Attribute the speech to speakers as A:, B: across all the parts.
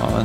A: Ja,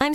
B: I'm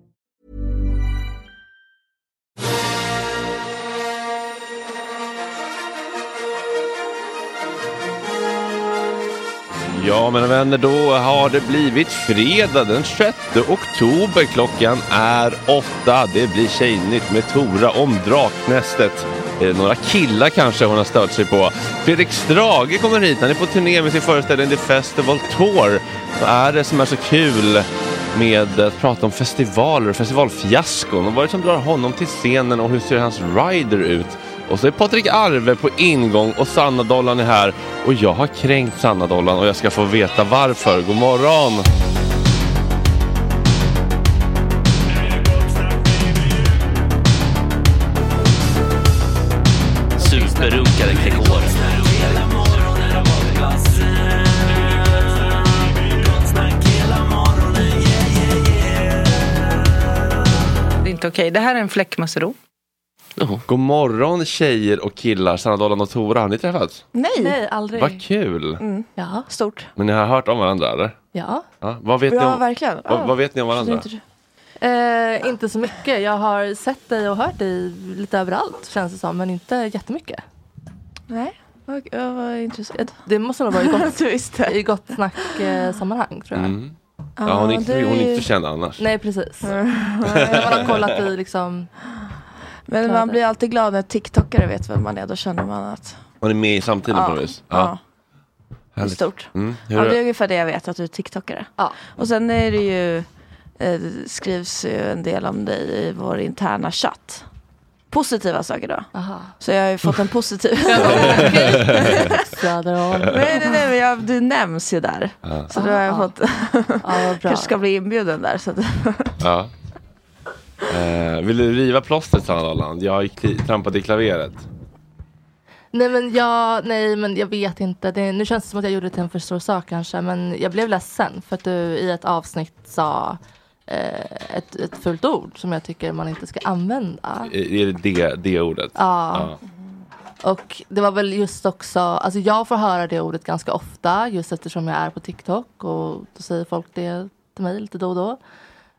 A: Ja, mina vänner, då har det blivit fredag den 6 oktober. Klockan är åtta. Det blir Tjejnytt med Tora om Draknästet. Är det några killar kanske hon har stört sig på? Fredrik Strage kommer hit. Han är på turné med sin föreställning The Festival Tour. Vad är det som är så kul med att prata om festivaler och festivalfiaskon? Och vad är det som drar honom till scenen och hur ser hans rider ut? Och så är Patrik Arve på ingång och Sanna Dollan är här. Och jag har kränkt Sanna Dollan och jag ska få veta varför. God morgon!
C: berunkade kring året.
D: Det är inte okej. Det här är en fläckmussero.
A: God morgon tjejer och killar, Sanna Dollan och Tora, har ni träffats?
E: Nej. Nej, aldrig.
A: Vad kul!
E: Mm. Ja, stort.
A: Men ni har hört om varandra eller?
E: Ja.
A: Ja, vad, vet
E: Ja,
A: ni om,
E: verkligen.
A: Vad,
E: Ja.
A: vad vet ni om
E: Så det är
A: varandra?
E: inte- Eh, inte så mycket. Jag har sett dig och hört dig lite överallt känns det som, men inte jättemycket. Nej, vad, vad intressant. Det måste nog vara i gott, i gott snack eh, sammanhang tror jag.
A: Mm. Ja, hon är inte, hon är inte känd annars.
E: Nej, precis. När man har kollat i liksom...
F: Men man
E: kläder.
F: blir alltid glad när tiktokare vet vem man är, då känner man att
A: Hon är med i samtiden på något vis. Ja.
F: det är
A: Härligt.
F: stort.
A: Mm. Hur
F: Ja,
A: är
F: det är
A: det?
F: ungefär det jag vet, att du är tiktokare. Och sen är det ju, eh, det skrivs ju en del om dig i vår interna chatt. Positiva saker då. Så jag har ju fått en positiv...
E: Söderholm.
F: nej, nej, nej, men jag, du nämns ju där.
A: Ja.
F: Så då har jag
E: Ah.
F: fått... kanske ska bli inbjuden där. Så att...
A: Ja. Eh, vill du riva plåstret Sanna Dollan? Jag gick i- trampade i klaveret.
E: Nej men jag, nej men jag vet inte. Det, nu känns det som att jag gjorde det till en för stor sak kanske. Men jag blev ledsen för att du i ett avsnitt sa eh, ett, ett fult ord som jag tycker man inte ska använda.
A: Eh, Är det det, det ordet?
E: Ja.
A: Ja.
E: Och det var väl just också, alltså jag får höra det ordet ganska ofta just eftersom jag är på TikTok och då säger folk det till mig lite då och då.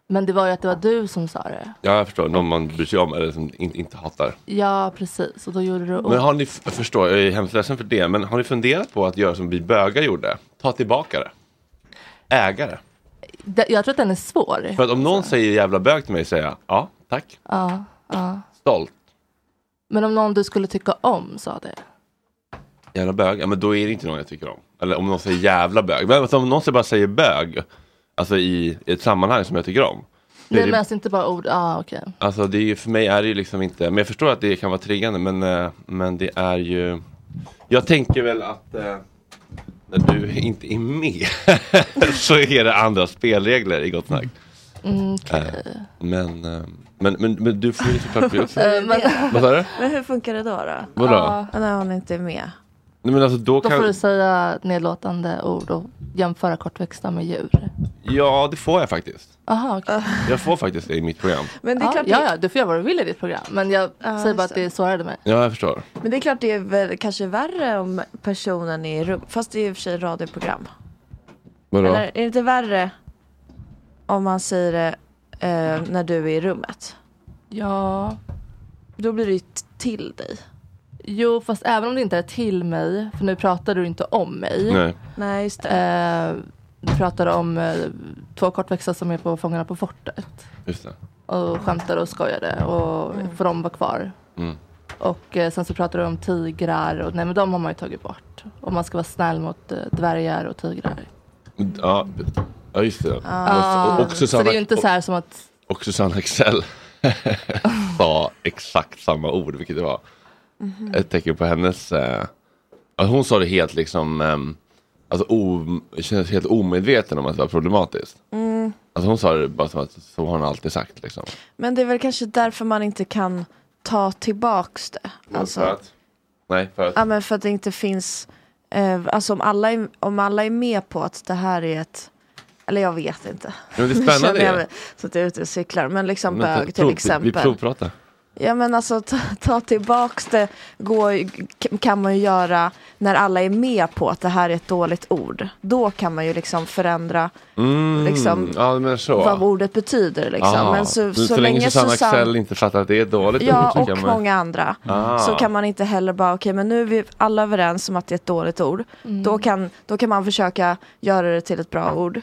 E: Men det var ju att det var du som sa det.
A: Ja, jag förstår. Någon man bryr sig om eller som inte, inte hatar.
E: Ja precis, och då gjorde du
A: Men har ni, f- jag förstår, jag är hemskt ledsen för det, men har ni funderat på att göra som vi bögar gjorde? Ta tillbaka det. Äga det.
E: Det- Jag tror att den är svår.
A: För att om någon säger jävla bög till mig säger jag ja, tack,
E: Ja, ja.
A: stolt,
E: Men om någon du skulle tycka om sa det.
A: jävla bög, ja men då är det inte någon jag tycker om. Eller om någon säger jävla bög, men alltså, om någon säger- bara säger bög, alltså i i ett sammanhang som jag tycker om. då är
E: Nej
A: det-
E: men alltså inte bara ord, ja ah, okej.
A: Alltså det är ju, för mig är det ju liksom inte, men jag förstår att det kan vara triggande men, eh, men det är ju Jag tänker väl att eh, när du inte är med så är det andra spelregler i gott snack.
E: Mm, okej.
A: Eh, men, eh, men, men, men du får ju såklart bli
F: Eh, men-
A: Vad sa du?
F: Men hur funkar det då? då?
A: Vadå?
F: Ja, När hon inte är med.
A: Nej, men alltså då
E: Då får
A: kan,
E: du säga nedlåtande ord och jämföra kortväxta med djur.
A: ja det får jag faktiskt.
E: Aha, okej.
A: Jag får faktiskt det i mitt program.
F: Men det är
E: ja,
F: klart det-
E: ja, ja, du får göra vad du vill i ditt program. Men jag säger bara att det sårade mig.
A: Ja jag förstår.
F: Men det är klart det är väl kanske värre om personen är i rum, fast det är i och för sig radioprogram.
A: Vadå?
F: Eller är det inte värre om man säger det eh, när du är i rummet?
E: Ja.
F: Då blir det ju t- till dig.
E: Jo, fast även om det inte är till mig, för nu pratar du inte om mig.
F: Nej. Nej, just
E: det. Eh, du pratar om eh, två kortväxta som är på Fångarna på fortet.
A: Just det.
E: Och skämtade och skojade och får de vara kvar.
A: Mm.
E: Och eh, sen så pratar du om tigrar och nej men de har man ju tagit bort. Om man ska vara snäll mot eh, dvärgar och tigrar.
A: Ja, ja just det.
E: Ah,
A: Och- och- och
E: så det är
A: Susanna-
E: ju inte så här som att
A: Och Susanne Axel sa exakt samma ord, vilket det var
F: Mm-hmm.
E: Mhm.
G: Uh,
A: ett tecken på hennes... Eh, att hon sa det helt liksom... ehm, alltså o, kändes helt omedveten om att det var problematiskt.
F: Mm.
A: Alltså hon sa det bara som att så har hon alltid sagt liksom.
F: Men det är väl kanske därför man inte kan ta tillbaks det.
A: För
F: Alltså,
A: att, nej, för att...
F: ja, men för att det inte finns, eh, alltså om alla, är, om alla är med på att det här är ett eller jag vet inte.
A: Men det är
F: Nu
A: spännande
F: känner jag
A: ju.
F: mig Så att jag är ute och cyklar. Men liksom
A: Men
F: bög
A: prov-
F: till
A: Vi,
F: exempel.
A: vi provpratar.
F: Ja men alltså ta, ta tillbaks det går, ju- k- kan man ju göra när alla är med på att det här är ett dåligt ord. Då kan man ju liksom förändra
A: Mm,
F: Liksom,
A: ja, men så.
F: vad ordet betyder. Liksom.
A: Ah,
F: men så, så,
A: länge
F: länge
A: Susanne Axel
F: Susanne,
A: inte fattar att det är ett dåligt
F: ja,
A: ord så
F: och
A: kan man...
F: många andra,
A: Ah.
F: så kan man inte heller bara okej men nu är vi alla överens om att det är ett dåligt ord. Då, kan, då kan man försöka göra det till ett bra ord.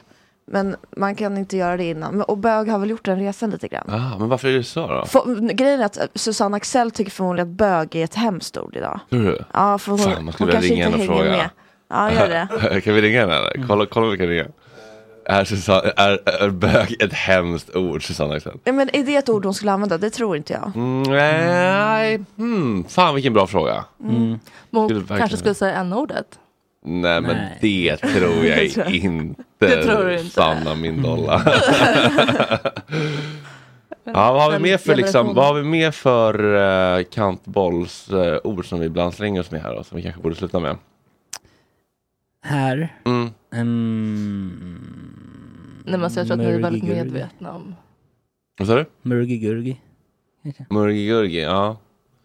F: Men man kan inte göra det innan. Men- Och bög har väl gjort den resan lite grann.
A: Ah, men varför är det så då?
F: För, grejen är att eh, Susanne Axel tycker förmodligen att bög är ett hemskt ord idag.
A: Tror du?
F: Ja, för hon,
A: Fan, man
F: hon
A: skulle vilja
F: kanske
A: ringa
F: inte
A: henne och
F: hänger
A: fråga.
F: med. Ja, gör det. Mm.
A: kan vi ringa henne eller? Kolla, kolla om vi kan ringa. Är, Susanne, är, är bög ett hemskt ord, Susanne Axel?
F: Nej, Men är det ett ord hon skulle använda? Det tror inte jag.
A: Mm, Nej, hmm, fan vilken bra fråga.
F: Mm.
E: Men hon
A: Skulle verkligen-
E: kanske skulle säga n-ordet.
A: Nej men det tror
E: Det tror
A: jag
E: jag.
A: inte. Mm.
E: Det tror du inte.
A: Sanna min dolla. Ja, vad har vi mer för, liksom,
E: Generation.
A: vad har vi mer för uh, kantbollsord som vi ibland slänger oss med här då, som vi kanske borde sluta med?
H: Här.
A: Mm.
E: Nej, men alltså, jag tror att ni är väldigt
H: Murgigurgi.
E: medvetna om.
A: Vad sa du?
H: Murgi-gurgi.
A: Murgi-gurgi, ja.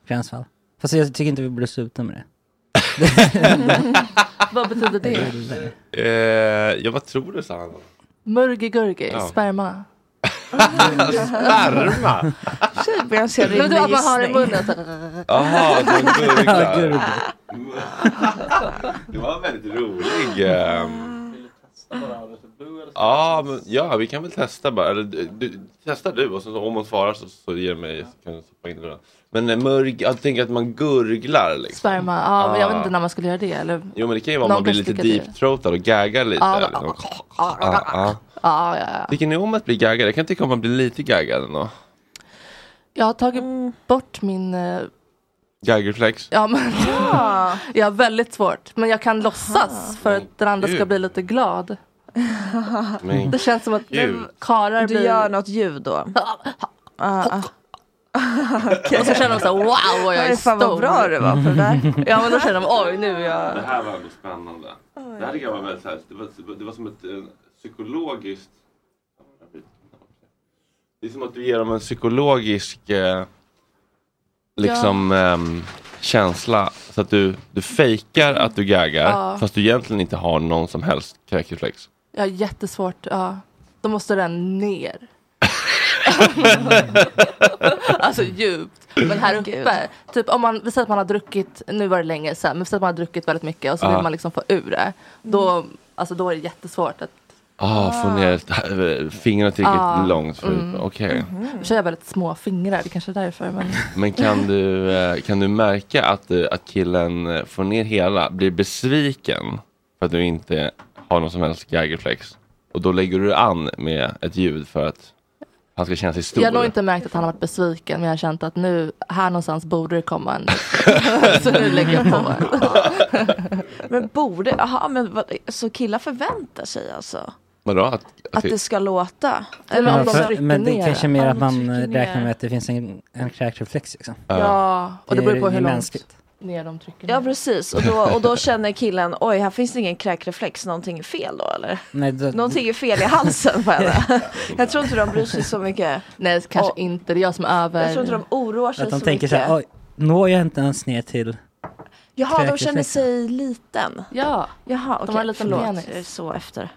H: Gränsfall. Fast jag tycker inte vi borde sluta med det.
E: Vad betyder det?
A: Eh, ja, vad tror du sa han? då?
E: Murgigurgi,
A: Ja.
E: sperma.
A: Sperma?
F: Tjejbens gör
E: Men du att man har i munnen.
A: Jaha, att man
H: Ja,
A: gurglar.
H: gurgel.
A: Det var väldigt rolig. ehm. Ja, men, ja, vi kan väl testa bara. Eller, du, du, testa du och så, om hon svarar så, så ger mig så kan jag stoppa in det då. Men eh, mörg, jag tänker att man gurglar liksom.
E: Sperma, ja men jag vet
A: Ah.
E: inte när man skulle göra det. Eller?
A: Jo men det kan ju vara om man
E: Någon
A: blir
E: kanske
A: lite
E: tycker det.
A: deep-throatad och gaggar lite.
E: Ja,
A: eller
E: men-
A: något.
E: Ja,
A: Ja, ja.
E: ah, ja, ja.
A: Tycker ni om att bli gaggad? Jag kan tycka om att bli lite gaggad ändå.
E: Jag har tagit
F: Mm.
E: bort min... eh,
A: Gaggerflex.
E: Ja, men, jag har väldigt svårt. Men jag kan låtsas för att den andra ska
A: Gud.
E: bli lite glad.
A: Men
E: Det känns som att
A: Gud.
E: karlar
F: Du
E: blir...
F: gör något ljud då? Ah,
E: Och så känner de så här, wow vad jag är
F: Nej, fan vad
E: stor.
F: bra du var på det där.
E: Ja men då känner de oj nu är
A: Det
E: jag...
A: här var ändå spännande. Det här tycker jag var väldigt så här, det, var, det var som ett eh, psykologiskt... Det är som att du ger dem en psykologisk eh, liksom, ehm, känsla. Så att du, du fejkar att du gaggar
E: Ja.
A: fast du egentligen inte har någon som helst kräkreflex.
E: Jag har jättesvårt, ja. Då måste den ner. alltså djupt. Men här uppe, typ om man, vi säger att man har druckit, nu var det länge sedan, men vi säger att man har druckit väldigt mycket och så
A: Ja.
E: vill man liksom få ur det. Då, alltså, då är det jättesvårt att
A: Ah, Få ner eh, fingrarna tillräckligt
E: Ah,
A: långt. För,
E: mm.
A: Okej.
E: Nu kör jag väldigt små fingrar, det kanske är därför. Men...
A: Men kan du, eh, kan du märka att, eh, att killen eh, får ner hela, blir besviken för att du inte har någon som helst gaggerflex? Och då lägger du an med ett ljud för att han ska känna sig stor.
E: Jag har nog inte märkt att han har varit besviken, men jag har känt att nu, här någonstans borde det komma en. så nu lägger jag på.
F: Men borde, jaha men vad, så killar förväntar sig alltså?
A: Vadå? Att,
F: Att det ska låta? Eller
H: Ja,
F: om de
H: för-
F: trycker
H: men det
F: ner
H: är kanske mer
F: Ja,
H: att man
F: trycker ner.
H: räknar med att det finns en, en kräkreflex. Liksom.
E: Ja, och det
H: är
E: beror på hur långt
H: mänskligt.
E: ner de trycker
F: Ja
E: ner.
F: precis, och då, och då känner killen oj här finns det ingen kräkreflex, någonting är fel då eller?
H: Nej, då,
F: Någonting är fel i halsen på henne. Jag tror inte de bryr sig så mycket.
E: Nej, kanske
F: Och-
E: inte. Det är jag som är över.
F: Jag tror inte de oroar sig
H: att de
F: så
H: tänker
F: mycket.
H: så här, oj, når jag inte ens ner till...
F: Jaha, de känner
H: kräkreflexen."
F: sig liten.
E: Ja,
F: Jaha, okej.
E: har en liten
F: Förlåt,
E: penis.
F: jag är så efter.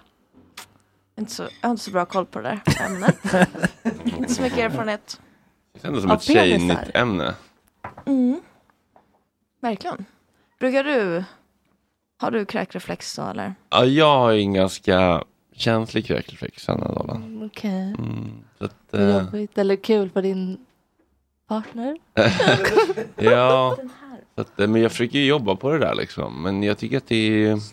F: Inte så, jag har inte så bra koll på det där ämnet. inte så mycket erfarenhet.
A: Det känns som
E: av
A: ett tjejnytt
E: penisar.
A: ämne.
F: Mm. Verkligen. Brukar du, har du kräkreflex då eller?
A: Ja, jag har ju en ganska känslig kräkreflex den här dagen.
E: okej. Okay.
A: Mm, så att,
E: Det är
A: eh,
E: jobbigt eller kul för din partner.
A: ja, så att, eh, men jag försöker ju jobba på det där liksom. Men jag tycker att det är, alltså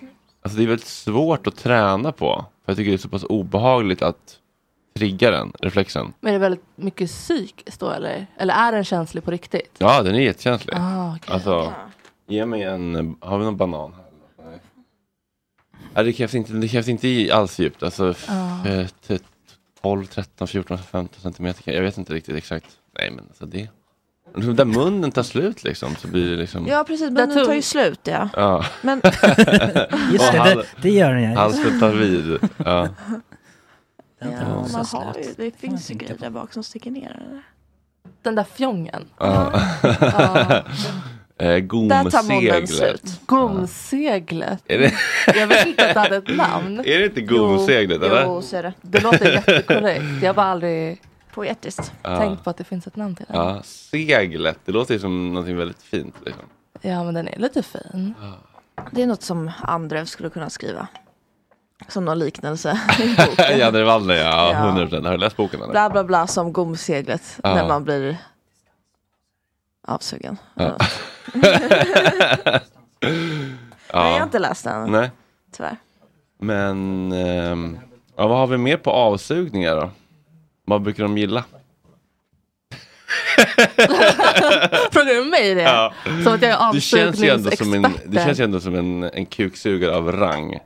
A: det är väldigt svårt att träna på. För jag tycker det är så pass obehagligt att trigga den reflexen.
E: Men är det väldigt mycket psykiskt då eller? Eller är den känslig på riktigt?
A: Ja, den är jättekänslig.
E: Ah, okej.
A: Alltså, ge mig en, har vi någon banan här? eller? Nej. Ja, det krävs inte, det krävs inte i- alls djupt. Alltså f-
E: Ah.
A: eh, t- 12, 13, 14, 15 centimeter. kan- Jag vet inte riktigt exakt. Nej, men alltså det. Där munnen tar slut liksom så blir det liksom.
F: Ja precis, men
E: Dator.
F: den tar ju slut ja.
A: Ja,
F: Men
H: Just
A: Och
H: det,
A: han-
H: det, det gör den ja.
A: halsen tar vid. Ja.
H: Den tar
F: ja,
H: också
F: man
H: slut.
F: har ju, det
H: man
F: finns ju
H: tänka
F: grejer där bak som sticker ner. Eller?
E: Den där fjongen.
A: ja. Eh,
F: Där tar munnen
A: Gomseglet.
F: slut.
E: Gomseglet.
A: Är det,
E: Jag vet inte att det hade ett namn.
A: är det inte gomseglet eller?
F: Jo, så är det.
E: Det låter jättekorrekt. Jag har bara aldrig
F: Poetiskt.
A: Ja.
E: tänkt på att det finns ett namn till den. Ja.
A: ja, seglet. Det låter ju som någonting väldigt fint. Liksom.
E: men den är lite fin.
F: Det är något som Andrev skulle kunna skriva. Som någon liknelse.
A: Janne Wallner,
F: Ja.
A: ja. 100 Har du läst boken? Eller?
F: bla bla bla som gomseglet
A: Ja.
F: när man blir avsugen.
A: Ja.
F: Nej, jag har
A: ja.
F: inte läst den
A: Nej,
F: tyvärr.
A: men ehm, ja, vad har vi mer på avsugningar då? Vad brukar de gilla?
E: Frågar du mig det?
A: Ja.
E: Som att jag är
A: Du känns ju ändå som en,
E: avsugningsexperten.
A: du känns ju ändå som en, en kuksugare av rang.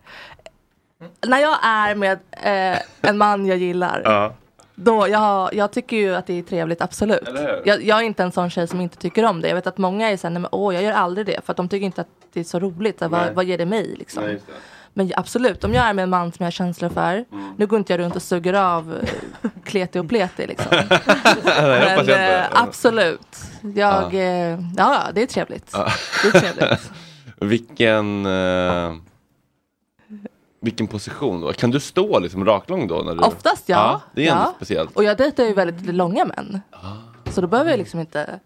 E: När jag är med eh, en man jag gillar, Då, jag, jag tycker ju att det är trevligt, absolut.
C: Eller hur?
E: Jag, jag är inte en sån tjej som inte tycker om det. Jag vet att många är såhär, nej men åh, jag gör aldrig det. För att de tycker inte att det är så roligt. Så,
C: Nej.
E: vad, vad ger det mig liksom?
C: Nej, just det.
E: Men absolut, om jag är med en man som jag har känslor för.
A: Mm.
E: Nu går inte jag runt och suger av eh, kleti och pleti liksom.
A: Nej, jag hoppas
E: Men
A: jag inte.
E: eh, absolut, jag,
A: Ja.
E: eh, ja. ja det är trevligt.
A: Ja.
E: Det är trevligt.
A: vilken, eh, vilken position då? Kan du stå liksom raklång då? När du...
E: Oftast ja.
A: det är ändå
E: ja.
A: speciellt. Ah.
E: Och jag dejtar ju väldigt långa män. Så då behöver jag liksom inte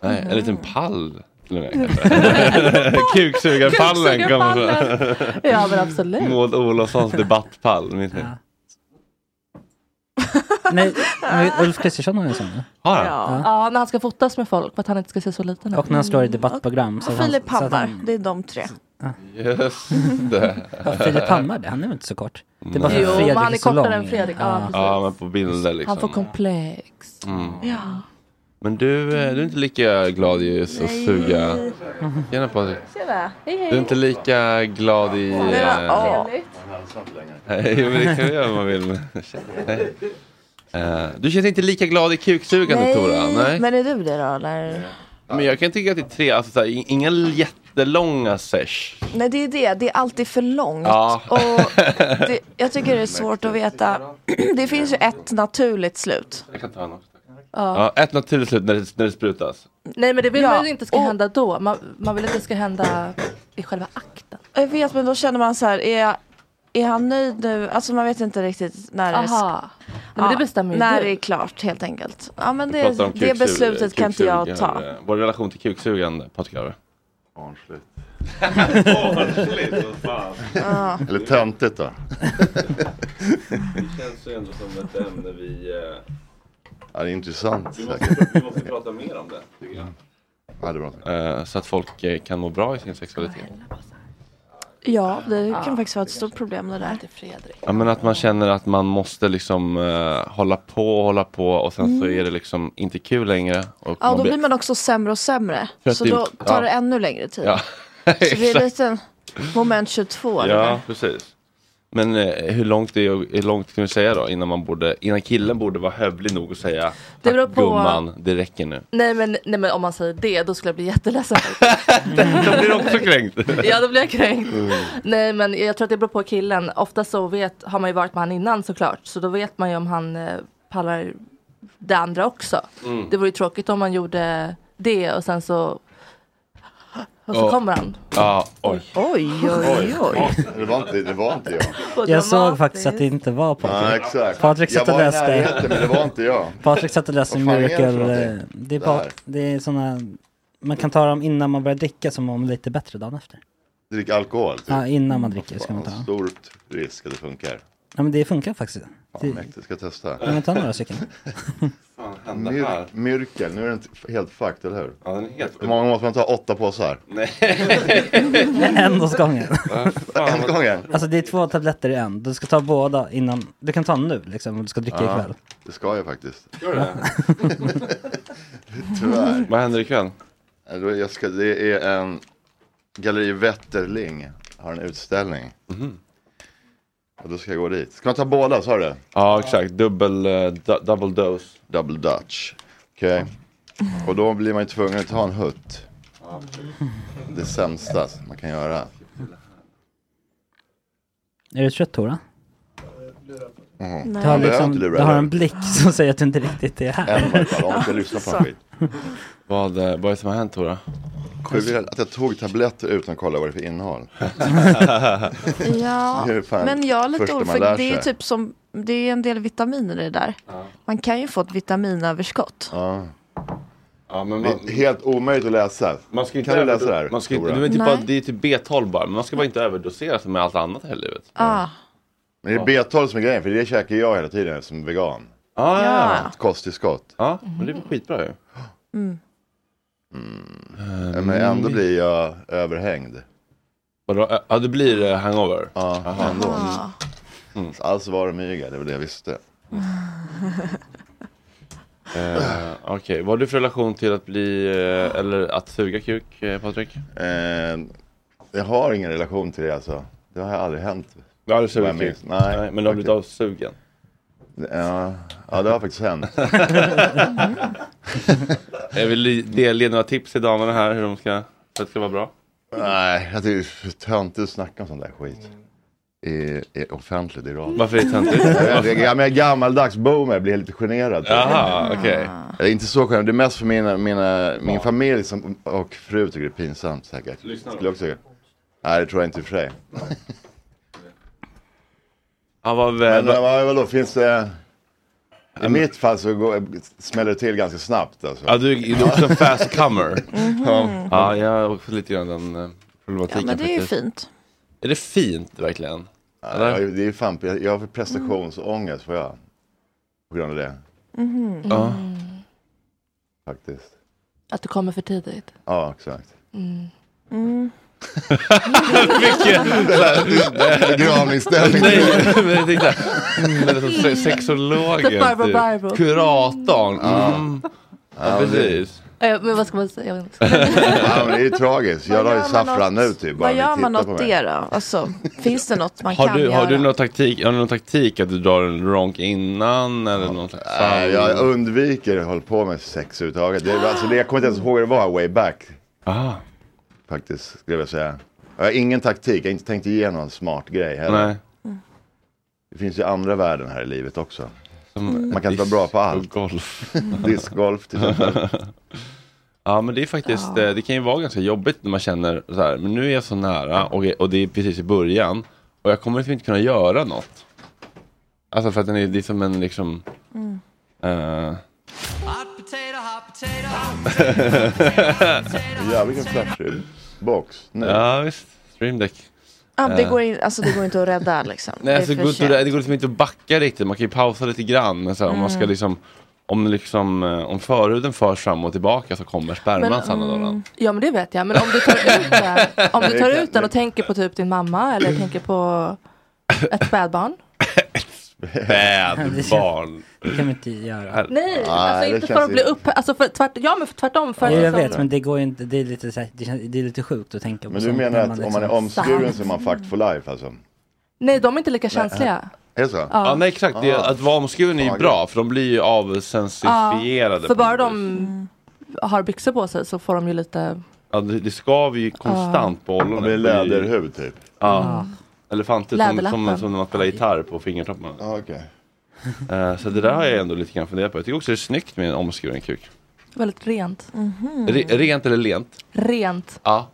A: Nej,
E: Mm.
A: en liten pall. till och med, kanske. Kuksugarpallen kommer så.
E: Kuksugarpallen. Ja, men absolut.
A: Maud Olofssons debattpall, minns ni?
H: Nej, men Ulf Kristersson har ju en sån.
A: Har
E: Ja. Ja, när han ska fotas med folk för att han inte ska se så liten ut. Mm.
H: Och när han står i debattprogram. Så
F: Och
H: att han,
F: Filip
H: så att
F: Hammar,
H: han-
F: det är de tre.
A: Just det.
H: Ja, Filip Hammar, det, han är väl inte så kort? Det är bara för
E: Jo, men
H: Fredrik
E: han är
H: så
E: kortare
H: lång.
E: än Fredrik, ja, precis.
A: Ja, men på bilder liksom.
E: Han får komplex.
A: Mm.
E: Ja.
A: Men du, eh, du är inte lika glad i att suga. Tjena Patrik.
F: Tjena. Hej,
A: Du är inte lika glad i... eh, Nej, men det kan du göra om man vill. men- Nej. Eh, Du känns inte lika glad i kuksugandet Tora? Nej. Men...
F: Men är du det då eller?
A: jag kan tycka att det är tre, alltså, så här, i- inga jättelånga sesh.
F: Nej det är det, det är alltid för långt.
A: Ja.
F: Och det, jag tycker det är svårt att veta. Det finns ju ett naturligt slut.
A: Jag kan ta en också.
E: Ja.
A: Ja, ett naturligt slut när det, när det sprutas.
E: Nej men det vill
F: Ja,
E: man ju inte ska hända då. Man, man vill att det ska hända i själva akten.
F: Jag vet men då känner man så här, är, jag- är han nöjd nu? Alltså man vet inte riktigt när det
E: Aha. Nej, men det bestämmer ju
F: När
E: du.
F: det är klart helt enkelt. Ja men
A: Vi
F: det,
A: pratar om
F: det
A: kuksug-
F: beslutet kan inte jag ta.
A: kuksugande. Vår relation till kuksugande, Patrik Arve.
I: Barnsligt.
A: Barnsligt, vad fan.
F: Ja.
I: Eller töntigt då.
A: Det känns ju ändå som ett ämne vi... eh,
I: Ja, det är intressant.
A: prata mer om det, tycker jag.
I: Ja, det är bra.
A: Eh, så att folk eh, kan må bra i sin sexualitet.
F: Ja det kan faktiskt vara ett stort problem det där.
A: Ja, men att man känner att man måste liksom eh, hålla på och hålla på och sen så
F: Mm.
A: är det liksom inte kul längre. Och
F: Ja då blir man också sämre och sämre.
A: För att
F: Så
A: det-
F: då tar
A: ja.
F: det ännu längre tid.
A: Ja,
F: Så det är
A: exakt.
F: lite moment 22. det där.
A: Ja, precis. Men eh, hur långt, är, hur långt kan du säga då innan, man borde, innan killen borde vara hövlig nog att säga Tack
E: Det beror på-
A: gumman, det räcker nu.
E: Nej men, nej men om man säger det då skulle jag bli jätteledsen.
A: Då blir du också kränkt.
E: ja då blir jag kränkt.
A: Mm.
E: Nej men jag tror att det beror på killen. Ofta så vet, har man ju varit med han innan såklart. Så då vet man ju om han eh, pallar det andra också.
C: Mm.
E: Det vore ju tråkigt om man gjorde det och sen så och så
I: Ja.
E: kommer han.
A: Ja, oj.
F: Oj,
I: oj, oj. Det var inte, det var inte jag.
H: Jag såg faktiskt att det inte var Patrik.
I: Ja, exakt.
H: Patrik satt
I: jag
H: och
I: var i
H: läste.
I: närheten, men det var inte jag.
H: Patrik satt och läste
I: Vad fan är det för
H: Miracle. eh,
I: någonting?
H: Det är,
I: Det
H: pa-
I: här.
H: det är såna, man kan ta dem innan man börjar dricka som om lite bättre dagen efter.
I: Drick alkohol. typ.
H: Ja, innan man dricker ska man ta.
I: Fan, Stort risk att det funkar.
H: Ja men det funkar faktiskt.
I: Fan,
H: Det,
I: mäktigt. Ska testa.
H: kan man ta några stycken?
A: hände här?
I: myrkel, nu är den t- helt fucked, eller hur?
A: Ja, den är helt
I: Hur många måste man ta? Åtta påsar?
A: Nej.
H: en åt gången.
I: en åt gången?
H: Alltså det är två tabletter i en. Du ska ta båda innan. Du kan ta nu liksom om du ska dricka
I: Ja,
H: ikväll.
I: Det ska jag faktiskt.
H: Gör du det?
I: Tyvärr.
A: Vad händer ikväll?
I: Ja, då Jag ska, det är en Galleri Wetterling har en utställning.
A: Mm-hmm.
I: Och då ska jag gå dit. Ska man ta båda, sa du det?
A: Ja, exakt. Dubbel, eh, du- double dose.
I: Double Dutch. Okej. Och då blir man ju tvungen att ta en hutt. Det sämsta som man kan göra.
H: Är du trött Tora?
I: Mm.
H: Du har,
I: Det är inte
H: liksom,
I: du,
H: du har en
I: eller?
H: blick som säger att du inte riktigt är här.
I: Än i alla fall, om man ska lyssna på en skit.
A: Vad, eh, vad är det som har hänt Tora?
I: Sjukt att jag tog tabletter utan att kolla vad det är för innehåll.
F: Ja,
I: Det är fan
F: men jag är lite
I: första man
F: orolig.
I: lär
F: för Det är ju
I: sig.
F: typ som, det är en del vitaminer i det där. Man kan ju få ett vitaminöverskott.
I: Ja.
A: Ja, men
I: Det är helt omöjligt att läsa.
A: Man ska inte
I: kan du
A: överdo-
I: läsa det här?
A: Man ska inte,
I: Tora?
A: det, är typ bara,
F: Nej.
A: det är typ B12 bara, men man ska bara inte överdosera som med allt annat här i livet.
F: Ah.
I: Men det är B12 som är grejen, för det käkar jag hela tiden som vegan.
A: Ah,
F: ja.
I: Ett Kosttillskott.
A: Ja, men det är skitbra ju.
F: Mm.
I: Mm. Men ändå blir jag överhängd.
A: Vadå? Ä- Ja, det blir eh, hangover?
I: Ja, ändå.
F: Ah.
I: Mm. Alltså var det mygel, det var det jag visste.
A: Eh, Okej, vad har du för relation till att bli, eh, eller att suga kuk, eh, Patrik?
I: Eh, jag har ingen relation till det alltså. Det har aldrig hänt.
A: Du har aldrig
I: Vad jag
A: sugit kuk?
I: minns. Nej,
A: men du har blivit
I: faktiskt.
A: avsugen?
I: Ja, ja det har faktiskt hänt.
A: Jag vill li- delge några tips till damerna här hur de ska, för att det ska vara bra.
I: Nej, jag tycker det är för töntigt att snacka om sån där skit. I, i offentligt i radio.
A: Varför är det töntigt?
I: jag, jag, jag är gammaldags boomer, blir lite generad.
A: Jaha, okej.
I: Jag är inte så generad, det är mest för mina, mina, min familj som, och fru tycker det är pinsamt säkert.
A: Lyssna då.
I: Skulle jag också tycka. Nej, det tror jag inte i och för sig.
A: Han var väl...
I: Men eh, vad- vadå, finns det... I mitt fall så går, smäller det till ganska snabbt alltså.
A: Ja, du, du är också en fast comer.
I: Mhm.
A: ja. ja, jag har också lite grann den eh, problematiken
I: Ja, men det är ju
A: faktiskt.
I: fint.
A: Är det fint verkligen?
I: Ja, jag- det är fan, jag, jag har prestationsångest får jag. På grund av det,
E: Mhm.
I: Ja. faktiskt.
E: Att du kommer för tidigt.
I: Ja, exakt.
E: Mm.
A: Mycket
I: såhär begravningsställning.
A: Nej, men jag tänkte såhär, mm, eller så se- sexologen.
E: The Barbro
A: typ.
E: Barbro.
A: Kuratorn.
I: Ja.
A: Mm.
I: Ja,
A: Ja, precis.
E: Eh, Men vad ska man säga? Jag vet inte.
I: ja, men det är ju tragiskt. Jag la ju
F: gör man
I: saffran
F: åt-
I: nu typ. bara
F: Vad
I: ni
F: gör man
I: tittar på
F: åt
I: mig.
F: det då? Alltså, finns det något man
A: Har
F: kan
A: du,
F: göra?
A: har, du någon taktik, har du någon taktik att du drar en ronk innan eller någon slags
I: Nej, jag undviker att hålla på med sex överhuvudtaget. Det, alltså, det, jag kommer inte ens ihåg hur det var way back.
A: Aha.
I: Faktiskt, skulle jag vilja säga. Jag har ingen taktik, jag har inte tänkt igenom en smart grej heller.
A: Nej.
I: Det finns ju andra värden här i livet också.
A: Som
I: Man kan inte vara bra på allt.
A: Golf.
I: Discgolf till exempel.
A: Ja men det är faktiskt,
I: Ja.
A: eh, det kan ju vara ganska jobbigt när man känner så här, men nu är jag så nära och, och det är precis i början och jag kommer liksom inte kunna göra något. Alltså för att den är, det är som en liksom,
C: Mm.
A: eh,
I: Ja, vilken flashig box. Nu.
A: Ja visst, Stream Deck.
F: Ja, det,
A: Eh,
F: går in, alltså, det går inte att rädda liksom.
A: Nej, alltså,
F: det
A: det,
F: är
A: går
F: för
A: inte,
F: sent.
A: det går liksom inte att backa riktigt, man kan ju pausa lite grann. Men så här, om man ska
F: Mm.
A: liksom, om, liksom, eh, om förhuden förs fram och tillbaka så kommer sperman
E: Men,
A: sanna
E: mm,
A: dagen.
E: Ja men det vet jag. Men om du tar ut den, om du tar ut den och tänker på typ din mamma eller tänker på ett spädbarn.
A: Spädbarn.
H: Det kan man inte göra.
E: Nej, alltså inte för att bli upp, alltså för, tvärt, ja men för, tvärtom. För
H: Ja, jag
E: liksom-
H: vet, men det går ju inte, det är lite, så här, det, känns- det är lite sjukt att tänka på.
I: Men du
H: sånt
I: menar
H: när
I: att om man är
H: liksom-
I: omskuren så är man fucked for life alltså?
E: Nej, de är inte lika känsliga.
I: Är det så?
A: Ja,
E: Ja.
A: nej exakt, det,
I: Ah.
A: att vara omskuren är ju
I: Taget.
A: bra för de blir ju avsensifierade.
E: Ja, för bara de har byxor på sig så får de ju lite,
A: Ja, det, det skaver ju konstant på ollonet.
I: Det blir läderhud,
A: typ. Ja.
F: Ah.
E: Ja.
A: Elefanter som, som,
E: Läderlappen.
A: som när man spelar gitarr på fingertopparna. Eh, så det där har jag ändå lite grann funderat på. Jag tycker också det är snyggt med en omskuren kuk.
E: väldigt rent.
A: Re,
F: Mm.
A: rent eller lent?
E: Rent.
A: Ja.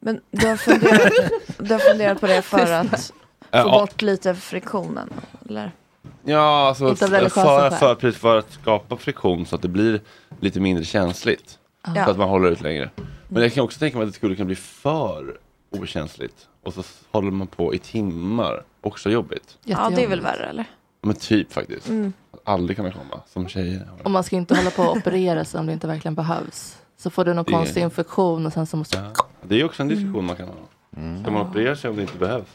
F: Men du har, funderat, du har funderat på det för att
A: Ja.
F: få bort lite friktionen? Eller?
A: Ja, alltså
F: Inte av
A: för,
F: religiösa
A: för,
F: skäl.
A: för, precis, för att skapa friktion så att det blir lite mindre känsligt.
F: Ja.
A: Så att man håller ut längre.
F: Mm.
A: Men jag kan också tänka mig att det skulle kunna bli för okänsligt. Och så håller man på i timmar. Också jobbigt.
F: Ja, det är väl värre eller?
A: Men typ faktiskt.
F: Mm.
A: Aldrig kunna komma som tjejer.
E: Och man ska ju inte hålla på och operera sig om det inte verkligen behövs. Så får du någon
A: Det-
E: konstig infektion och sen så måste
A: Det är ju också en diskussion
F: Mm.
A: man kan ha. Ska man operera sig om det inte behövs?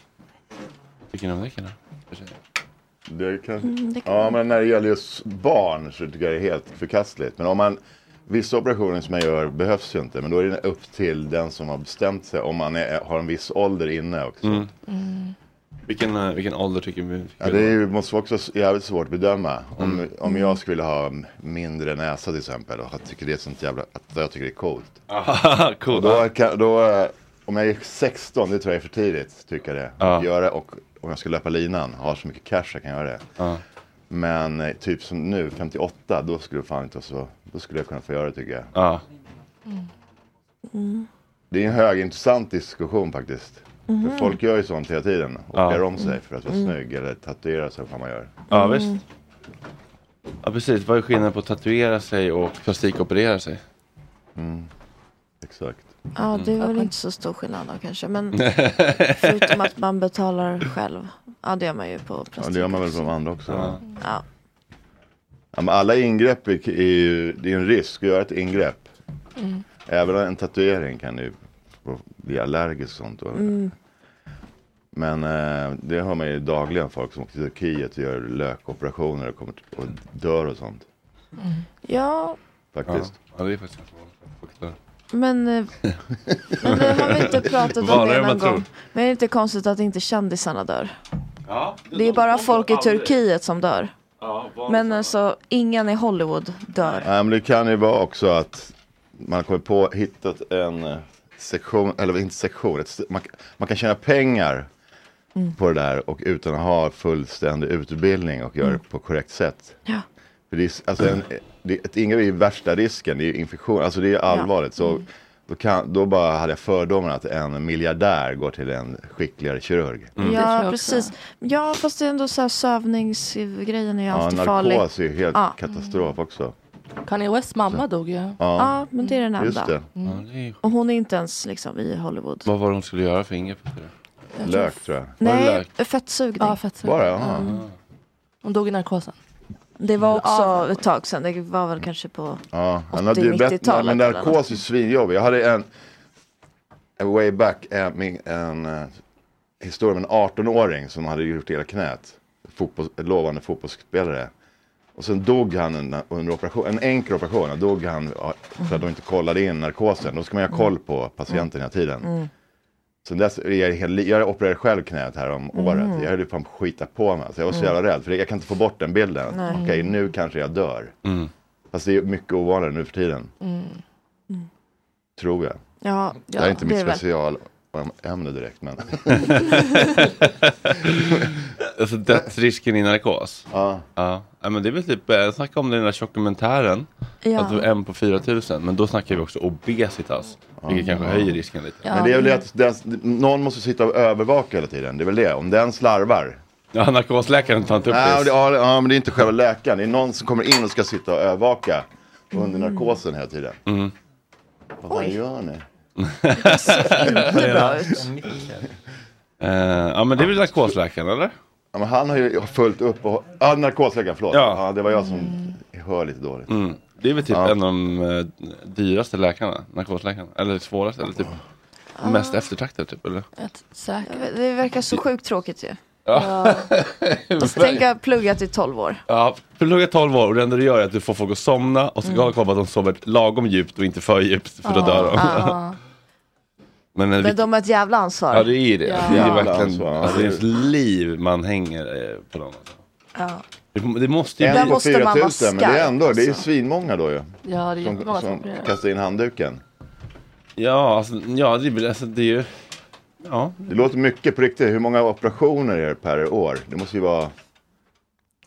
A: Tycker ni om det killar? För tjejer?
I: Det kan...
A: Mm, det kan
I: Ja,
A: man.
I: men när det gäller just barn så tycker jag det är helt förkastligt. Men om man... Vissa operationer som man gör behövs ju inte, men då är det upp till den som har bestämt sig om man är, har en viss ålder inne också.
J: Mm.
F: Mm.
A: Vilken, eh, vilken ålder tycker Mm. vi?
I: Ja, det är ju, måste vara också s- jävligt svårt att bedöma. Om, om jag skulle ha m- mindre näsa till exempel och jag tycker det är sånt jävla, att jag tycker det är coolt.
A: Ah, coolt,
I: Och då, kan, då, eh, om jag är 16, det tror jag är för tidigt, tycker jag det. Att göra, och om jag ska löpa linan, har så mycket cash jag kan göra det. Men eh, typ som nu, 58, då skulle det fan inte vara så, då skulle jag kunna få göra det tycker jag. Det är en högintressant diskussion faktiskt.
F: Mhm.
I: För folk gör ju sånt hela tiden.
A: Ja.
I: Opererar om sig för att vara
F: Mm.
I: snygg eller tatuerar sig vad man gör.
A: Ja, visst. Ja, precis. Vad är skillnaden på att tatuera sig och plastikoperera sig? Mm.
I: Exakt.
F: Ja, det är väl inte så stor skillnad då kanske. Men förutom att man betalar själv. Ja, det gör man ju på
I: Ja,
F: plastik.
I: det gör man väl på de andra också. Ja.
F: Ja.
I: men alla ingrepp är, är ju, det är en risk att göra ett ingrepp.
F: Mm.
I: Även en tatuering kan ju få- bli allergisk och sånt. Och,
F: Mm.
I: Men eh, det hör man ju dagligen folk som åker till Turkiet och gör lökoperationer och, kommer till, och dör och sånt.
F: Ja,
I: Faktiskt.
A: Ja, ja det är faktiskt ganska vanligt.
F: men, eh, men vi har vi inte pratat om
A: Vanligare
F: det
A: än man
F: någon
A: tror.
F: gång. Men är det inte konstigt att inte kändisarna dör?
A: Ja.
F: Det är bara folk i Turkiet som dör.
A: Ja,
F: Men alltså, ingen i Hollywood dör.
I: Nej, men det kan ju vara också att man har kommit på, hittat en eh, sektion, eller inte sektion, ett, st- man, man kan tjäna pengar
F: Mm.
I: på det där och utan att ha fullständig utbildning och göra
F: Mm.
I: det på korrekt sätt.
F: Ja.
I: För det är, s- alltså en, det, ett ingrepp är ju värsta risken, det är ju infektion, alltså det är allvarligt. Så
F: Mm.
I: då, kan, då bara hade jag fördomen att en miljardär går till en skickligare kirurg.
F: Mm. Ja, precis. Ja, fast det är ändå så här sövningsgrejen är ju
I: Ja,
F: alltid farlig.
I: narkos är ju helt
F: Ja.
I: katastrof också.
E: Kanye Wests mamma dog ju. Ja,
I: Ja.
F: men det är den enda.
I: Just det.
F: Mm. Och hon är inte ens liksom i Hollywood.
A: Vad var det hon skulle göra för ingrepp? efter det?
F: Jag
A: Lök tror jag. Var det
F: Nej,
A: lök?
F: fettsugning. Mm.
E: Ja, fettsugning.
A: Bara, ja.
E: Hon dog i narkosen.
F: Det var också ett tag sedan. Det var väl kanske på...
I: Ja, han hade ju
F: 80-90-talet
I: bett, nej, men
F: eller något.
I: narkos är ju svinjobbig. Jag hade en, en way back, en, min- en eh, historia om en 18-åring som hade gjort hela knät. Fotboll, lovande fotbollsspelare. Och sen dog han under- under operation, en enkel operation. Då dog han ja, för att de inte kollade in narkosen. Då ska man ju ha koll på patienten hela tiden.
C: Mm.
I: Sen dess, är jag, helt- jag opererade själv knät här om
C: Mhm.
F: Mm.
I: året. Jag höll ju på att skita på mig. Så jag var så
C: Mm.
I: jävla rädd. För jag kan inte få bort den bilden.
C: Nej.
I: Okej, nu kanske jag dör. Fast det är mycket ovanligare nu för tiden.
E: Mm.
I: Tror jag.
F: Ja,
I: det här är
F: ja,
I: inte
F: det
I: mitt
F: är väl.
I: specialämne direkt men.
A: alltså dödsrisken i narkos?
I: Ja.
A: ja. Ja, men det är väl typ, eh, snacka om den där dokumentären.
F: Ja.
A: Att det var en på 4000. Men då snackar vi också obesitas. Vilket kanske höjer risken lite.
I: Men det är väl det att den, någon måste sitta och övervaka hela tiden. Det är väl det. Om den slarvar.
A: Ja, narkosläkaren tar inte upp
I: Nej,
A: det.
I: och det, ja, ja, men det är inte själva läkaren. Det är någon som kommer in och ska sitta och övervaka under
F: Mm.
I: narkosen hela tiden.
A: Mm.
I: Vad fan gör ni?
F: inte bra ut.
A: Eh, ja, men det är väl narkosläkaren eller?
I: Ja, men han har ju fullt upp och... Ja, narkosläkaren, förlåt. Ja. det var jag som hör lite dåligt.
A: Mm. Det är väl typ en av de eh, dyraste läkarna, narkosläkarna. Eller svåraste, eller typ mest eftertraktade typ. Eller?
F: Jag vet, Det verkar så sjukt tråkigt ju.
A: Ja.
F: Och så tänker jag pluggat i 12 år.
A: Ja, för du är 12 år och det enda du gör är att du får folk att somna och så
F: Mm.
A: ska du kolla på att de sover lagom djupt och inte för djupt för då
F: Ja,
A: dör de.
F: ja.
A: Men, en
F: Men
A: rikt-
F: de har ett jävla ansvar.
A: Ja det är det. Det är
F: Ja.
A: verkligen
I: Ja.
A: alltså, det är ens liv man hänger eh, på dem.
F: Ja.
A: Det, det måste ju
I: En
A: bli...
I: på 4 000, men det är ändå, det är ju
F: alltså.
I: svinmånga då ju.
E: Ja, det är
I: Som,
E: jättemånga som
I: som
E: opererar.
I: kastar in handduken.
A: Ja, alltså, ja det, är väl- alltså, det är ju... Ja.
I: Det låter mycket på riktigt. Hur många operationer är det per år? Det måste ju vara...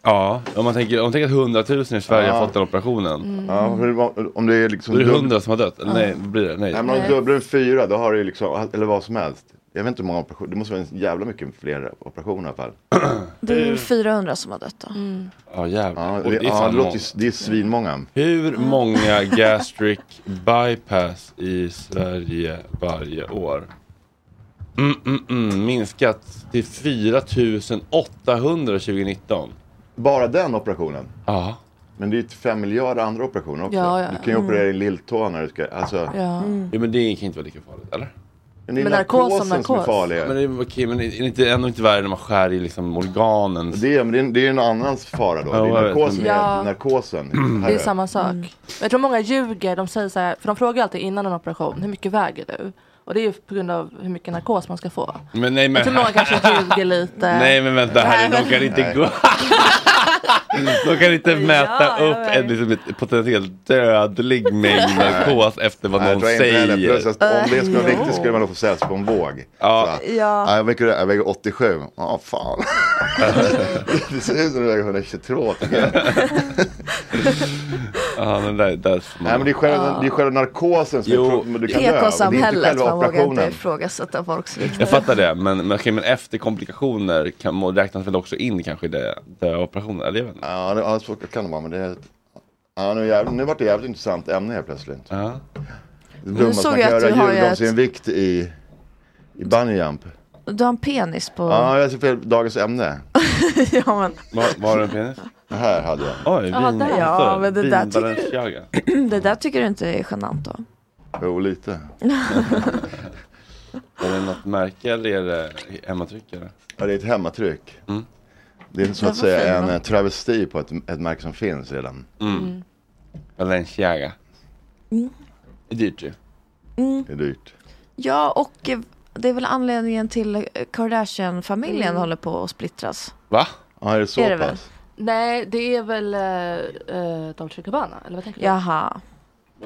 A: Ja, om man tänker, om man tänker att 100 000 i Sverige har
I: Ja.
A: fått den operationen.
I: Mm. Ja, för om det är liksom...
A: Då är det
I: dubb-
A: 100 som har dött. Eller nej, vad blir det? Nej.
I: Nej, men om du dubblar en fyra, då har du ju liksom, eller vad som helst. Jag vet inte hur många operationer, det måste vara en jävla mycket fler operationer i alla fall.
F: Det är ju 400 som har dött då.
A: Ja jävlar.
I: Ja,
A: Och
I: det,
A: är
I: ja,
A: fan
I: det, låter,
A: många.
I: ju- det är svinmånga.
A: Hur många gastric bypass i Sverige varje år? Mm, mm, mm. Minskat till 4 800 2019.
I: Bara den operationen?
A: Ja.
I: Men det är ju fem miljarder andra operationer också.
E: Ja, ja.
I: Du kan ju
E: Mm.
I: operera din lilltå när du ska, alltså.
E: Ja. Mm.
A: Jo, men det kan inte vara lika farligt, eller?
I: Men det är
E: Men narkos som
I: narkosen som är
E: narkos.
I: farlig.
A: Men, det, är- okej, men det är inte, ändå inte värre när man skär i liksom organen.
I: Det är, men det är, det är en annans fara då.
A: Ja,
I: det
A: jag
I: är
A: vet.
I: narkosen,
E: Ja.
I: är narkosen.
E: Det är samma sak.
F: Mm.
E: Jag tror många ljuger. De säger så här, för de frågar alltid innan en operation, hur mycket väger du? Och det är ju på grund av hur mycket narkos man ska få.
A: Men nej, men...
E: Jag tror många kanske typ- ljuger lite.
A: Nej men vänta här nu, de kan inte gå. De kan inte mäta upp en liksom, ett potentiellt dödlig mängd narkos efter vad
I: Nej, jag
A: någon
I: tror jag inte heller. Plus
A: säger.
I: att om det skulle vara
A: Eh,
I: viktigt skulle man då få sägas på en våg. Ja.
F: Ja.
I: jag, väger, jag väger 87. Ja, fan. det ser ut som du väger 122 tycker jag.
A: Ja, men där, där
I: Nej, men det är själva,
F: Ja.
I: det är själva narkosen som
A: Jo.
I: är pro- men du kan dö. Det är
F: PK-samhället,
I: inte själva
F: man vågar inte
I: operationen.
F: ifrågasätta folks vikt.
A: Jag fattar det, men, men, okej, men efter komplikationer kan, må- räknas väl också in kanske i det, det operationen? Eller jag vet inte.
I: Ja, det, ja, så kan det vara. Men det är, ja, nu, jävligt, nu vart det jävligt intressant ämne helt plötsligt.
A: Ja.
I: Nu
F: såg
I: såg
F: jag
I: jag
F: att
I: att
F: du har ju
I: göra sin vikt i, i bungyjump.
F: Du har en penis på...
I: Ja, jag ser fel dagens ämne.
F: ja, men...
A: Var, var det en penis?
I: Det här hade jag.
A: Oj,
F: Ja,
A: vin,
F: där. Ja, men det där
A: vin
F: tycker du-
A: Balenciaga.
F: det där tycker du inte är genant då?
I: Jo, lite.
A: Är det något märke eller är det hemmatryck? Eller?
I: Ja, det är ett hemmatryck.
A: Mm.
I: Det är så
A: Ja,
I: att säga
A: varför
I: en
A: då?
I: eh, travesti på ett, ett märke som finns redan.
A: Mm. Balenciaga.
F: Mm.
A: Det är dyrt ju.
F: Mm.
I: Det är dyrt.
F: Ja, och eh, det är väl anledningen till eh, Kardashian-familjen
E: Mm.
F: håller på att splittras.
A: Va? Ja, är det så
F: Är det väl?
A: pass?
E: Nej, det är väl eh, eh, Dolce Gabbana, eller vad tänker du?
F: Jaha.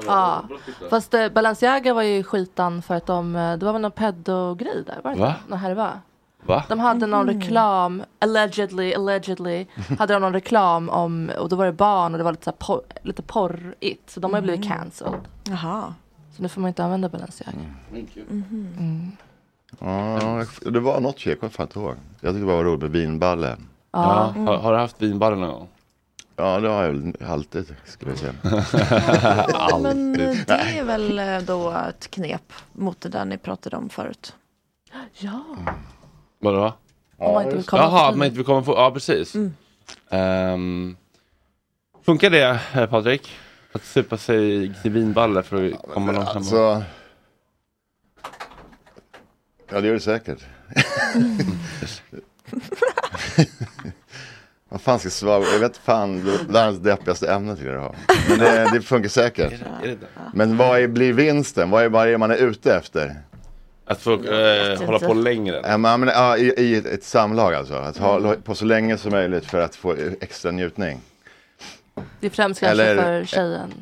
E: Ja, fast eh, Balenciaga var ju skitan för att de, eh, det var väl någon pedogrej där? Var det
A: Va?
E: inte? Någon härva?
A: Va?
E: De hade någon
F: Mm.
E: reklam, allegedly, allegedly, hade de någon reklam om, och då var det barn och det var lite, så här por- lite porrigt. Så de har ju blivit cancelled.
F: Mm. Jaha.
E: Så nu får man inte använda Balenciaga.
F: Mm-hmm.
E: Mm.
I: Ja, det var något kök, jag kommer fan inte ihåg. Jag tyckte det bara var roligt med vinballe.
E: Ja.
A: Ja, har- har du haft vinballe någon gång?
I: Ja, det har jag väl alltid, skulle jag säga.
F: Men eh, det
I: Nej.
F: är väl eh, då ett knep mot det där ni pratade om förut.
E: Ja.
A: Mm. Vadå?
F: Om man inte vill komma Mm.
A: Jaha,
F: förbi.
A: om man inte vill komma förbi. Ja, precis. Ehm, funkar det, eh, Patrik? Att supa sig till vinballe för att komma någon
I: Alltså... Ja, det gör det säkert. Vad fan ska jag svara? Jag vet fan, det är världens deppigaste ämne tycker jag det har. Men det, det funkar säkert. Men vad är, blir vinsten? Vad är, vad är det man är ute efter?
A: Att få eh, hålla på längre?
I: Ja, men, men, ja, i, I ett, ett samlag alltså. Att hålla på så länge som möjligt för att få extra njutning.
E: Det är främst kanske
I: Eller-
E: för tjejen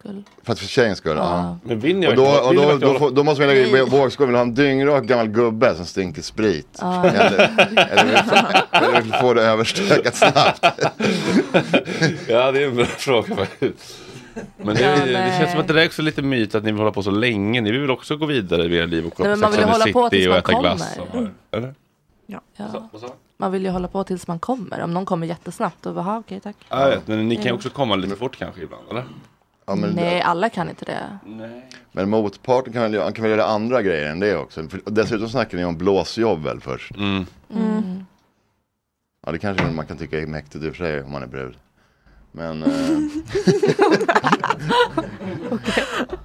E: skull.
I: För att för tjejens skull? Ja.
A: Men vill ni
I: och då,
A: verkligen-
I: och
A: vill
I: då,
A: ni
I: då,
A: verkligen
I: får- då måste man lägga i
E: Nej.
I: vågskålen, vill ha en dyngrak gammal gubbe som stinker sprit?
E: Ja.
I: Eller, eller, vill, eller vill få det överstökat snabbt?
A: ja, det är en bra fråga faktiskt. Men det,
E: Ja,
A: det
E: nej.
A: känns som att det där är också lite myt att ni vill hålla på så länge. Ni vill väl också gå vidare i era liv och
E: Nej, men man vill
A: Sex and the
E: hålla på
A: City
E: tills
A: och
E: man
A: äta
E: kommer.
A: glass och-
E: Mm.
A: Eller?
F: Ja.
E: Man vill ju hålla på tills man kommer. Om någon kommer jättesnabbt, då bara, "Ah, okej tack.
A: Ja, jag vet, men ni kan
E: Mm.
A: ju också komma lite fort kanske ibland, eller?
E: Nej, alla kan inte det.
I: Men motparten kan väl, göra- han kan väl göra andra grejer än det också. För, och dessutom snackar ni om blåsjobb väl först?
E: Mm.
I: Ja, det kanske man kan tycka är mäktigt i och för sig om man är brud. Men... Eh,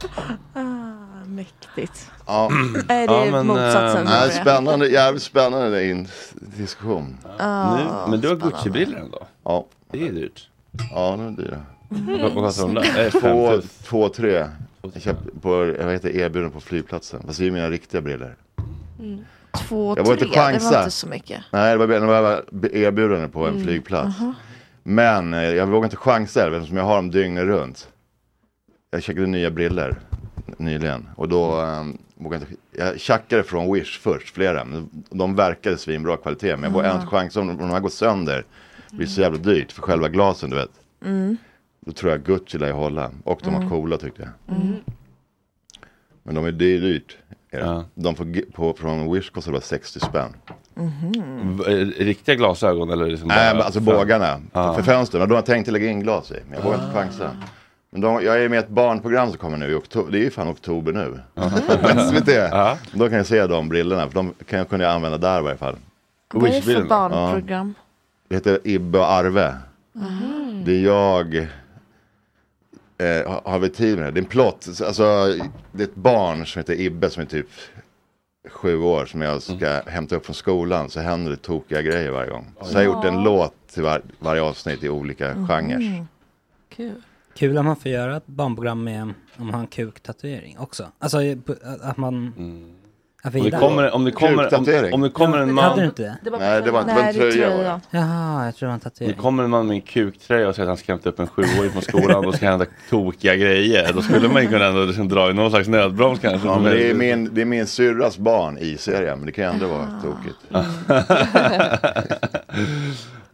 F: Ah, mäktigt.
I: ja.
F: Är det Ja, men, motsatsen eh, som
I: Nej,
F: är?
I: spännande, jävligt spännande in, diskussion.
F: Ja, Nu- men du har spännande.
A: Gucci-brillor ändå?
I: Ja.
A: Det är dyrt.
I: Ja, de är dyra.
A: Vad- vad kostar de där? Eh, fem
I: Två,
A: tusen.
I: två, tre. Jag köpte på, jag vet inte, erbjuden på flygplatsen. Fast det är ju mina riktiga brillor.
F: Två,
I: jag vågade
F: tre,
I: inte chansa.
F: det var inte så mycket.
I: Nej, det var, det var erbjudande på en
F: Mm.
I: flygplats.
F: Aha.
I: Men eh, jag vågar inte chansa heller, eftersom jag har dem dygnet runt. Jag checkade nya briller nyligen och då eh, vågade jag inte. Jag checkade från Wish först, flera. Men de verkade svinbra kvalitet, men jag vågade
F: Aha.
I: inte chansa om de, om de här går sönder. Det blir så jävla dyrt för själva glasen, du vet.
F: Mm.
I: Då tror jag Gucci lär jag hålla. Och de var
F: Mm.
I: coola tyckte jag.
F: Mm.
I: Men de är det är dyrt. är det. De på, G- på, från Wish kostar bara 60 spänn.
F: Mm-hmm.
A: V- eh, Riktiga glasögon eller? Liksom
I: Nej, men alltså bågarna.
A: Ja.
I: För fönstren. Och de har tänkt lägga in glas i. Men jag vågar inte chansa. Men de, jag är med i ett barnprogram som kommer nu i oktober. Det är ju fan oktober nu. På SVT. Då kan jag se de brillorna. För de kan jag, kunde jag använda där i varje fall.
F: Vad är det för
I: Wish-brillorna.
F: barnprogram?
I: Ja. Det heter Ibbe och Arve.
F: Mhm.
I: Det är jag. Eh, har- har vi tid med det? Det är en plott. Alltså, det är ett barn som heter Ibbe som är typ sju år som jag ska hämta upp från skolan så händer det tokiga grejer varje gång. Så jag har gjort en
H: Ja.
I: låt till var, varje avsnitt i olika
A: Mm.
I: genrer.
E: Kul.
H: Kul om man får göra ett barnprogram med om man har en kuktatuering också. Alltså eh, på- att man... Att vi
A: Om det
H: där-
A: kommer, om det kommer, om,
I: Mm. Kuktatuering.
A: om det kommer en man...
H: Hade du inte det?
I: Nej, det var inte det var en tröja. var det.
H: Jaha, jag tror det var en
A: Det
H: tatuering.
A: kommer en man med en kuktröja och säger att han ska hämta upp en sjuåring från skolan och ska hända tokiga grejer. Då skulle man ju kunna ändå liksom dra i någon slags nödbroms kanske.
I: Ja, men det, är min, det är min syrras barn i serien, men det kan ju ändå vara
A: Ah.
I: tokigt.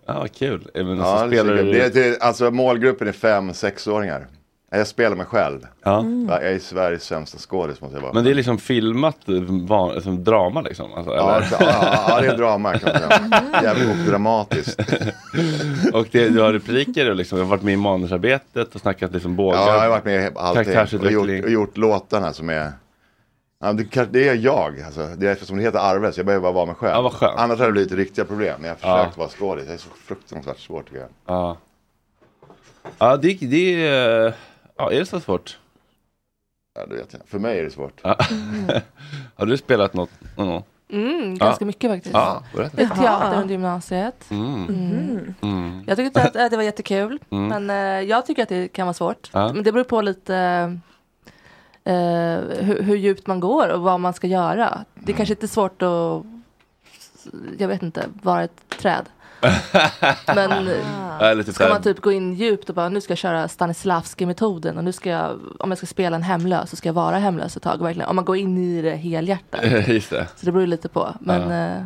A: Ja, vad kul. Eh, Men
I: Ja,
A: så spelar
I: det, är,
A: du...
I: det, är, det är- alltså målgruppen är fem sexåringar. Jag spelar mig själv.
A: Ja.
I: Jag är Sveriges sämsta skådis måste jag vara.
A: Men det är liksom filmat eh, van, som drama liksom? Alltså,
I: Ja,
A: eller?
I: alltså, ja, ja, ja, det är drama kan man säga. Jävligt och dramatiskt.
A: och det, du har repliker och liksom, jag har varit med i manusarbetet och snackat liksom bågar.
I: Ja, jag har varit med i allting. Och
A: Karaktärsutveckling.
I: gjort, och gjort låtarna som är... Ja, det, kanske- det är jag, alltså. det är, som det heter Arve, så jag behöver bara vara mig själv.
A: Ja, vad skönt.
I: Annars hade det blivit riktiga problem. Jag har
A: Ja.
I: försökt vara skådis, det är så fruktansvärt svårt tycker jag.
A: Ja. Ja, det, det är... Ja, är det så svårt?
I: Ja, det vet jag. För mig är det svårt.
A: Ja. har du spelat något? någon gång?
E: Mm, ganska
A: Ja.
E: mycket faktiskt.
A: Ja,
E: Det är
A: berätta.
E: teater under gymnasiet.
A: Mm.
E: Mm.
A: Mm.
E: Jag tyckte att äh, det var jättekul,
A: Mm.
E: men eh, jag tycker att det kan vara svårt.
A: Ja.
E: Men det beror på lite eh, hur, hur djupt man går och vad man ska göra.
A: Mm.
E: Det kanske inte är svårt att, jag vet inte, vara ett träd. Men eh,
A: Jag är lite
E: ska man
A: träd.
E: typ gå in djupt och bara nu ska jag köra Stanislavski-metoden och nu ska jag, om jag ska spela en hemlös så ska jag vara hemlös ett tag. Verkligen. Om man går in i det helhjärtat.
I: Just det.
E: Så det beror ju lite på. Men eh,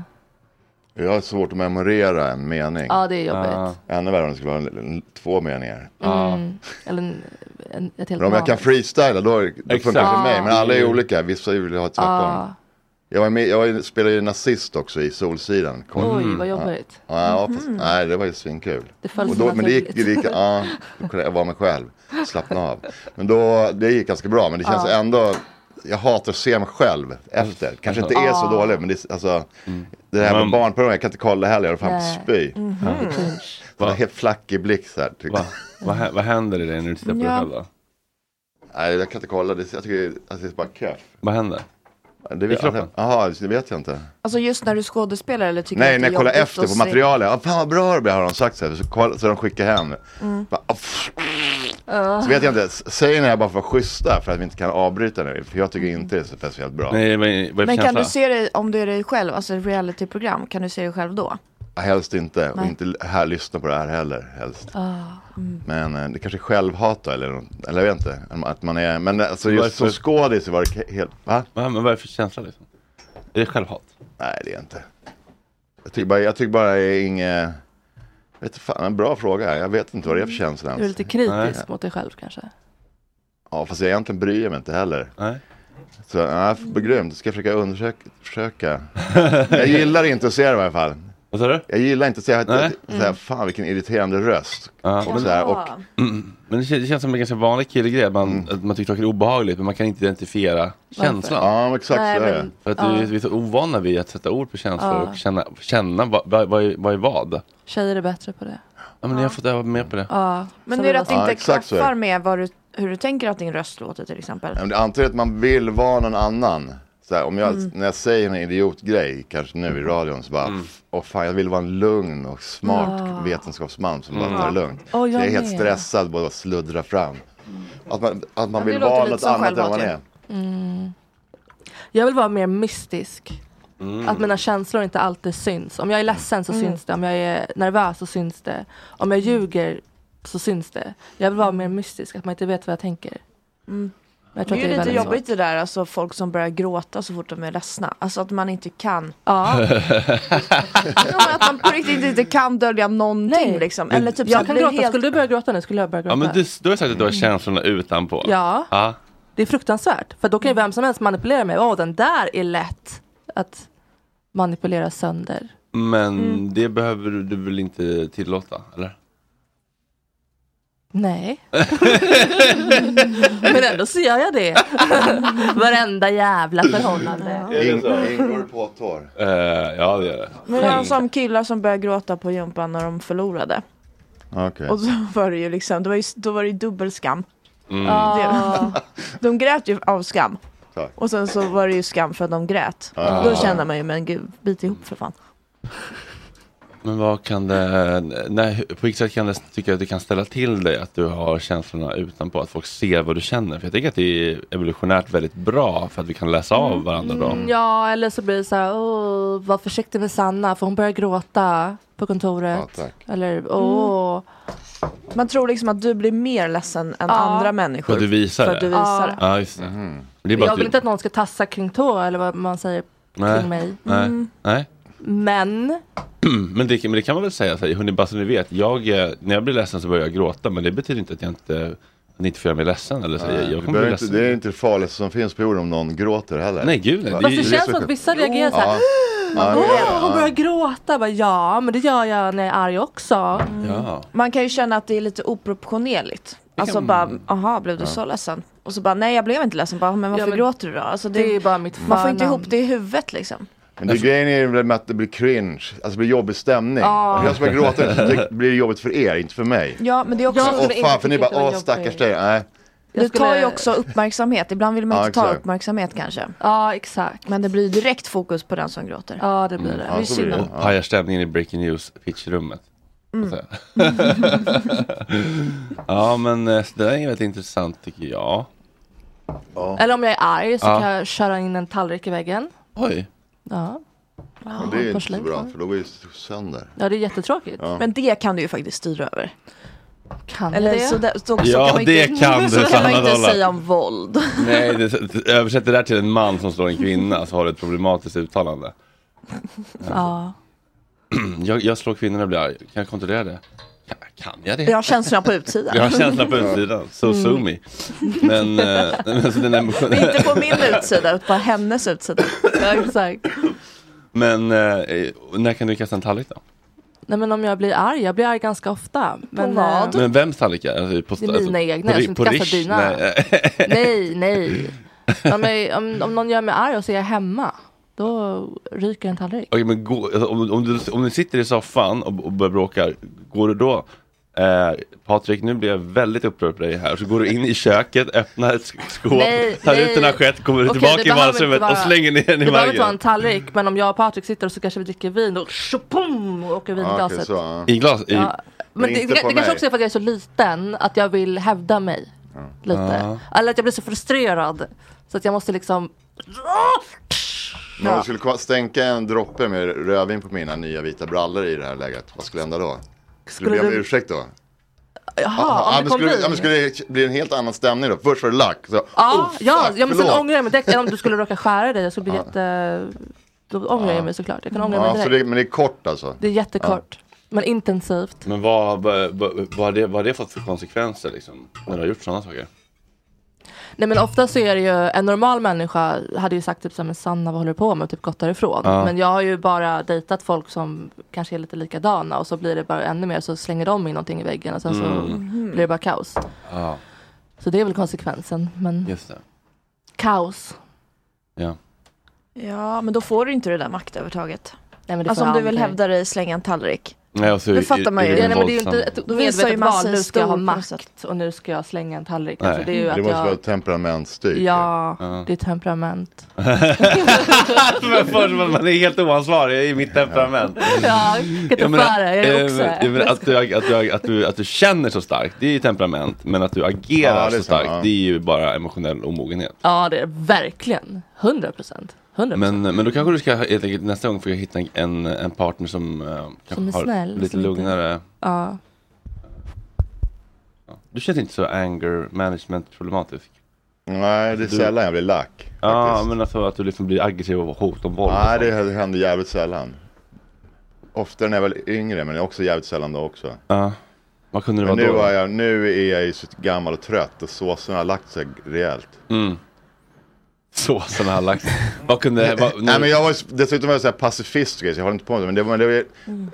I: Jag har svårt att memorera en mening.
E: Ja, det är jobbigt. Ja.
I: Ännu värre om det skulle vara en- en- två meningar.
E: mm, eller en, en, ett helt
I: Men om jag
E: manus.
I: kan freestyla då, då
E: Exakt.
I: funkar det för mig. Men alla är
E: Ja.
I: olika, vissa vill ha tvärtom.
E: Ja.
I: Jag, var med, jag var ju- spelade ju nazist också i Solsidan.
E: Oj, vad jobbigt.
I: Ja, ja fast,
E: Mhm.
I: nej, det var ju svinkul.
E: Det föll
I: Och
E: så
I: då, men det gick, det
E: naturligt.
I: gick ja, då kunde jag vara mig själv, slappna av. Men då, det gick ganska bra, men det känns
E: Ja.
I: ändå, jag hatar att se mig själv efter. Kanske
F: Alltså,
I: inte är så
E: Ja.
I: dålig, men det, alltså,
A: Mm.
I: det här med barnprogram, jag kan inte kolla heller, jag håller fan på att spy.
E: Nej.
F: Mm.
E: Mhm. Cringe.
I: Så det är Helt flackig blick så här. Typ.
A: Vad, hä- vad händer i dig när du tittar på dig
I: Ja.
A: själv då?
I: Nej, jag kan inte kolla, det, jag tycker att det är bara keff.
A: Vad händer?
I: Det
A: I kroppen?
I: Jaha, det vet jag inte.
F: Alltså just när du skådespelar eller tycker
I: Nej,
F: att
I: när
F: det
I: jag kollar
F: är jobbigt
I: efter
F: att
I: på
F: se-
I: materialet. Ja, fan vad bra det blir har de sagt så här. Så, kolla, så de skickar hem.
F: Mm.
I: Bara, "Ah, pff."
E: Ah.
I: Så vet jag inte, s- säger ni här bara för att vara schyssta för att vi inte kan avbryta nu? För jag tycker inte det är så speciellt bra.
A: Nej, men vad är
F: Men
A: för
F: kan
A: känsla?
F: du se dig, om du är dig själv, alltså ett realityprogram, kan du se dig själv då?
I: Helst inte, och
F: Nej.
I: inte här lyssna på det här heller. Helst.
F: Ah, mm.
I: Men eh, det kanske är självhat då, eller, något- eller jag vet inte. Att man är, men alltså
A: Varför-
I: just som skådis var det helt, va?
A: Va, men vad är det för känsla liksom? Är det självhat?
I: Nej, det är inte. Jag tycker bara, jag tycker bara det är inget, jag vet inte fan, en bra fråga. Jag vet inte vad det är för känsla. ens.
E: Du Mm. är lite kritisk mot dig själv kanske.
I: Ja, fast jag egentligen bryr mig inte heller.
A: Nej.
I: Så, ja, för- grymt. Ska jag försöka undersöka? Försöka. jag gillar inte att se det i alla fall.
A: Vad sa du?
I: Jag gillar inte att se
A: Nej.
I: att såhär, fan vilken irriterande röst. Och
A: Men-
I: sådär, och, Mm.
A: Mm. Men det känns, det känns som en ganska vanlig killgrej, att man, att man tycker saker är obehagligt men man kan inte identifiera känslan.
I: Ja, men exakt Nej, så är det. men-
A: För att
E: ja.
A: vi, vi är så ovana vid att sätta ord på känslor
E: Ja.
A: och känna, känna vad, vad, vad, är, vad är vad.
E: Tjejer är bättre på det.
A: Ja, men jag har fått öva mer på det.
E: Ja.
F: Men
E: Som
F: är det
E: vi
F: att det
E: var-
F: inte
I: exakt så är det.
F: klaffar med vad du, hur du tänker att din röst låter till exempel?
I: Ja, men det- Antingen att man vill vara någon annan. Såhär, om jag,
F: Mm.
I: När jag säger en idiotgrej, kanske nu
E: Mm.
I: i radion, så bara,
A: Mm.
I: f- åh fan jag vill vara en lugn och smart
E: Ah.
I: vetenskapsman som
E: Mm.
I: bara tar det
E: Ja.
I: lugnt.
E: Åh, jag
I: så jag är helt
E: med. Mm.
I: stressad på att sluddra fram. Att man, att man
E: det
I: vill
E: låter
I: vara
E: lite
I: något
E: som
I: annat än man är.
E: självhat Mm. Jag vill vara mer mystisk.
I: Mm.
E: Att mina känslor inte alltid syns. Om jag är ledsen så
F: Mm.
E: syns det. Om jag är nervös så syns det. Om jag ljuger så syns det. Jag vill vara mer mystisk, att man inte vet vad jag tänker.
F: Mm.
E: Men jag
F: det
E: tror
F: är ju
E: att det är
F: lite
E: väldigt
F: jobbigt det där, alltså folk som börjar gråta så fort de är ledsna. Alltså att man inte kan.
E: Ja.
F: att man på riktigt inte kan dölja någonting liksom. Eller typ så
E: jag
F: att
E: kan
F: det blir
E: gråta. Skulle du börja gråta nu skulle jag börja gråta.
A: Ja, men du, du har sagt att
I: Mm.
A: du har känslorna utanpå.
E: Ja.
A: ja.
E: Det är fruktansvärt. För då kan ju
A: Mm.
E: vem som helst manipulera mig. Åh, den där är lätt att manipulera sönder.
A: Men
E: Mm.
A: det behöver du, du väl inte tillåta, eller?
E: Nej. Men ändå så gör jag det. Varenda jävla förhållande.
I: Ing- Ingår på tår.
A: Eh, ja, det gör det.
F: Men alltså- det var som killar som började gråta på gympan när de förlorade.
I: Okej.
F: Och så var det ju liksom, det var ju, då var det ju dubbel skam.
I: Mm.
F: Det, de grät ju av skam.
I: Tack.
F: Och sen så var det ju skam för att de grät.
A: Ah.
F: Då kände man ju, men gud, bit ihop för fan.
A: Men vad kan det, nej, på vilket sätt kan det, tycker jag att det kan ställa till dig att du har känslorna utanpå, att folk ser vad du känner? För jag tycker att det är evolutionärt väldigt bra för att vi kan läsa
I: Mm.
A: av varandra bra.
E: Mm, Ja, eller så blir det så här, åh, var försiktig med Sanna för hon börjar gråta på kontoret. Eller, åh.
F: Man tror liksom att du blir mer ledsen än
E: Ja.
F: andra människor.
A: För att du visar
F: för
A: det.
F: att du visar det.
A: Ja, just det.
I: Mm.
A: Men det är bara
E: Jag
A: att
E: vill
A: du,
E: inte att någon ska tassa kring tå eller vad man säger
A: nej,
E: kring mig.
A: Nej,
E: Mm.
A: nej.
E: Men,
A: Men, det, men det kan man väl säga så här, hörni, bara så ni vet, jag, eh, när jag blir ledsen så börjar jag gråta, men det betyder inte att jag inte, att ni inte får göra mig ledsen. Eller så.
I: Nej,
A: jag,
I: det
A: jag kommer
I: behöver inte,
A: bli ledsen.
I: det är inte det farligaste som finns på jorden om någon gråter heller.
A: Nej, gud, nej.
I: Va?
A: Det är-
E: det känns som att vissa reagerar så här.
I: Ja,
E: Åh,
I: det är det.
E: hon
I: Ja.
E: börjar gråta. Jag Bara, ja, men det gör jag när jag är arg också.
A: Ja.
F: Mm. Man kan ju känna att det är lite oproportionerligt. Alltså bara, aha, blev du
E: Ja.
F: så ledsen? Och så bara, nej jag blev inte ledsen. Bara, men varför
E: Ja, men
F: gråter du då? Alltså,
E: det är bara mitt
F: Man får inte
E: förnamn.
F: ihop det i huvudet liksom.
I: Men det, grejen är väl med att det blir cringe, alltså det blir jobbig stämning.
F: Ja.
I: Om jag ska börja gråta så det blir det jobbigt för er, inte för mig.
F: Ja, men det är också...
I: Åh fan, för ni bara, åh stackars dig. Nej.
F: Du
E: skulle-
F: tar ju också uppmärksamhet. Ibland vill man
I: Ja,
F: inte ta
I: exakt.
F: uppmärksamhet kanske.
E: Ja, exakt.
F: Men det blir direkt fokus på den som gråter.
E: Ja, det
A: Mm.
F: är synd om-
A: Och pajar stämningen i Breaking News pitchrummet.
F: Mm.
A: Så här. ja men eh, så det där är väldigt intressant tycker jag.
E: Eller om jag är arg så
I: Ja.
E: kan jag köra in en tallrik i väggen.
I: Oj.
E: Ja.
I: Och det är ju inte så
E: porslin
I: bra,
E: kvar.
I: för då går ju sönder.
E: Ja, det är jättetråkigt.
I: Ja.
F: Men det kan du ju faktiskt styra över.
E: Kan
F: Eller
E: det?
F: så, där, så, så
A: Ja,
F: Alltså, kan man
A: det
F: inte,
A: kan du,
F: så kan man
A: Sanna
F: inte
A: Dollar.
F: säga om våld.
A: Nej, det, översätt det där till en man som slår en kvinna så har du ett problematiskt uttalande.
F: Ja.
A: Jag, jag slår kvinnorna och blir arg. Kan jag kontrollera det? Kan, kan jag det?
F: Jag har Mm. känslorna på utsidan.
A: Jag har känslan på utsidan. So sue me. Men, eh, men, så den emotion...
F: Inte på min utsida, utan på hennes utsida.
E: Exakt.
A: men eh, när kan du kasta en tallrik då?
E: Nej men om jag blir arg, jag blir arg ganska ofta. Men, eh,
A: Men vems tallrik är det? Alltså, på,
E: Det är mina egna, jag
A: ri-
E: ska inte kasta
A: Rish?
E: dina.
A: Nej.
E: eh, Nej, nej. Om, jag, om, om någon gör mig arg och så är jag hemma, då ryker en tallrik.
A: Okej, men gå, alltså, om, om, du, om du sitter i soffan och, och börjar bråka, går du då Eh, Patrik, nu blir jag väldigt upprörd på dig här. Så går du in i köket, öppnar ett sk- skåp,
E: Nej,
A: tar
E: nej.
A: ut en assiett, kommer
E: Okej,
A: tillbaka
E: det
A: i
E: behöver
A: vardagsrummet
E: inte vara-
A: och slänger ner den i
E: Det behöver inte vara
A: marken.
E: en tallrik, men om jag och Patrik sitter och så kanske vi dricker vin, då tjopom, åker vinglaset.
A: I glas? I...
E: Ja, Men det, det, det kanske också är för att jag är så liten, att jag vill hävda mig. lite. Eller att jag blir så frustrerad, så att jag måste liksom...
I: Men om du skulle ko- stänka en droppe med rödvin på mina nya vita brallor i det här läget, vad skulle hända då? Skulle du be om
E: Skulle du-
I: ursäkt då?
E: Jaha, om
I: ja,
E: det
I: men
E: kom
I: skulle,
E: vin.
I: ja, men skulle det bli en helt annan stämning då? Först var det lack, så,
E: Ja,
I: oh,
E: ja,
I: fuck,
E: ja men sen
I: förlåt.
E: ångrar jag mig direkt. Eller om du skulle råka skära dig, jag skulle bli jätte... Då ångrar jag mig såklart. Jag kan ångra mig
I: ja, så
E: direkt.
I: det, men det är kort alltså?
E: Det är jättekort, men intensivt.
A: Men vad, vad, vad, vad, har det, vad har det fått för konsekvenser liksom, när du har gjort sådana saker?
E: Nej men ofta så är det ju, en normal människa hade ju sagt typ såhär, men Sanna vad håller du på med? Och typ gått därifrån.
A: Ja.
E: Men jag har ju bara dejtat folk som kanske är lite likadana och så blir det bara ännu mer så slänger de in någonting i väggen och sen så
A: Mm.
E: blir det bara kaos.
A: Ja,
E: Så det är väl konsekvensen. Men
A: just det.
E: kaos.
A: Ja.
F: Ja, men då får du inte det där maktövertaget.
E: Nej, men det
F: alltså
E: får
F: om du
E: jag
F: vill
E: aldrig.
F: hävda dig, slänga en tallrik.
A: Nej, alltså, och så
F: det
A: är-
F: fattar man
A: är
F: ju.
A: du
F: Ja, nej, men det är ju
A: våldsam.
E: Inte ett
F: Då visar ju
E: medvetet
F: man
E: val,
F: sig
E: nu ska jag ha
F: stor på något
E: makt och nu ska jag slänga en tallrik.
A: Nej.
E: Alltså, det är ju
I: det
E: att
I: måste
E: jag...
I: vara temperamentstyrt.
E: Ja,
A: Ja.
E: det är temperament.
A: Men först, man man är helt oansvarig i mitt temperament.
E: Ja, jag kan inte för det, jag är
A: eh,
E: också.
A: jag menar, att, du, att, du, att, du, att du känner så starkt, det är ju temperament. Men att du agerar
I: Ja, det är
A: så
I: sant,
A: starkt,
I: ja.
A: det är ju bara emotionell omogenhet.
E: Ja, det är verkligen. 100 procent. 100
A: Men, men då kanske du ska helt enkelt nästa gång försöka hitta en, en partner som, eh, kanske
E: Som är
A: har
E: snäll,
A: lite
E: som inte-
A: lugnare.
E: Ja.
A: Du känner inte så anger management problematisk?
I: Nej, det är
A: Du-
I: sällan jag blir lack.
A: Ja,
I: faktiskt.
A: men alltså att du liksom blir aggressiv och hot om våld. och
I: Nej,
A: sånt.
I: det händer jävligt sällan. Ofta när jag var yngre, men också jävligt sällan då också.
A: Ja. Vad kunde det
I: Men
A: vara
I: nu,
A: då?
I: var jag, nu är jag ju så gammal och trött och såsen har lagt sig rejält.
A: Mm. Såsen har lagt. Vad kunde... Vad, nu...
I: Nej men jag var ju- dessutom var jag så här pacifist och grejer, så jag håller inte på med det. Men det var, det var,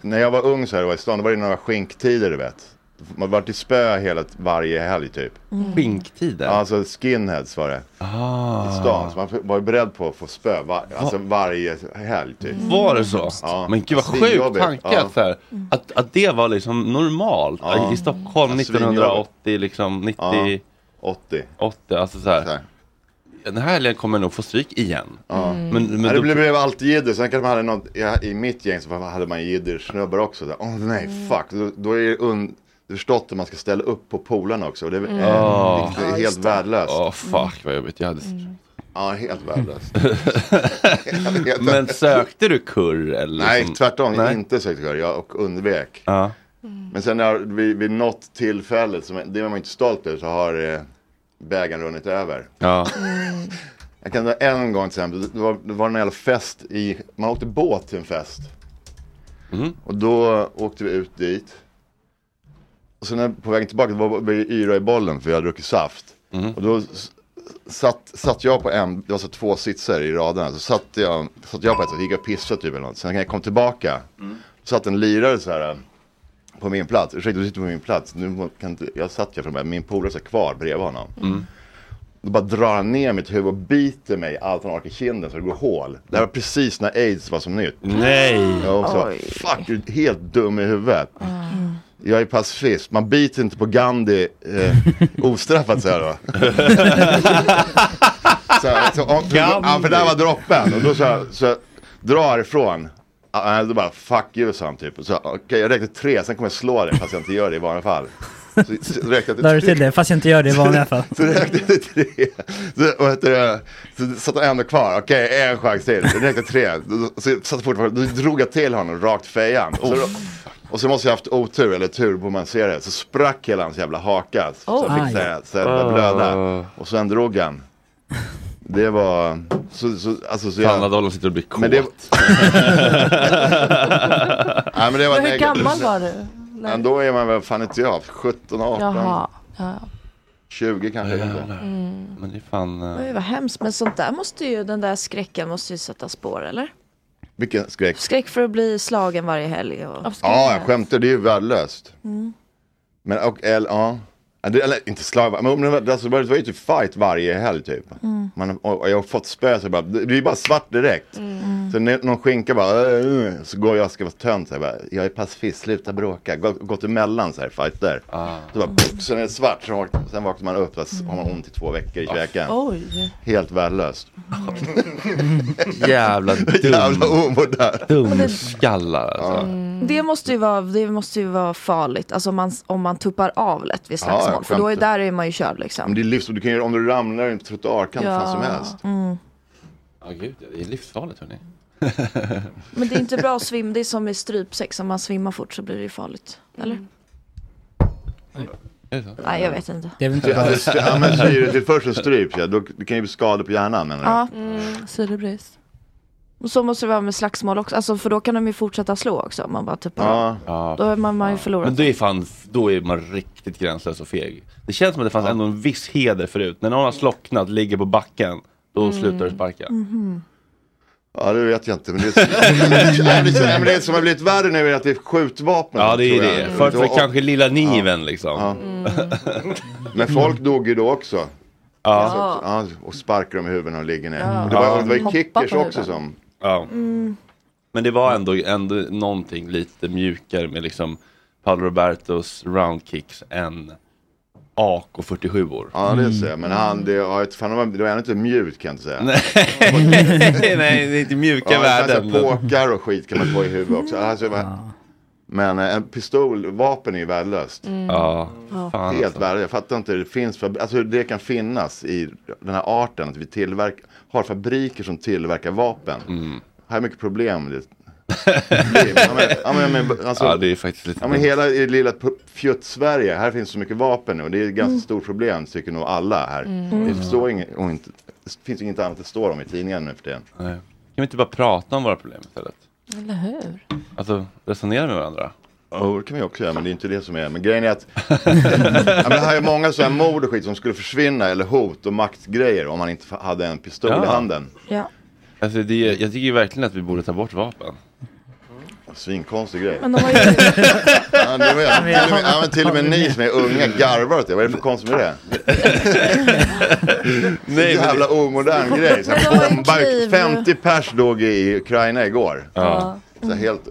I: när jag var ung så här och var i stan, då var det några skinktider du vet. Man var till spö hela, varje helg typ.
A: Skinktider?
I: Alltså skinheads var det.
A: Ah.
I: I stan, så man var ju beredd på att få spö var, alltså varje helg typ.
A: Var det så? Men gud vad sjuk
I: Svinjobbigt.
A: tanke
I: Ja.
A: att, så här, att, att det var liksom normalt
I: Ja.
A: i Stockholm
I: Ja, svinjobbigt.
A: 1980, liksom 90,
I: Ja. 80.
A: 80, alltså så här. Den här helgen kommer jag nog få stryk igen. Mm.
I: Ja.
A: Men, men
I: Nej,
A: då,
I: det blev, blev alltid jidder, sen kanske man hade något, ja, i mitt gäng så hade man jiddersnubbar också. Där. Åh nej, fuck. Då, då är det un, du förstått hur man ska ställa upp på polarna också. Och det är eh,
A: Ja.
I: vilket är helt värdelöst.
A: Åh Ah. fuck vad jobbigt, jag hade
I: Ja, helt värdelöst.
A: Men sökte du kurr eller?
I: nej,
A: liksom-
I: tvärtom.
A: Nej. Ah.
I: Inte sökte kör, jag och undvek.
A: Ja.
I: Men sen när, vid, vid något tillfälle, som, det är man inte stolt över, så har eh, bägaren runnit över.
A: Ja.
F: Mm.
I: Jag kan dra en gång till exempel, det var, det var en jävla fest i, man åkte båt till en fest. Och då åkte vi ut dit. Och sen när, på vägen tillbaka, då var vi yra i bollen för jag hade druckit saft. Och då s- satt, satt jag på en, det var så två sitser i raderna, så satt jag, satt jag på ett, så gick jag och pissade typ eller något. Sen när jag kom tillbaka,
A: Mm.
I: så satt en lirare så här på min plats, ursäkta du sitter på min plats, nu må- kan inte, jag satt jag från början, min polare satt kvar bredvid honom.
A: Mm.
I: Då bara drar han ner mitt huvud och biter mig allt han orkar i kinden så det går hål. Det här var precis när aids var som nytt.
A: Nej!
I: Jag var också,
F: Oj.
I: fuck, du är helt dum i huvudet. Jag är pacifist, man biter inte på Gandhi eh, ostraffat så här då. så, så, om, för, ja, för där var droppen. Och då så, här- så jag drar ifrån. Ah, nej, Då bara fuck you sa han typ. Och Så, Okej jag räknar tre, sen kommer jag slå dig fast jag inte gör det i vanliga fall. Så, så räknade jag
H: Lade du till det? Fast jag inte gör det i vanliga fall.
I: Så räknade jag till tre. Så, och efter det, så satt jag ändå kvar. Okej, en chans till. Så räknade jag tre. Då- Så jag satt fortfarande, då drog jag till honom rakt i fejan. Så, då- och så måste jag haft otur, eller tur på man ser det. Så sprack hela hans jävla haka. Så
K: Oh.
I: jag
K: Aj.
I: fick så här- så här började blöda.
A: Ah.
I: Och sen drog han. Det var... Så, så, alltså, så
A: Fan vad Dollarn sitter och blir kåt.
I: Men det- Nej, men det var
E: Men hur
I: negativt.
E: gammal var du? Nej.
I: Men då är man väl, fan inte jag, 17, 18,
E: Jaha. Ja.
I: 20 kanske.
E: Mm.
A: Men det är fan... eh,
F: Oj, vad hemskt. Men sånt där måste ju, den där skräcken måste ju sätta spår, eller?
I: Vilken skräck.
F: Skräck för att bli slagen varje helg. Och...
I: Ja, jag skämtar, det är ju värdelöst.
F: Mm.
I: Men och, eller, ja. Ja, det- Eller inte slav, men men det alltså, det var ju typ fight varje helg typ.
K: Mm.
I: Man, och, och jag har fått spö så jag bara, det blir bara svart direkt.
K: Mm.
I: Så när någon skinka bara, "Äh, äh", så går jag och ska vara tönt så här, bara, jag är pacifist, sluta bråka. Gå- Gått emellan så här fighter.
A: Ah.
I: Så bara, pff, sen är det svart, så vak- sen vaknar man upp, så har man ont i två veckor i
A: Ah.
I: käken.
E: Oj.
I: Helt värdelöst.
A: Jävla dum.
I: Jävla omodern.
A: Dumskallar alltså.
E: Mm.
F: Det måste, ju vara, det måste ju vara farligt, alltså om man, om man tuppar av lätt vid
I: Ja,
F: slagsmål.
I: jag
F: för då är,
I: skämtar.
F: där är man ju körd
I: Men
F: liksom.
I: det är livs, du kan ju, om du ramlar i en trottoar kan ja. fan som helst.
F: Mm.
A: Ja gud, det är livsfarligt hörni.
F: Men det är inte bra att svimma, det är som i strypsex, om man svimmar fort så blir det ju farligt.
E: Mm.
F: Eller?
A: Är det så?
F: Nej, jag vet inte.
H: Det är väl inte
I: Ja,
H: bra.
I: det- Ja, men syretillförseln stryps ja, då det kan ju bli skador på hjärnan menar du?
F: Ja.
E: Mm. Syrebrist.
F: Och så måste det vara med slagsmål också, alltså, för då kan de ju fortsätta slå också om man bara tuppar av.
A: Ja.
F: Då är man, man ju förlorad.
A: Men då är, fan, då är man riktigt gränslös och feg. Det känns som att det fanns ändå en viss heder förut. När någon har slocknat, ligger på backen, då
F: Mm.
A: slutar du sparka.
I: Ja det vet jag inte men det är, Nej, men det är- men det som har blivit värre nu är att det är skjutvapen.
A: Ja det är
I: tror jag.
A: det. Först
I: Och-
A: var
I: och-
A: kanske lilla niven liksom. Mm.
I: Men folk dog ju då också.
A: Ja.
I: Alltså, ja, och sparkar dem i huvudet och ligger ner. Och Det var,
A: Ja.
I: och det var ju
A: Hoppa
I: kickers
A: på
I: också
A: huvudet.
I: som.
A: Ja.
F: Mm.
A: Men det var ändå, ändå någonting lite mjukare med liksom Paolo Robertos roundkicks än AK 47 år. Mm.
I: Ja det ser jag. Men han, det, ja, ett- fan, det var- det var ändå inte mjukt kan jag inte säga.
A: Nej, det är inte mjuka
I: Ja,
A: värden.
I: alltså, Påkar och skit kan man få i huvudet också. Alltså, va- Men eh, en pistolvapen är ju värdelöst.
A: Mm. Ja, Ja. fan
I: Helt
A: alltså.
I: värdelöst. Jag fattar inte hur det finns. För, alltså hur det kan finnas i den här arten. Att vi tillverkar, har fabriker som tillverkar vapen.
A: Mm.
I: Här är mycket problem. med Det. ja, men, ja, men, ja, men, alltså,
A: Ja, det är faktiskt lite
I: ja, men
A: dumt.
I: Hela i lilla pu- fjutt-Sverige, här finns så mycket vapen nu. Och det är ett ganska
A: Mm.
I: stort problem tycker nog alla här.
A: Mm.
I: Det, står inget, och inte, det finns inget annat det står om i tidningen nu för tiden.
A: Kan vi inte bara prata om våra problem istället?
E: Eller hur?
A: Alltså resonera med varandra.
I: Jo, det kan vi också göra, men det är inte det som är. Men grejen är att ja, men det här är många sådana här mord och skit som skulle försvinna, eller hot och maktgrejer om man inte fa- hade en pistol
A: Ja.
I: i handen.
F: Ja.
A: Alltså, det, är- jag tycker ju verkligen att vi borde ta bort vapen.
I: Svinkonstig grej.
F: Men de har ju-
I: ja, det var, till, och med, ja, men till och med ni som är unga garvar åt det. Vad är det för konstigt med det? Nej, jävla omodern grej. Så
K: Men de har ju
I: bombar ju-
K: kniv.
I: 50 pers dog i Ukraina igår.
A: Ja.
I: Så helt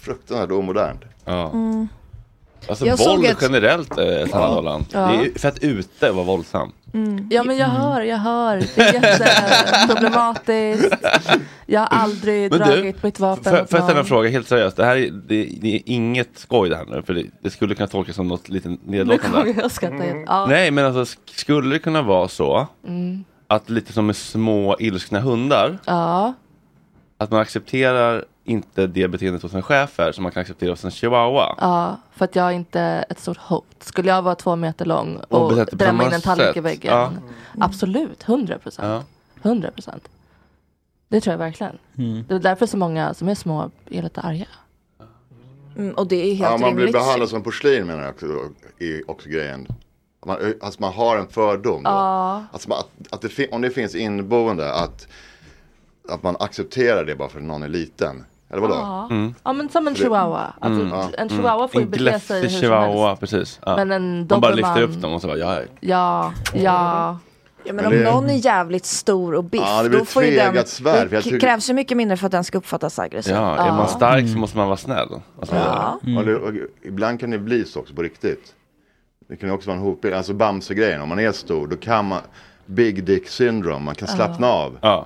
I: fruktansvärt omodernt.
F: Mm.
A: Alltså
E: Jag såg
A: våld
E: ett-
A: generellt eh, är ett annat land.
E: Ja.
A: Det är ju- För att ute var våldsam.
E: Ja men jag
A: Mm.
E: hör, jag hör. Det är jätteproblematiskt. Jag har aldrig
A: Men du,
E: dragit mitt vapen
A: Får jag
E: åt
A: får jag ställa en
E: någon.
A: fråga helt seriöst? Det här är, det, det är inget skoj det här nu. För det, det skulle kunna tolkas som något lite
E: Nu kommer
A: nedlåtande.
E: jag att skratta igen. Ja.
A: Nej men alltså sk- skulle det kunna vara så
E: Mm.
A: att lite som med små ilskna hundar.
E: Ja.
A: Att man accepterar inte det beteendet hos en schäfer som man kan acceptera hos en chihuahua.
E: ja, för att jag är inte ett stort hot. Skulle jag vara två meter lång
A: Och
E: och,
A: betett på
E: drämma in
A: samma
E: en tallrik i
A: sätt.
E: väggen.
A: Ja.
F: Mm.
E: Absolut, hundra procent. Hundra procent. Det tror jag verkligen.
A: Mm.
E: Det är därför så många som är små är lite arga.
F: Mm, och det är helt
I: Ja, man blir
F: rimligt.
I: behandlad som porslin menar jag också, då, är också grejen. Man, alltså man har en fördom. då.
E: Ja.
I: Alltså man, att, att det fin- om det finns inneboende att, att man accepterar det bara för att någon är liten. Eller vadå?
E: Ja.
I: Mm.
E: Ja men som en
I: Det-
E: chihuahua. Alltså,
I: Mm.
E: En chihuahua får ju bete sig hur
A: gläfsig
E: som helst.
A: chihuahua, precis. Ja.
E: Men en
A: Man bara
E: dobermann-
A: lyfter upp dem och så bara, ja, ja.
E: Ja, ja.
F: Ja,
I: Men
F: men om
I: det-
F: någon är jävligt stor och biff,
A: Ja, det blir
F: då får ju
A: tveeggat
F: den,
A: svärd, för
F: det
A: jag
F: k-
A: tycker-
F: krävs ju mycket mindre för att den ska uppfattas aggressiv.
A: ja. Är man stark
E: Mm.
A: så måste man vara snäll. Alltså,
F: Ja.
A: Mm.
I: Och det, och, ibland kan det bli så också på riktigt. Det kan ju också vara en hopbild. Alltså Bamse-grejen, om man är stor då kan man Big Dick Syndrome, man kan
F: Ja.
I: slappna av.
F: Jaha.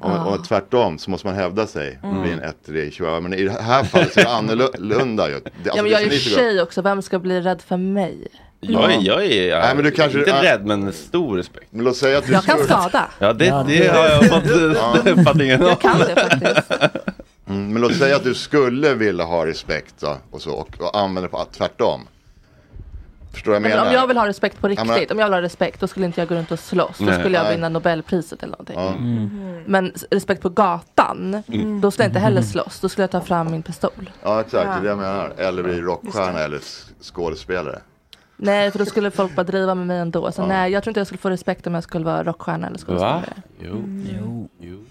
I: Och, och tvärtom så måste man hävda sig
E: Mm.
I: vid en ettrig chihuahua. Men i det här fallet så är det annorlunda. ju. Det- alltså,
E: ja men
I: det
E: jag
I: som
E: är ju
I: ni tycker-
E: tjej också, vem ska bli rädd för mig?
A: Jag, är- jag är
I: Nej, men du kanske-
A: inte
I: ja.
A: rädd men stor respekt.
I: Men låt säga att du
E: Jag kan
I: skulle-
E: skada.
A: Ja det, det har jag fått eh, uppfattningen om.
I: Mm, men låt säga att du skulle vilja ha respekt då, och så och, och använda det på tvärtom. Förstår vad jag
E: Men
I: menar?
E: Alltså, om jag vill ha respekt på
I: Ja,
E: riktigt,
I: men-
E: om jag vill ha respekt då skulle inte jag gå runt och slåss. Då
I: Nej.
E: skulle jag
I: Nej.
E: vinna Nobelpriset eller någonting.
I: Ja.
E: Men s- respekt på gatan,
I: Mm.
E: då skulle jag inte heller slåss. Då skulle jag ta fram min pistol.
I: Ja exakt, det är det
E: Ja.
I: jag menar. Eller bli
E: Just
I: rockstjärna eller s- skådespelare.
E: Nej, för då skulle folk bara driva med mig ändå. Så nej, jag tror inte jag skulle få respekt om jag skulle vara rockstjärna eller skådespelare.
L: Mm.
A: Jo. Jo. jo.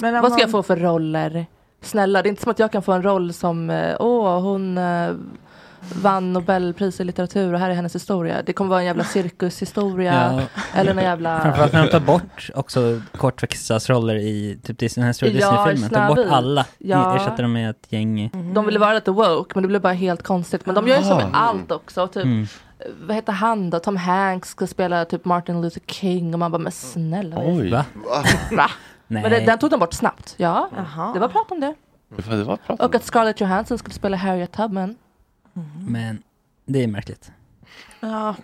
E: Men
F: om
E: Vad ska
F: man-
E: jag få för roller? Snälla, det är inte som att jag kan få en roll som eh, Åh, hon eh, vann Nobelpris i litteratur och här är hennes historia. Det kommer vara en jävla cirkushistoria. Eller en jävla...
H: Framförallt när de tar bort också kortväxtas roller i typ Disney, den här stora
E: Ja,
H: Disney-filmen. Ta bort
E: Snövit.
H: alla,
E: Ja. Mm,
H: ja. ersätter dem med ett gäng.
E: De ville vara lite woke, men det blev bara helt konstigt. Men de gör ju så med
H: Aha.
E: allt också. Typ,
H: Mm.
E: Vad heter han då? Tom Hanks ska spela typ Martin Luther King och man bara, men snälla. vad är det för-
H: Va?
E: Va? Men det,
H: Nej.
E: den tog de bort snabbt. Ja, det var prat om det.
A: Det var bra.
E: Och att Scarlett Johansson skulle spela Harriet Tubman.
H: Men det är märkligt.
E: Ja.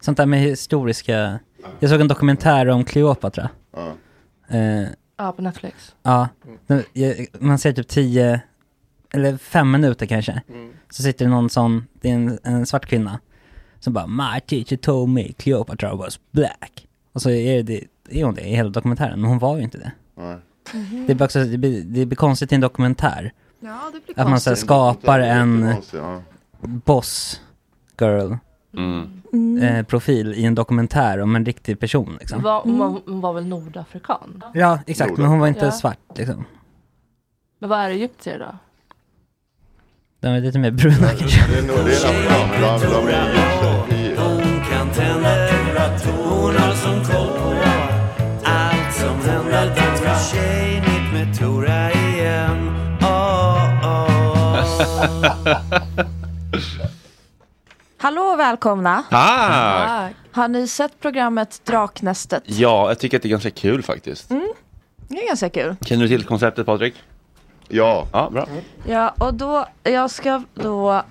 H: Sånt där med historiska... Jag såg en dokumentär om Cleopatra. Eh,
E: Ja, på Netflix.
H: Ja, nu- jag- man ser typ 10 eller 5 minuter kanske.
F: Mm.
H: Så sitter det någon sån, det är en, en svart kvinna, som bara My teacher told me Cleopatra was black. Och så är, det, är hon det i hela dokumentären, men hon var ju inte det.
F: Mhm.
H: Det, blir också, det, blir, det blir konstigt i en dokumentär.
F: Ja, det blir
H: att man så här,
F: konstigt.
H: skapar
F: Det blir
H: en
F: jättekonstigt, ja.
H: boss girl
E: Mm.
H: eh, profil i en dokumentär om en riktig person. Liksom.
E: Var, hon, var, hon var väl nordafrikan?
H: Ja, exakt, men hon var inte
E: Ja.
H: svart liksom.
E: Men vad är egyptier då?
H: Den var lite mer brun.
I: Det är nog det är afrikaner, de, de är egyptier.
K: Hon kan tända temperatorer som koll på allt som händer. Dags för tjejnytt med Tora igen. Oh, oh.
F: Hallå och välkomna!
A: Tack.
F: Har ni sett programmet Draknästet?
A: Ja, jag tycker att det är ganska kul faktiskt.
F: Mm. Det är ganska kul.
A: Känner du till konceptet Patrik?
I: Ja.
A: Ja, bra.
F: Ja, och då, jag ska då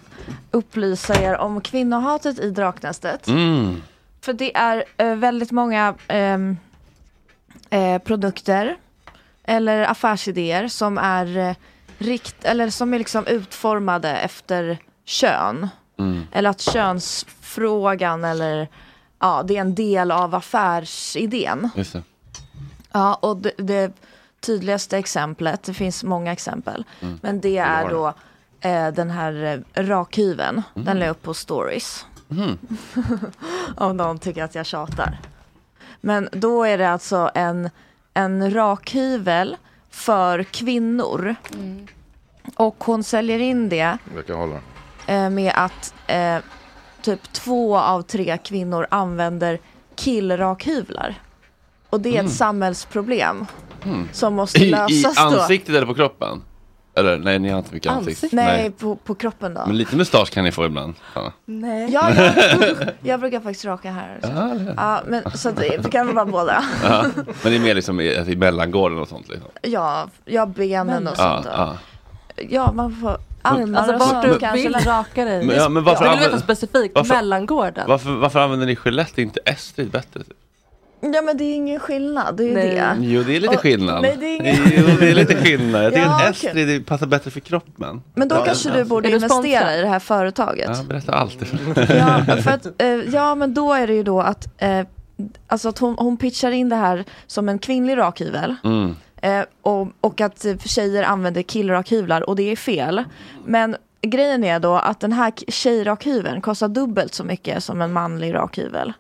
F: upplysa er om kvinnohatet i Draknästet.
A: Mm.
F: För det är eh, väldigt många ehm, eh, produkter eller affärsidéer som är eh, rikt eller som är liksom utformade efter kön.
A: Mm.
F: Eller att könsfrågan eller ja, det är en del av affärsidén.
A: Just det.
F: Ja, och det, det tydligaste exemplet, det finns många exempel,
A: Mm.
F: men det
A: har
F: är
A: det. Mm.
F: då eh, den här eh, rakhyveln. Den la jag upp på stories. Om någon tycker att jag tjatar. Men då är det alltså en, en rakhyvel för kvinnor.
A: Mm.
F: Och hon säljer in det
I: Verkar hålla.
F: eh, med att eh, typ två av tre kvinnor använder killrakhyvlar. Och det är ett
A: Mm.
F: samhällsproblem
A: Mm.
F: som måste
A: I, I
F: lösas då.
A: ansiktet eller på kroppen? Eller nej, ni har inte mycket ansikte.
F: Nej, På, på kroppen då.
A: Men lite mustasch kan ni få ibland. Ja.
F: Nej. Ja, jag, jag brukar faktiskt raka här. Så,
A: Ja,
F: ja, men, så att det, det kan vara båda.
A: Ja. Men det är mer liksom i, i mellangården och sånt liksom.
F: Ja, ja benen och
A: Ja,
F: sånt. då.
A: ja.
F: Ja, man får armar
E: Alltså
F: och sånt.
E: vart du
F: kanske,
E: vill
F: men-
E: raka dig.
A: Men- ja, men varför
E: jag vill veta
A: använder-
E: specifikt,
A: varför-
E: mellangården.
A: Varför, varför använder ni Gillette, inte Estrid bättre? typ?
F: Ja, men det är ingen skillnad. Det är ju
E: Nej.
F: det.
A: Jo, det är lite
F: Och-
A: skillnad.
F: nej, det är ingen-
A: Jo, det är lite skillnad. Jag tycker
F: Ja,
A: att
F: okej.
A: Estrid passar bättre för kroppen.
F: Men då
A: Ja,
F: kanske
A: ja.
F: du borde
E: Är du sponsrad?
F: investera i det här företaget.
A: Ja, berätta allt.
F: Ja, för att, eh, ja, men då är det ju då att, eh, alltså att hon, hon pitchar in det här som en kvinnlig rakhyvel.
A: Mm.
F: Eh, och, och att eh, tjejer använder killrakhyvlar och det är fel. Men grejen är då att den här k- tjejrakhyveln kostar dubbelt så mycket som en manlig rakhyvel.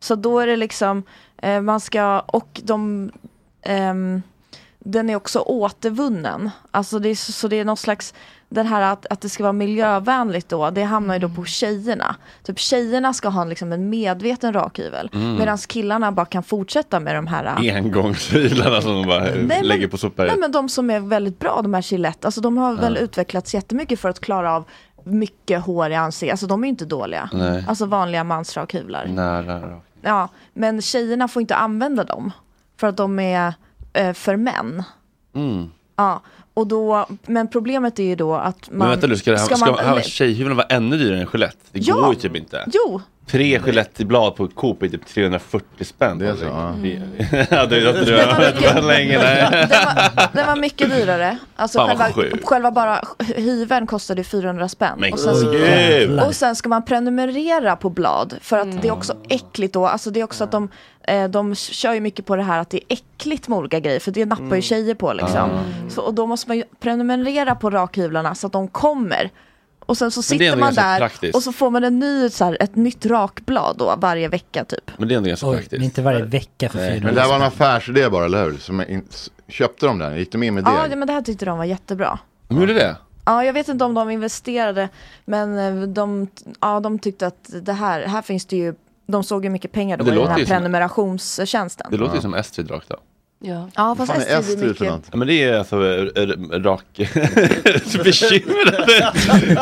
F: Så då är det liksom, eh, man ska, och de, ehm, den är också återvunnen. Alltså det är, så, så det är någon slags, den här att, att det ska vara miljövänligt då, det hamnar ju då på tjejerna. Typ tjejerna ska ha liksom en medveten rakhyvel.
A: Mm.
F: Medan killarna bara kan fortsätta med de här eh,
A: Engångsrylarna som de bara
F: Nej, men-
A: eh, lägger på
F: Nej
A: sopberget.
F: men de som är väldigt bra, de här Gillette, alltså de har väl
A: Ja.
F: utvecklats jättemycket för att klara av mycket hår i ansiktet. Alltså de är ju inte dåliga.
A: Nej.
F: Alltså vanliga mansrakhyvlar.
A: Nära rakt.
F: Ja, men tjejerna får inte använda dem. För att de är eh, för män.
A: Mm.
F: Ja, och då, men problemet är ju då att man...
A: Men vänta nu, ska, det här, ska,
F: man-
A: ska tjejhyveln vara ännu dyrare än Gillette? Det
F: Ja.
A: går ju typ inte.
F: Jo,
A: Tre Gillette-blad på Coop är typ 340 spänn. Det är så? Ja. det är att
F: Det var mycket-
A: drömma länge. Nej.
F: Den var mycket dyrare. Alltså
A: Fan, vad
F: själva,
A: sjukt.
F: själva bara hyven kostade ju 400 spänn.
A: Men
F: och, sen, så-
A: gud. Jävlar. Mm.
F: och sen ska man prenumerera på blad. För att det är också äckligt då. Alltså det är också att de, eh, de kör ju mycket på det här att det är äckligt med olika grejer. För det nappar ju tjejer på liksom.
A: Mm. Ah.
F: Så, och då måste man ju prenumerera på rakhyvlarna så att de kommer. Och sen så
A: Men det är
F: sitter
A: ändå
F: man
A: ganska
F: där
A: praktiskt.
F: och så får man en ny, så här, ett nytt rakblad då varje vecka typ.
A: Men det är ändå ganska
H: Oj,
A: praktiskt.
H: det är inte varje vecka för
I: Nej.
H: 400
I: Men det här var en
H: spänn.
I: affärsidé bara, eller hur? Som in, s- köpte de den? Gick de in med det?
F: Ja, det- men det här tyckte de var jättebra.
A: De gjorde det?
F: Ja, jag vet inte om de investerade, men eh, de, ja, de tyckte att det här, här finns det ju, de såg ju mycket pengar då
A: Det
F: i den
A: låter
F: här
A: ju som-
F: prenumerationstjänn.
A: Det låter ju
F: ja.
A: som Estrid rakt av.
F: Ja, ja fast
A: fan är
F: Estrid är
A: Estrid
F: mycket.
A: för något? Ja, men det är alltså eh, r- rak... bekymrade.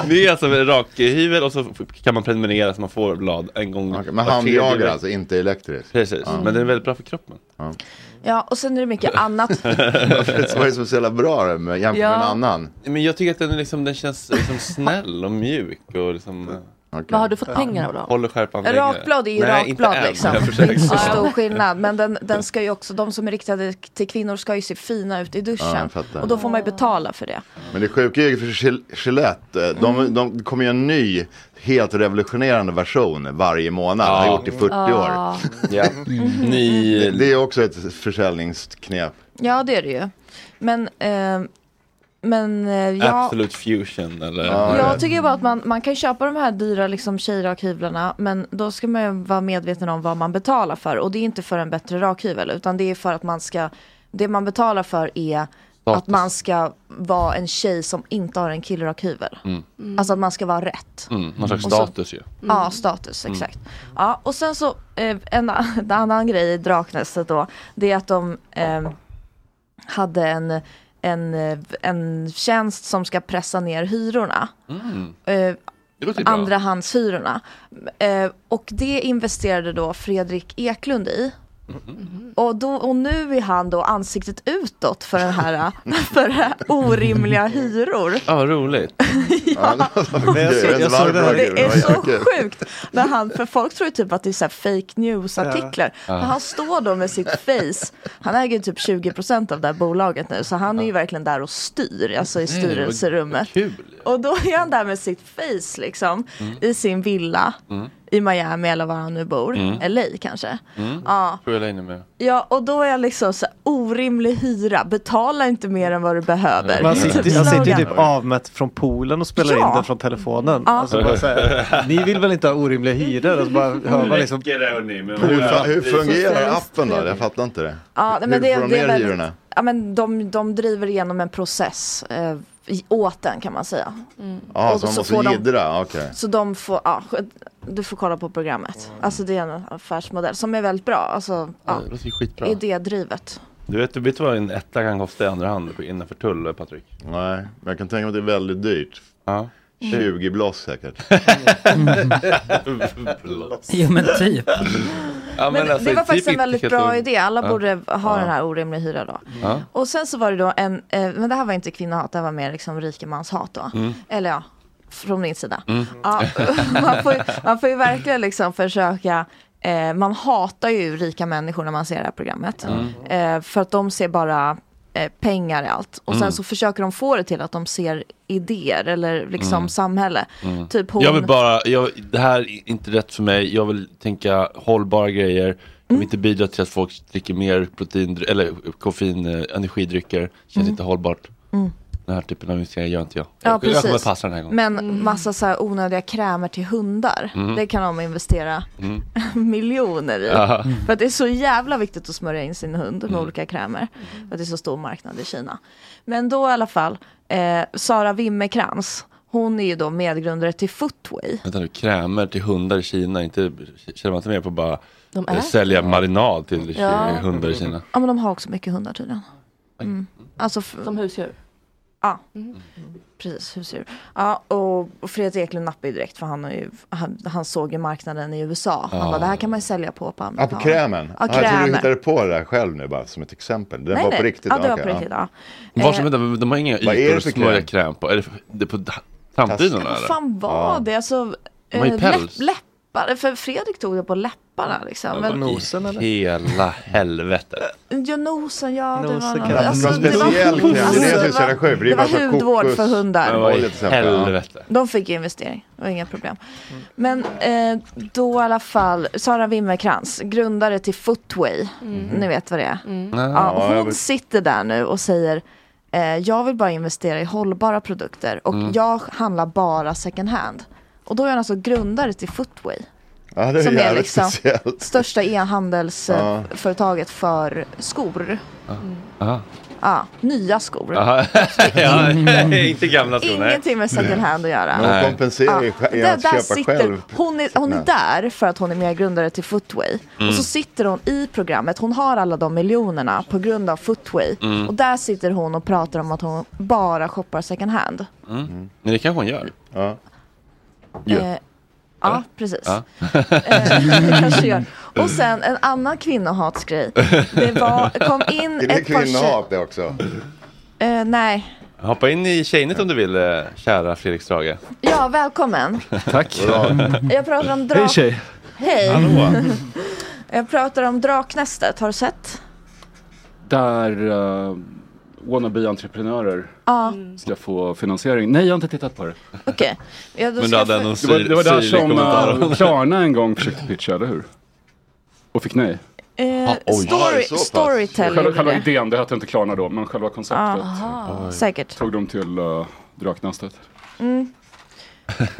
A: det är alltså rakhyvel och så f- kan man prenumerera så man får blad en gång.
I: Men
A: var tredje
I: handjagar
A: vecka.
I: alltså, inte elektriskt?
A: Precis,
I: Ja.
A: men den är väldigt bra för kroppen.
F: Ja, och sen är det mycket annat.
I: Varför var det som så jävla bra det med, jämfört med
F: Ja.
I: en annan?
A: Men jag tycker att den, är liksom, den känns liksom snäll och mjuk och liksom...
E: Vad har du fått pengar av då?
A: Håller skärpan längre.
F: Rakblad är ju
A: Nej, inte
F: rakblad
A: än.
F: liksom.
A: Jag
F: Det är
A: försöker.
F: inte så stor skillnad. Men den, den ska ju också, de som är riktade till kvinnor ska ju se fina ut i
I: Ja,
F: duschen.
I: jag fattar.
F: och då får man ju betala för det.
I: Men det sjuka är ju för Gil- Gillette, eh, de,
A: Mm.
I: de kommer ju en ny, helt revolutionerande version varje månad. Har gjort i 40 år.
F: Ja.
A: Ja. Ny...
I: Det, det är också ett försäljningsknep.
F: Ja, det är det ju. Men, eh, men eh, ja.
A: Absolute fusion eller...
F: Jag tycker bara att man, man kan köpa de här dyra liksom, tjejrakhyvlarna men då ska man ju vara medveten om vad man betalar för och det är inte för en bättre rakhyvel utan det är för att man ska det man betalar för är
A: Status.
F: att man ska vara en tjej som inte har en killrakhyvel.
A: Mm.
F: Alltså att man ska vara rätt.
A: Mm, någon slags
F: Och så-
A: status ju.
F: Ja, status,
A: Mm.
F: exakt. Ja, och sen så eh, en, a- en annan grej i Draknästet då, det är att de eh, hade en, en, eh, en tjänst som ska pressa ner hyrorna.
A: Mm.
F: Eh,
A: Det låter ju bra.
F: andrahandshyrorna. Eh, och det investerade då Fredrik Eklund i.
E: Mm.
F: Och, då, och nu är han då ansiktet utåt för den här, för det här orimliga hyror.
A: Ja, vad roligt.
I: Men jag såg- jag såg det här.
F: Det är
I: Oj,
F: så
I: okej.
F: sjukt. När han, för folk tror ju typ att det är så här fake news-artiklar.
I: Ja.
F: Men han står då med sitt face. Han äger ju typ 20% av det här bolaget nu. Så han är ju verkligen där och styr, alltså i
A: Mm,
F: styrelserummet.
A: Kul.
F: Och då är han där med sitt face liksom.
A: Mm.
F: I sin villa.
A: Mm.
F: I Miami eller var han nu bor.
A: Mm.
F: LA kanske.
A: Mm.
F: Ja.
A: Tror jag la in det med.
F: Ja, och då är jag liksom så här, orimlig hyra. Betala inte mer än vad du behöver.
M: Man
F: Det är
M: sitter,
F: typ
M: han sitter ju
F: slogan.
M: typ avmätt från poolen och spelar
F: Ja.
M: in den från telefonen.
F: Ja.
M: Alltså bara så här, ni vill väl inte ha orimliga hyror? Och så bara hör man liksom,
A: Räcker det, hörni, med-
I: Hur, fa- hur
A: Det är så
I: fungerar
A: hemskt
I: appen då? Jag fattar inte det.
F: Ja, nej, men
I: hur
F: det,
I: får de
F: det är
I: ner
F: väldigt-
I: hyrorna?
F: Ja, men de, de driver igenom en process eh, i- åt den kan man säga.
I: Ja,
F: Och
I: så man
F: så
I: måste
F: får de-
I: jiddra, okej.
F: Så de får, ja, sk- du får kolla på programmet. Alltså det är en affärsmodell som är väldigt bra. Alltså,
A: Ja,
F: ja,
A: det låter ju skitbra.
F: idédrivet.
A: Du vet, du vet vad en etta kan kosta i andra hand innanför tull, Patrik?
I: Nej, men jag kan tänka mig att det är väldigt dyrt. 20 bloss säkert.
A: Bloss.
H: Jo, men typ.
A: Ja, men
F: Men
A: alltså,
F: det var
A: typ
F: faktiskt en
A: inte
F: väldigt
A: helt
F: bra
A: ung.
F: idé. Alla
A: Ja.
F: borde ha
A: Ja.
F: den här orimliga hyran då.
A: Ja.
F: Och sen så var det då en, eh, men det här var inte kvinnohat, det här var mer liksom rikemanshat då.
A: Mm.
F: Eller ja, från min sida.
A: Mm.
F: Ja, man, får ju, man får ju verkligen liksom försöka eh, man hatar ju rika människor när man ser det här programmet. Eh, för att de ser bara eh, pengar i allt. Och sen
A: Mm.
F: så försöker de få det till att de ser idéer eller liksom
A: Mm.
F: samhälle.
A: Mm.
F: Typ hon.
A: Jag vill bara, jag, det här är inte rätt för mig. Jag vill tänka hållbara grejer. Jag vill
F: Mm.
A: inte bidra till att folk dricker mer protein eller koffein, eh, energidrycker. Känns
F: Mm.
A: inte hållbart.
F: Mm.
A: Den här typen av investeringar gör inte jag.
F: Ja,
A: jag, jag kommer
F: precis.
A: passa den här gången.
F: Men massa så här onödiga krämer till hundar.
A: Mm.
F: Det kan de investera
A: Mm.
F: miljoner i.
A: Ja.
F: För att det är så jävla viktigt att smörja in sin hund med
A: Mm.
F: olika krämer. För att det är så stor marknad i Kina. Men då i alla fall, eh, Sara Wimmerkrans, hon är ju då medgrundare till Footway.
A: Vänta nu, krämer till hundar i Kina. Inte, känner man inte mer på bara
F: De
A: eh,
F: äter.
A: sälja marinad till
F: Ja.
A: hundar i Kina?
F: Ja men de har också mycket hundar tydligen. Mm. Alltså f-
E: Som husdjur? Mm.
F: Ja, precis. Husdjur. Ja, och, och Fredrik Eklund nappade ju direkt för han, har ju, han, han såg ju marknaden i USA. Han
I: Ja.
F: bara, det här kan man ju sälja på på
I: Ja, på
F: amerikaner."
I: krämen?
F: Ja,
I: jag trodde du
F: krämen.
I: hittade på det där själv nu bara som ett exempel. Det var på riktigt?
F: Ja, det var
I: okej,
F: på riktigt. Ja. Eh,
A: Var som, vänta, de har inga
I: Vad är det
A: ytor att
I: för
A: smörja
I: kräm?
A: kräm på? Är det, för- det är på d- framtiden
F: Vad
A: eller?
F: fan var det? Alltså,
A: De har ju
F: eh,
A: päls.
F: läpp, läpp, läpparna. För Fredrik tog det på läpparna liksom. Men,
A: Hela helvete.
F: Ja, nosen, ja. Det
I: Nosen
F: var, någon,
I: kan- Någon
F: det var-
I: speciell kräm, det är det jag
F: det
I: tycker är sjukt,
F: var,
I: för det är
F: det var
I: massa
F: hudvård
I: kokos-
F: för hundar.
I: Ja, vad i Olja till exempel, ja. helvete.
F: De fick ju investering, det var inga problem. Men eh, då i alla fall, Sara Wimmerkrans, grundare till Footway,
E: Mm.
F: ni vet vad det är. Ja,
E: Ja,
F: och
E: jag
F: hon
E: vet.
F: sitter där nu och säger eh, jag vill bara investera i hållbara produkter och
I: Mm.
F: jag handlar bara second hand. Och då är hon alltså grundare till Footway.
I: Ja, det är
F: som är
I: jävligt
F: liksom
I: speciellt.
F: största
I: Ja.
F: e-handelsföretaget för skor.
A: Aha.
F: Ja, nya skor.
A: Aha. ja, inte gamla skor. nej.
F: Ingenting med second hand att göra.
I: Men hon kompenserar ju
F: Ja,
I: sj-
F: där-
I: genom att
F: där
I: köpa
F: sitter,
I: själv.
F: Hon är, hon är
I: Nej.
F: där för att hon är medgrundare till Footway.
I: Mm.
F: Och så sitter hon i programmet, hon har alla de miljonerna på grund av Footway.
A: Mm.
F: Och där sitter hon och pratar om att hon bara shoppar second hand.
A: Mm. Men det kanske hon gör.
I: Ja.
F: Eh, ja, precis.
A: Ja.
F: Det kanske gör. Och sen en annan kvinnohatsgrej. Det var, kom in
A: Är det
F: ett par
A: kvinnohat?
I: Det också.
F: Eh, nej.
A: Hoppa in i tjejnet om du vill, eh, kära Fredrik Strage.
F: Ja, välkommen.
A: Tack.
F: Eh, Jag pratar om drak... Hej.
A: Hallå.
F: Jag pratar om Draknästet, har du sett?
J: Där uh, wannabe-entreprenörer
F: Ja,
J: ska få finansiering. Nej, jag har inte tittat på det.
F: okej. Ja, då ska jag få-
J: det var, det var där som eh, Klarna en gång försökte pitcha, eller hur? Och fick nej.
F: Eh, story, storytelling.
J: Själva, själva idén, det hette inte Klarna då, men själva konceptet.
F: Aha. Säkert.
J: Tog de till uh, Draknästet.
F: Mm. Eh,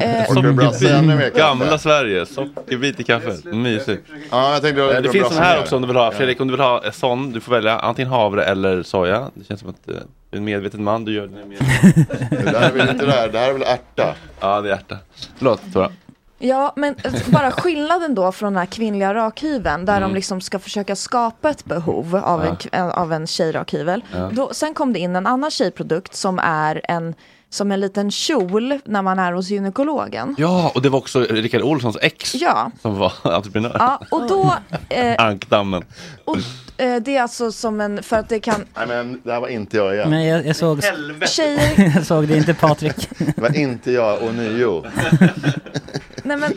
J: Mm.
A: Sockerbit, gamla Sverige. Sockerbit i kaffet. Mysigt.
I: Ja, jag tänkte det var
A: Eh, det
I: bra
A: finns sån här
I: brasilier.
A: också om du vill ha.
I: Ja.
A: Fredrik, om du vill ha eh, sån, du får välja antingen havre eller soja. Det känns som att eh, du är en medveten man, du gör det.
I: Det där är väl inte det här, det här är väl ärta?
A: Ja, det är ärta. Förlåt, Tora.
F: Ja, men eh, bara skillnaden då från den här kvinnliga rakhyveln där
A: Mm.
F: de liksom ska försöka skapa ett behov av, en,
E: Ja.
F: k- en, av en tjejrakhyvel.
E: Ja.
F: Då, sen kom det in en annan tjejprodukt som är en, som en liten kjol när man är hos gynekologen.
A: Ja, och det var också Rickard Olssons ex
F: Ja.
A: som var entreprenör.
F: Ja, och då, eh,
A: Ankdammen.
F: eh, det är alltså som en, för att det kan,
I: Nej men det här var inte jag igen.
H: Men jag, jag såg...
F: tjejer
H: jag såg det inte Patrik.
I: Det var inte jag ånyo.
F: nej men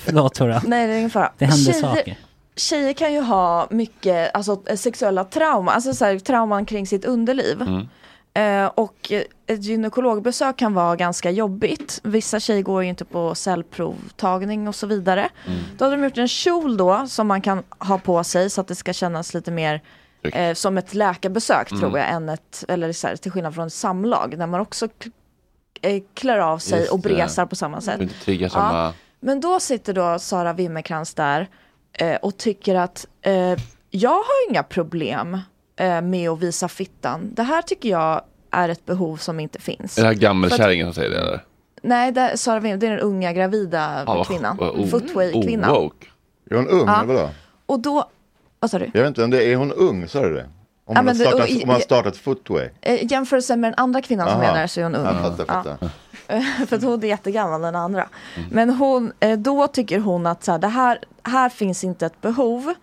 H: Förlåt Tora.
F: Nej, det är ingen fara.
H: Det händer saker.
F: Tjejer kan ju ha mycket alltså, sexuella trauma, alltså så här, trauman kring sitt underliv.
A: Mm.
F: Eh, och eh, ett gynekologbesök kan vara ganska jobbigt. Vissa tjejer går ju inte på cellprovtagning och så vidare.
A: Mm.
F: Då hade de gjort en kjol då som man kan ha på sig så att det ska kännas lite mer eh, som ett läkarbesök
E: Mm.
F: tror jag. Än ett, eller så här, till skillnad från ett samlag där man också k- eh, klär av sig
A: Just
F: och
A: det.
F: bresar på samma sätt.
A: Du inte triggar samma...
F: Men då sitter då Sara Wimmerkrans där eh, och tycker att eh, jag har inga problem eh, med att visa fittan. Det här tycker jag är ett behov som inte finns.
A: Är det här gammelkärringen
F: För
A: som säger det eller?
F: att- Nej, det, Sara Wimmer, det är den unga gravida
A: Ja, Ah, vad- Oh,
F: kvinnan.
A: vad o-
F: Footway-kvinnan.
I: Är hon ung
F: Ja.
I: eller vadå?
F: Och då, vad sa du?
I: Jag vet inte, vem det är Är hon ung? Sa du det?
F: Ja,
I: Om man har
F: men det-
I: startat,
F: och i-
I: om man har startat footway?
F: Eh, jämförelsen med den andra kvinnan som
I: Aha.
F: är där så är hon ung.
I: Ja, fattar, fattar.
F: För att hon är jättegammal den andra. Men hon, eh, då tycker hon att så här, det här, här finns inte ett behov.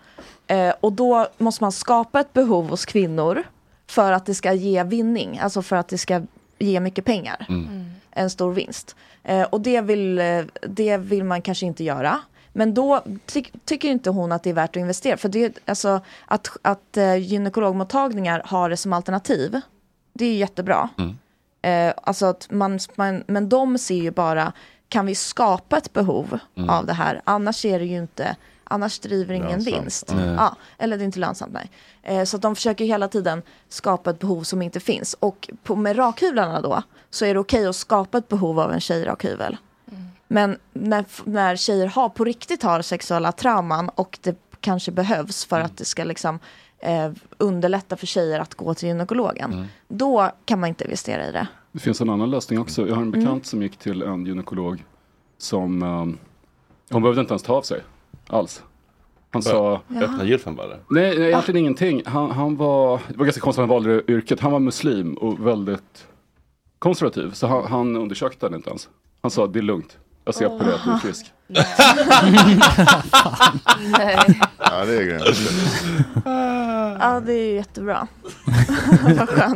F: Eh, och då måste man skapa ett behov hos kvinnor. För att det ska ge vinning, alltså för att det ska ge mycket pengar.
N: Mm.
F: En stor vinst. Eh, och det vill, eh, det vill man kanske inte göra. Men då ty tycker inte hon att det är värt att investera. För det, alltså, att, att eh, gynekologmottagningar har det som alternativ, det är ju jättebra. Eh, alltså att man, man, men de ser ju bara, kan vi skapa ett behov
E: Mm.
F: av det här? Annars är det ju inte, annars driver ingen
E: Lönsamt.
F: vinst.
E: Nej.
F: Ja, eller det är inte lönsamt, nej. Eh, så att de försöker hela tiden skapa ett behov som inte finns. Och på, med rakhyvlarna då, så är det okej att skapa ett behov av en tjejrakhyvel. Men när, när tjejer har, på riktigt har sexuella trauman och det kanske behövs
E: Mm.
F: för att det ska liksom eh, underlätta för tjejer att gå till gynekologen.
E: Mm.
J: Mm.
F: Då kan man inte investera i det.
J: Det finns en annan lösning också. Jag har en bekant
F: Mm.
J: som gick till en gynekolog som... ehm, hon behövde inte ens ta av sig. Alls. Han sa...
A: Jaha. öppna gylfen bara.
J: Nej, nej egentligen ingenting. Han, han var... Det var ganska konstigt att han valde det yrket. Han var muslim och väldigt konservativ. Så han, han undersökte henne inte ens. Han sa, det är lugnt. Jag ser på det att du är frisk.
F: Nej.
I: Ja, det är grymt.
F: Ja, det är ju jättebra.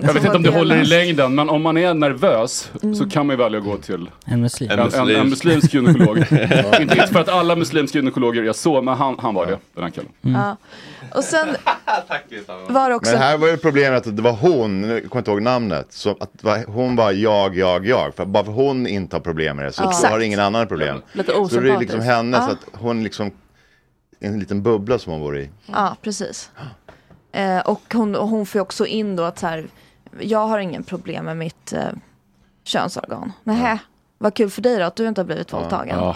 J: Jag vet inte om det
A: delas.
J: håller i längden, men om man är nervös
F: Mm.
J: så kan man ju välja att gå till
H: En muslim.
J: en, en, en muslimsk gynekolog. inte, inte för att alla muslimska gynekologer är så, men han, han var det, den här killen.
F: Ja. Och sen var det också...
I: Men här var ju problemet att det var hon, nu kommer jag inte ihåg namnet, så att det var- hon var jag, jag, jag. För bara för hon inte har problem med det så
F: Ja.
I: har ingen annan problem.
F: Lite
I: så det är liksom
F: osympatisk.
I: henne,
F: Ja.
I: så att hon liksom, en liten bubbla som hon bor i.
F: Ja, precis. Eh, och hon, och hon får ju också in då att så här, jag har ingen problem med mitt eh, könsorgan. Nähä, vad kul för dig då att du inte har blivit våldtagen.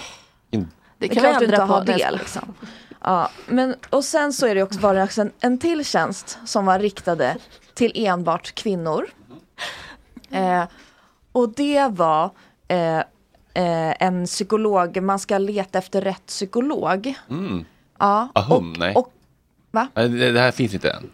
E: Det
F: är
E: kan
F: klart du
E: vi ändra
F: inte har
E: på.
F: det liksom. Ja, men och sen så är det också, var det också en, en till tjänst som var riktade till enbart kvinnor. Eh, och det var eh, eh, en psykolog, man ska leta efter rätt psykolog.
A: Mm.
F: Ja,
A: Ahum, nej.
F: och- va?
A: Nej, Det, det här finns inte än.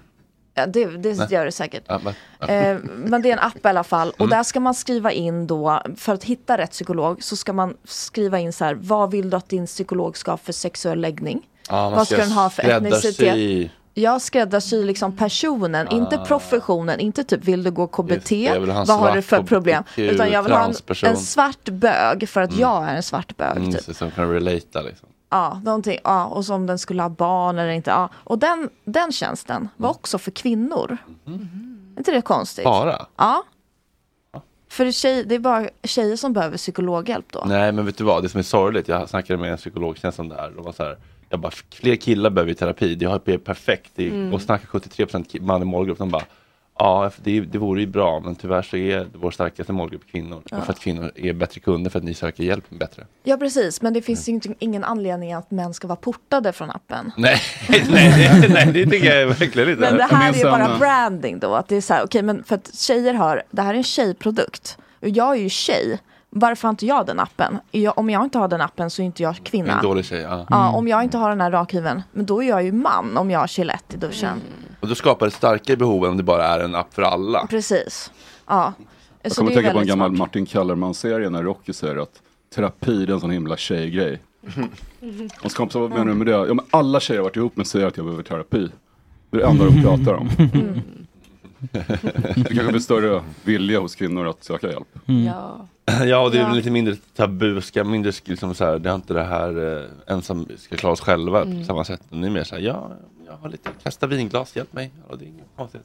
F: Ja, det, det gör det säkert.
A: Ja, men, ja.
F: Eh, men det är en app i alla fall. Och
A: Mm.
F: där ska man skriva in då, för att hitta rätt psykolog, så ska man skriva in så här, vad vill du att din psykolog ska ha för sexuell läggning?
A: Ja, man
F: vad ska den ha för
A: skräddarsy.
F: etnicitet? Jag skräddarsyr liksom personen, inte
A: Ah.
F: professionen, inte typ vill du gå KBT,
A: jag vill ha en
F: vad har du
A: svart
F: för problem?
A: HBTQ,
F: Utan jag vill ha en,
A: transperson.
F: en svart bög för att
A: Mm.
F: jag är en svart bög.
A: Mm,
F: Typ.
A: så, som kan relata liksom.
F: Ja, någonting, ja, och som den skulle ha barn eller inte. Ja. Och den, den tjänsten var
A: Mm.
F: också för kvinnor. Är inte det konstigt?
A: Mm-hmm. Bara?
F: Ja. För tjej, det är bara tjejer som behöver psykologhjälp då.
A: Nej men vet du vad, det som är sorgligt, jag snackade med en psykologtjänst om det här. De var så här jag bara, fler killar behöver ju terapi, det har- det är perfekt. Det är,
F: Mm.
A: Och snackar 73% ki- manlig målgrupp, de bara Ja, det, det vore ju bra, men tyvärr så är vår starkaste målgrupp kvinnor.
F: Ja.
A: För att kvinnor är bättre kunder, för att ni söker hjälp bättre.
F: Ja, precis. Men det finns ju inte, ingen anledning att män ska vara portade från appen.
A: Nej, nej, det- nej, det tycker jag verkligen inte.
F: Men det här är ju bara branding då. Att det är så här, okej, men för att tjejer har, det här är en tjejprodukt. Och jag är ju tjej. Varför har inte jag den appen? Är Jag, om jag inte har den appen så är inte jag kvinna.
A: En dålig tjej, ja.
F: Ja,
J: Mm.
F: om jag inte har den här rakhyveln, men då är jag ju man om jag har Gillette i duschen.
A: Och då skapar det starkare behov än om det bara är en app för alla.
F: Precis. Ja.
J: Jag
F: Så
J: kommer att
F: det är
J: tänka på en
F: väldigt
J: gammal
F: smart.
J: Martin Kellerman-serie när Rocky säger att terapi det är en sån himla tjejgrej. Hans kompisar, vad menar du med det? Ja, men alla tjejer jag varit ihop med säger att jag behöver terapi. Det är det enda de pratar om.
F: Mm.
J: Det kanske blir större vilja hos kvinnor att söka hjälp.
E: Ja.
A: Ja, och det är
E: Ja.
A: lite mindre tabu, ska mindre sk- liksom så här, det är inte det här eh, ensam ska klara oss själva
E: Mm.
A: på samma sätt. Nu är det mer så här, ja, jag har lite kasta vinglas, hjälp mig. Ja, det är inget konstigt.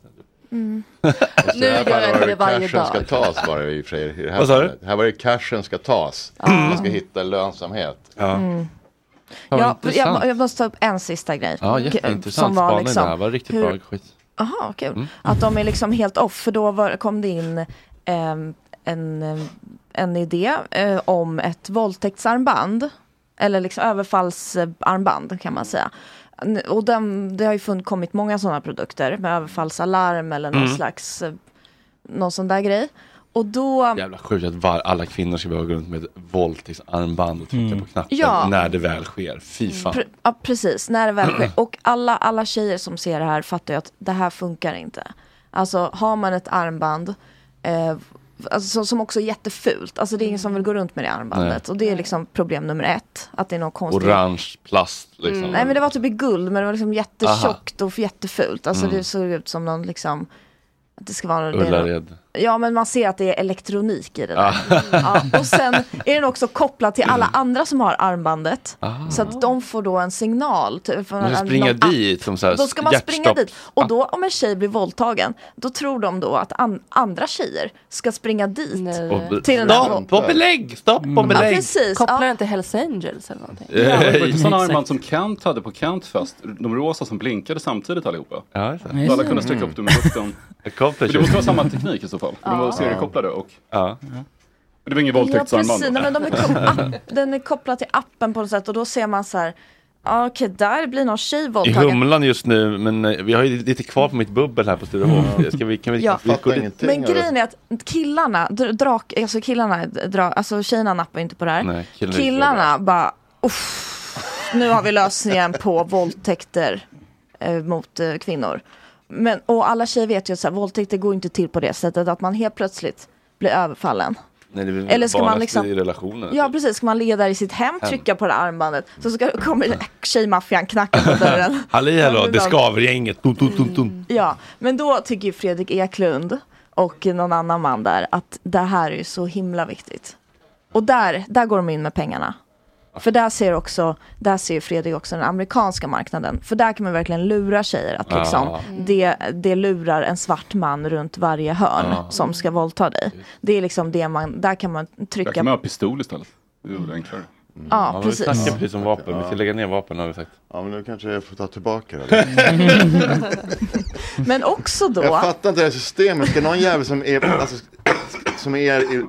E: Mm.
I: Så
E: Nu
I: här
E: gör
I: fallet
E: jag
I: var
E: inte det varje
I: cashen
E: dag.
I: ska tas var det i och för sig i det här
A: Vad sa du?
I: fallet. Här var det cashen ska tas. Man ska hitta lönsamhet.
F: Mm.
I: Ja,
F: Ja,
I: intressant.
F: jag, jag måste ta upp en sista grej.
A: Ja,
F: K-
A: jätteintressant spaning det här, var riktigt
F: hur-
A: bra skit.
F: Aha, kul.
A: Mm.
F: Att de är liksom helt off, för då var, kom det in ehm, en, eh, en idé eh, om ett våldtäktsarmband. Eller liksom överfallsarmband kan man säga. N- Och den, det har ju fun- kommit många sådana produkter med överfallsalarm eller någon
A: Mm.
F: slags, eh, någon sån där grej. Och då...
A: Jävla sjukt att var, alla kvinnor ska behöva gå runt med ett våldtäktsarmband och trycka på knappen
F: Ja. Mm.
A: när det väl sker. Fy fan.
F: Pre- ja, precis, när det väl sker. Och alla, alla tjejer som ser det här fattar ju att det här funkar inte. Alltså har man ett armband, eh, alltså, som också är jättefult, alltså det är ingen som vill gå runt med det armbandet.
A: Nej.
F: Och det är liksom problem nummer ett, att det är något konstigt.
A: Orange plast liksom.
F: Mm. Nej men det var typ i guld, men det var liksom jättetjockt och jättefult. Alltså
A: Mm.
F: det såg ut som någon liksom, att det ska vara någon, det är någon-
A: Ullared.
F: Ja men man ser att det är elektronik i det där.
A: Ah.
F: Ja, och sen är den också kopplad till alla andra som har armbandet.
A: Ah.
F: Så att de får då en signal. Typ, från
A: Man ska
F: en-
A: springa
F: någon app.
A: dit som så här
F: Då ska man springa
A: hjärtstopp. Ah.
F: dit. Och då om en tjej blir våldtagen, då tror de då att an- andra tjejer ska springa dit.
A: Och-
F: Till den här våldtagen.
A: Stopp
F: Mm.
A: och belägg! Stopp
E: Mm.
A: och
F: Ja,
A: belägg!
F: precis.
E: Kopplar inte Hells Angels eller någonting?
J: Ja, det var ju sådana
A: Exakt.
J: armband som Kent hade på Kentfest. De rosa som blinkade samtidigt allihopa.
A: Ja,
J: Då alla kunde sträcka upp dem i luften.
A: För
J: det måste vara samma teknik i så fall. För de var seriekopplade och...
A: Ja.
J: Det var ingen
F: Ja
J: våldtäktsarmband.
F: precis, Nej, men de är kom- app- den är kopplad till appen på något sätt och då ser man så här, ah, okej där blir någon tjej
A: I
F: våldtagen.
A: humlan just nu, men eh, vi har ju lite kvar på mitt bubbel här på Sturehof. Ska vi, kan vi,
F: Mm. Ja.
A: vi
F: Fattar alltså. Men grejen är att killarna, dr- drak, alltså killarna, dra, alltså tjejerna nappar ju inte på det här.
A: Nej, killarna-
F: killarna bara, uff, nu har vi lösningen på våldtäkter eh, mot eh, kvinnor. Men, och alla tjejer vet ju att så här, våldtäkter går inte till på det sättet att man helt plötsligt blir överfallen.
A: Nej, det är väl
F: Eller ska man
A: vanligast
F: liksom-
A: i relationer.
F: Ja precis, ska man ligga där i sitt hem,
A: Hem.
F: trycka på det här armbandet, så ska, kommer tjejmaffian knacka på dörren.
A: Halli hallå,
F: men
A: det
F: då-
A: skaver gänget. Tum, tum, tum, tum.
J: Mm.
F: Ja, men då tycker ju Fredrik Eklund och någon annan man där att det här är ju så himla viktigt. Och där, där går de in med pengarna. För där ser också, där ser ju Fredrik också den amerikanska marknaden. För där kan man verkligen lura tjejer att liksom,
E: Ah. Mm.
F: det, det lurar en svart man runt varje hörn
J: Ah.
F: som ska våldta dig. Det är liksom det man, där kan man trycka
J: Där kan man ha pistol istället. Det vore enklare.
F: Ja, Ja,
A: Vi snackar precis om vapen, vi ska
I: Mm. Ja.
A: lägga ner vapen har vi sagt.
I: Ja, men nu kanske jag får ta tillbaka det.
F: Men också då.
I: Jag fattar inte det här systemet. Ska någon jävel som är, alltså, som är i-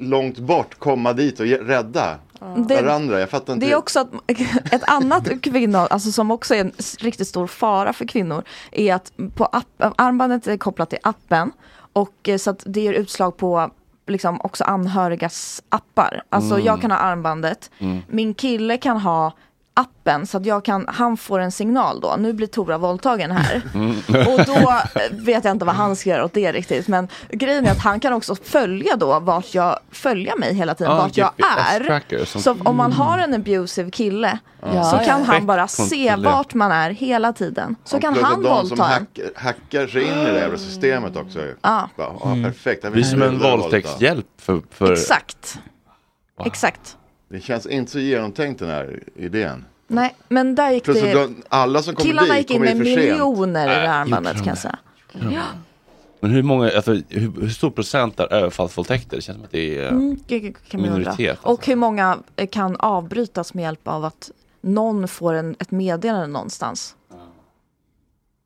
I: långt bort komma dit och ge- rädda
F: Mm. Det-
I: varandra? Jag fattar inte.
F: Det är också att, ett annat kvinno, alltså som också är en s- riktigt stor fara för kvinnor, är att på app, armbandet är kopplat till appen och eh, så att det ger utslag på liksom också anhörigas appar. Alltså
E: Mm.
F: jag kan ha armbandet,
E: Mm.
F: min kille kan ha appen så att jag kan, han får en signal då, nu blir Tora våldtagen här. Och då eh, vet jag inte vad han ska göra åt det riktigt. Men grejen är att han kan också följa då vart jag, följa mig hela tiden,
A: Ah,
F: vart jag
A: GPS-tracker
F: är.
A: som-
F: Så om man har en abusive kille
I: Ja.
F: så
I: Ja,
F: kan
I: ja.
F: han bara se
I: Perfekt
F: vart man är hela tiden. Så kan
I: Plus att
F: han
I: de som
F: våldta en.
I: hack, hackar sig in i det jävla systemet också.
F: Ja.
I: Bara, ja,
A: Mm.
I: perfekt. Här vill
A: Vi är som en
I: jag våldta.
A: våldtäktshjälp för, för
F: Exakt. Exakt.
I: Det känns inte så genomtänkt den här idén.
F: Nej, men där gick
I: Plus att
F: det.
I: de- alla som kommer
F: Killarna
I: dit
F: gick in
I: kommer
F: med
I: in för sent.
F: miljoner i det
A: Äh,
F: här armbandet
A: gjorde de
F: kan jag säga. Ja.
A: Men hur många, alltså, hur, hur stor procent är överfallsvåldtäkter? Det känns som att det är eh,
F: Mm, det kan man undra.
A: minoritet. alltså.
F: Och hur många eh, kan avbrytas med hjälp av att någon får en, ett meddelande någonstans?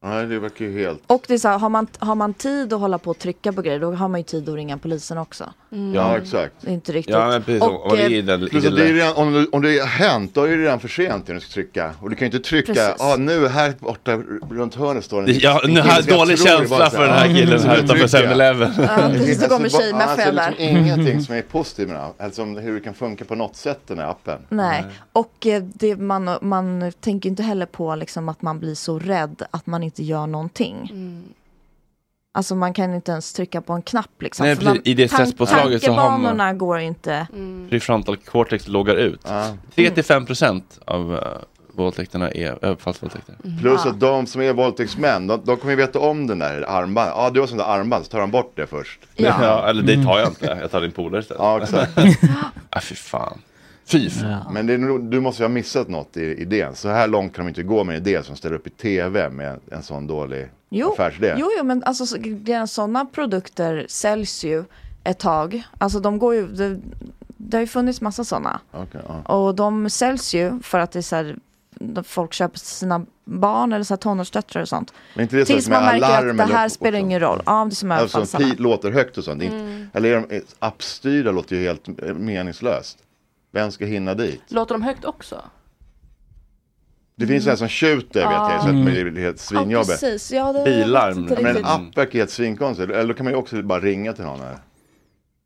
I: Nej, det verkar ju helt...
F: Och det är så här, har man, har man tid att hålla på och trycka på grejer, då har man ju tid att ringa polisen också.
I: Ja, exakt.
F: Det är inte Mm. riktigt. eh,
A: Ja, men precis. Om- om det är i den- i
I: Plus
A: den
I: att det är
A: där-
I: redan, om, det- om det har hänt, då är det redan för sent när du ska trycka. Och du kan ju inte trycka,
A: Precis.
I: ah, nu här borta r- runt hörnet står en
A: Ja,
I: en
A: nu
I: kille
A: har-
I: som jag
A: dålig
I: tror
A: känsla
I: bara
A: för
I: så Mm.
A: den här killen
I: så
A: här
I: nu
A: utanför
I: trycker jag.
A: 7-Eleven. Ja, precis,
I: Det finns
F: då kommer
I: alltså bara-
F: tjejmaffian där.
I: alltså, liksom ingenting som är positivt med den här, alltså om hur det kan funka på något sätt den här appen. Mm.
F: Nej, och eh, det, man, man tänker ju inte heller på liksom att man blir så rädd att man inte gör någonting. Alltså man kan inte ens trycka på en knapp liksom.
A: Nej,
F: För man,
A: precis. I det stresspåslaget så har man-
F: Tankebanorna går inte.
A: Mm. prefrontal cortex loggar ut. 3-5% av uh, våldtäkterna är överfallsvåldtäkter.
I: Plus att de som är våldtäktsmän, de, de kommer ju veta om den där armbandet. Ja, ah, du har sånt där armband, så tar han bort det först.
A: Ja. eller det tar jag inte. Jag tar din polare istället.
I: Ja, exakt.
A: ah, fy fan. Fy
I: Men det är, nog- du måste ju ha missat något i idén. Så här långt kan de inte gå med en idé som ställer upp i tv med en, en sån dålig
F: Jo,
I: affärsidé.
F: jo, jo, men alltså så- redan sådana produkter säljs ju ett tag. Alltså de går ju, det, det har ju funnits massa sådana.
I: Okej, ja.
F: Och de säljs ju för att det är så här, de- folk köper till sina barn eller så här tonårsdöttrar och sånt.
I: Men inte det så
F: Tills
I: med
F: man märker
I: alarm
F: att det
I: eller-
F: här spelar ingen roll. Ja, det är som
I: Eftersom pi
F: överfallsarna.
I: Alltså, låter högt och sånt. Det är inte-
F: Mm.
I: Eller är de eh, appstyrda låter ju helt eh, meningslöst. Vem ska hinna dit?
E: Låter de högt också?
I: Det finns en som tjuter vet jag, så att
F: Mm.
I: det blir helt
F: Ja,
I: svinjobbigt.
F: precis. Ja, det- jag vet inte
I: Men en
F: riktigt.
I: app verkar helt svinkonstigt. Eller då kan man ju också bara ringa till någon här. typ.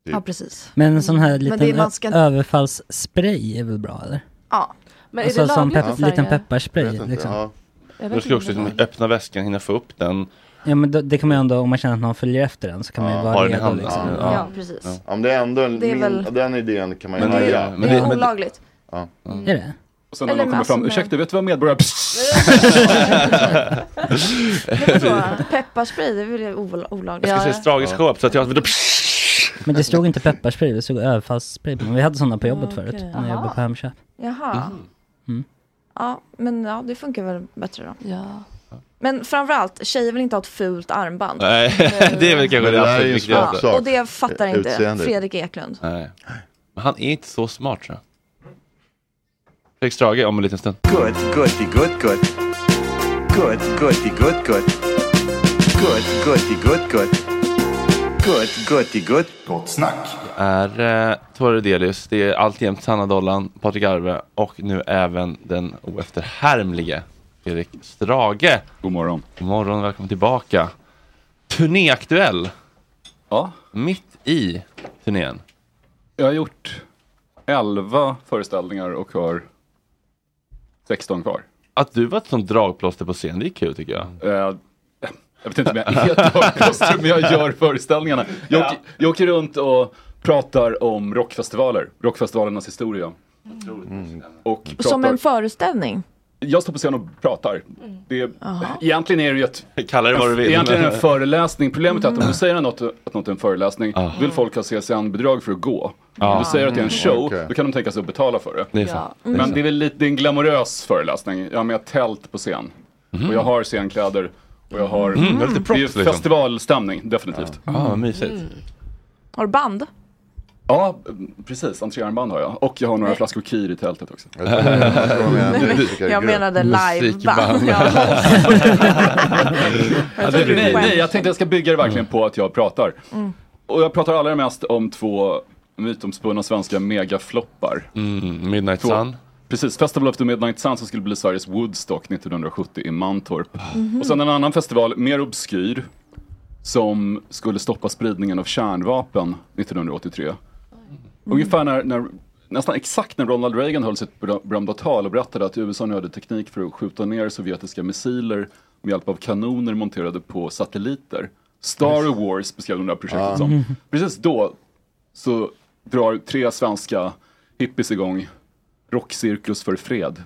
F: Ja, precis.
H: Men en sån här
E: Men det är-
H: liten
E: man ska-
H: ö- överfallsspray är väl bra eller?
F: Ja.
E: Men
H: alltså
E: är det
H: som
E: lagligt i
H: pep-
E: Sverige?
H: liten pepparspray
I: inte,
H: liksom.
I: ja.
E: Jag vet
A: Då ska jag också
E: inte om det
A: liksom öppna väskan, hinna få upp den.
H: Ja men då, det kan man ju ändå, om man känner att någon följer efter den så kan man ju vara
A: ha den i
H: redo
A: handen.
H: liksom.
A: Ja. Ja,
F: precis.
A: Ja.
I: Om det är ändå en,
F: Det är
I: min,
F: väl-
I: den idén kan man ju
A: Men det-
I: höja.
A: men
F: det är olagligt. Mm.
I: Ja.
H: Är det?
J: Och sen när
F: Eller
J: de kommer
F: massor
J: fram,
F: med-
J: ursäkta vet du vad medborgare...
F: Men vadå? Pepparspray, det är väl ol- olagligt?
A: Jag ska se tragisk show så att jag...
H: Men det stod inte pepparspray, det stod överfallsspray. Men vi hade sådana på jobbet
F: Okej.
H: förut, när
F: Aha.
H: jag jobbade på Hemköp.
F: Jaha.
H: Mm.
F: Ja, men ja, det funkar väl bättre då.
E: Ja.
F: Men framförallt, tjejer vill inte ha ett fult armband.
A: Nej, det är väl kanske
I: Men
A: det
I: det här är
A: absolut
I: ju en
A: viktigaste.
I: smaksak.
F: Och det fattar inte
A: Utseendet.
F: Fredrik Eklund.
A: Nej. Men han är inte så smart tror jag. Felix Strage om en liten stund.
K: Good, goody, good, good. Good, goody, good, good. Good, goody, good, good. Good, goody, good. Gott snack.
A: Det är eh, Tore Delius, det är alltjämt Sanna Dollan, Patrik Arve och nu även den oefterhärmlige Fredrik Strage.
J: God morgon.
A: God morgon, välkommen tillbaka. Turnéaktuell.
J: Ja.
A: Mitt i turnén.
J: Jag har gjort 11 föreställningar och har 16 kvar.
A: Att du var ett sånt dragplåster på scen, det är kul tycker jag.
J: Eh, jag vet inte om jag är dragplåster, men jag gör föreställningarna. Jag, åker- jag åker runt och pratar om rockfestivaler, rockfestivalernas historia. Och pratar,
F: Mm. Som en föreställning?
J: Jag står på scen och pratar. Det, egentligen är det ju ett...
A: Kalla det vad du vill. Mm.
J: Egentligen är det en föreläsning. Problemet är att om du säger något, att något är en föreläsning, då vill folk ha CSN-bidrag för att gå.
A: Ah.
J: Om du säger att det är en show,
A: Okej.
J: då kan de tänka sig att betala för det.
A: Det är sant. Ja. Det är
J: Men
A: sant.
J: det är väl lite, det är en glamorös föreläsning. Jag har med tält på scen. Och jag har scenkläder. Och jag har...
A: Mm, det är lite props,
J: ju
A: liksom.
J: festivalstämning, definitivt.
A: Ja, Ah, vad mysigt.
F: Mm. Har du band?
J: Ja, mm, precis. Entréarmband har jag. Och jag har några flaskor Kir i tältet också.
F: Jag menade liveband.
J: Ja, det, nej, nej, jag tänkte jag ska bygga det verkligen på att jag pratar.
F: Mm.
J: Och jag pratar allra mest om två mytomspunna svenska megafloppar.
A: Mm, Midnight
J: Två-
A: Sun.
J: Precis, Festival of the Midnight Sun som skulle bli Sveriges Woodstock 1970 i Mantorp.
A: Mhm.
J: Och sen en annan festival, mer obskyr, som skulle stoppa spridningen av kärnvapen 1983.
I: Mm.
J: Ungefär när, när, nästan exakt när Ronald Reagan höll sitt berö- berömda tal och berättade att USA nu hade teknik för att skjuta ner sovjetiska missiler med hjälp av kanoner monterade på satelliter. Star Wars beskrev de det här projektet
A: Ah.
J: som.
I: Mm.
A: Mhm.
J: Precis då så drar tre svenska hippies igång Rockcirkus för fred.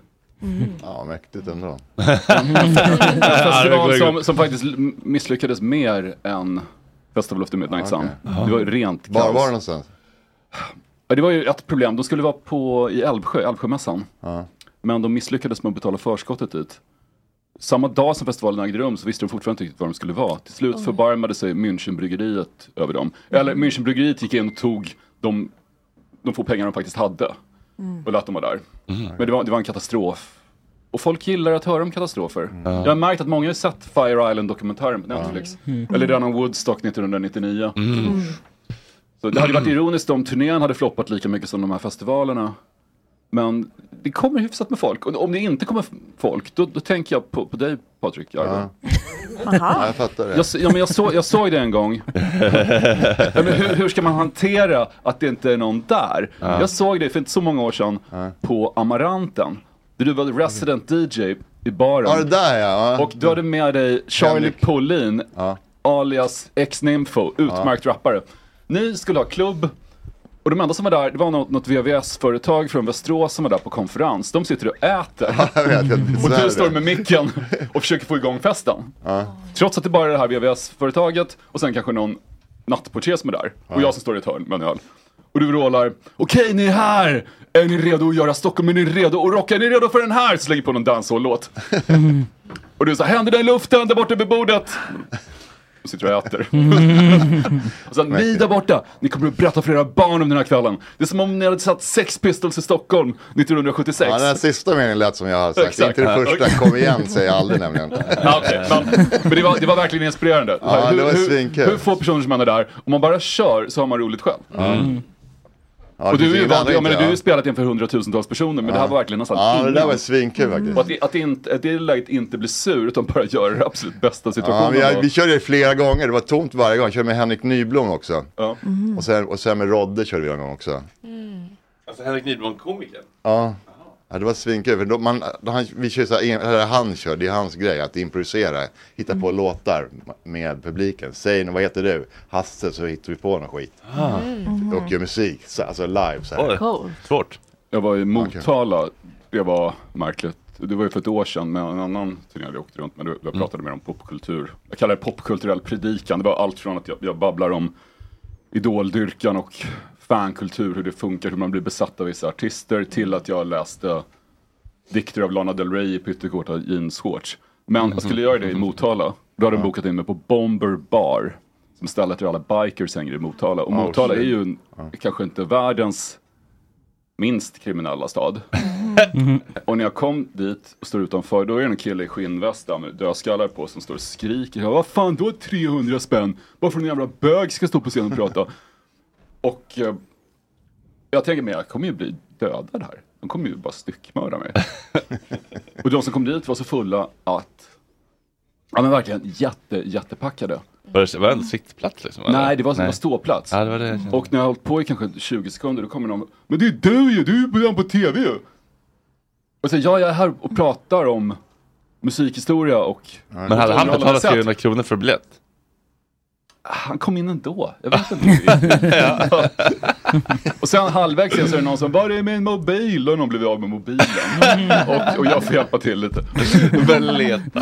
I: Ja, mäktigt ändå.
J: En
I: Ja,
J: festival
I: det går igång.
J: som, som faktiskt l- misslyckades mer än Festival of the Midnight Sun. Det var ju rent
I: Ah, Var
J: kaos.
I: var det någonstans?
J: Ja, det var ju ett problem. De skulle vara på, i Älvsjö, Älvsjömässan. Men de misslyckades med att betala förskottet dit. Samma dag som festivalen ägde rum så visste de fortfarande inte riktigt var de skulle vara. Till slut
A: Oj.
J: förbarmade sig Münchenbryggeriet över dem. Eller Münchenbryggeriet gick in och tog de, de få pengar de faktiskt hade och lät dem vara där. Men det var, det var en katastrof. Och folk gillar att höra om katastrofer. Jag har märkt att många har sett Fire Island-dokumentären på Netflix.
A: Mm.
J: Eller den om Woodstock 1999.
B: Mm.
F: Mm.
J: Så det hade varit ironiskt om turnén hade floppat lika mycket som de här festivalerna. Men det kommer hyfsat med folk. Och om det inte kommer folk, då, då tänker jag på, på dig Patrik. Ja.
I: Ja, jag fattar det.
J: Jag, s- ja, men jag, såg, jag såg det en gång. ja, men hur, hur ska man hantera att det inte är någon där?
A: Ja.
J: Jag såg det för inte så många år sedan på Amaranten. Där du var resident DJ i baren.
I: Ja, det där ja. ja.
J: Och du hade med dig Charlie Paulin, alias X-Nimfo, utmärkt rappare. Ni skulle ha klubb, och de enda som var där, det var något, något VVS-företag från Västerås som var där på konferens. De sitter och äter. och
I: är
J: du
I: det.
J: står med micken och försöker få igång festen. Trots att det bara är det här VVS-företaget och sen kanske någon nattportier som är där. Och jag som står i ett hörn med en öl. Och du vrålar, okej ni är här! Är ni redo att göra Stockholm? Är ni redo att rocka? Är ni redo för den här? Slänger på någon dancehall-låt. Och du sa, händerna i luften där borta vid bordet. Och sitter och äter. och sen, Alltså, ni där borta, ni kommer att berätta för era barn om den här kvällen. Det är som om ni hade satt Sex Pistols i Stockholm 1976.
I: Ja, den här sista meningen lät som jag har sagt.
J: Exakt.
I: Inte det första, kom igen säger jag aldrig nämligen.
J: Ja, okej, men, men det, var, det var verkligen inspirerande.
I: Ja, det var
J: hur,
I: svinkul.
J: hur få personer som man är där, om man bara kör så har man roligt själv.
I: Mm. Ja,
J: och
I: det
J: du är
I: finns
J: ju
I: ingen
J: van,
I: annan
J: jag menar,
I: inte,
J: du har ju
I: ja.
J: spelat inför hundratusentals personer, men det här
I: Ja.
J: var verkligen nästan
I: Ja, det
J: ingen. Mm.
I: där var svinkul faktiskt.
J: Och att, det- att, det inte, att det läget inte blir sur, utan bara gör det absolut bästa situationen.
I: Ja, vi,
J: då.
I: har- vi körde det flera gånger, det var tomt varje gång. Jag körde med Henrik Nyblom också.
J: Ja.
F: Mm.
I: Och, sen, och sen med Rodde körde vi en gång också.
A: Alltså Henrik Nyblom, komiker.
I: Ja, ja det var svinkul. För då, man, då han, vi kör så här, en- eller han kör, det är hans grej att improvisera. Hitta på låtar med publiken. Säg nu, vad heter du? Hasse, så hittar vi på någon skit.
A: Ah.
I: Och gör musik, så, alltså live. Så här.
J: Oj, Svårt. Jag var i Motala, det var märkligt. Det var ju för ett år sedan med en annan turné vi åkte runt med. Jag pratade mer om popkultur. Jag kallar det popkulturell predikan. Det var allt från att jag, jag babblar om idoldyrkan och fankultur, hur det funkar, hur man blir besatt av vissa artister, till att jag läste dikter av Lana Del Rey i pyttekorta jeansshorts. Men jag skulle göra det i Motala. Då hade de bokat in mig på Bomber Bar, som stället där alla bikers hänger i Motala. Och
A: Oh,
J: Motala är
A: shit.
J: ju en, kanske inte världens minst kriminella stad. Och när jag kom dit och står utanför, då är det en kille i skinnvästa med dödskallar på som står och skriker. Jag, Vad fan, då 300 spänn? Bara för att en jävla bög ska stå på scenen och prata. och eh, jag tänker, men jag kommer ju bli dödad här. De kommer ju bara styckmörda mig. och de som kom dit var så fulla att, ja men verkligen jätte, jättepackade.
A: Var det var det en sittplats liksom? eller?
J: Nej, det var, det var ståplats.
A: Ja, det var det jag kände.
J: Och när jag har hållit på i kanske 20 sekunder, då kommer någon. Men det är ju du ju, du är ju redan på tv ju. Och så, ja, jag är här och pratar om musikhistoria och...
A: Men hade han betalat 300 kronor för biljett?
J: han kom in ändå. Jag vet inte. Ja. och sen halvvägs in så är det någon som, var är min mobil? Och någon blev av med mobilen. och, och jag får hjälpa till lite. Började leta.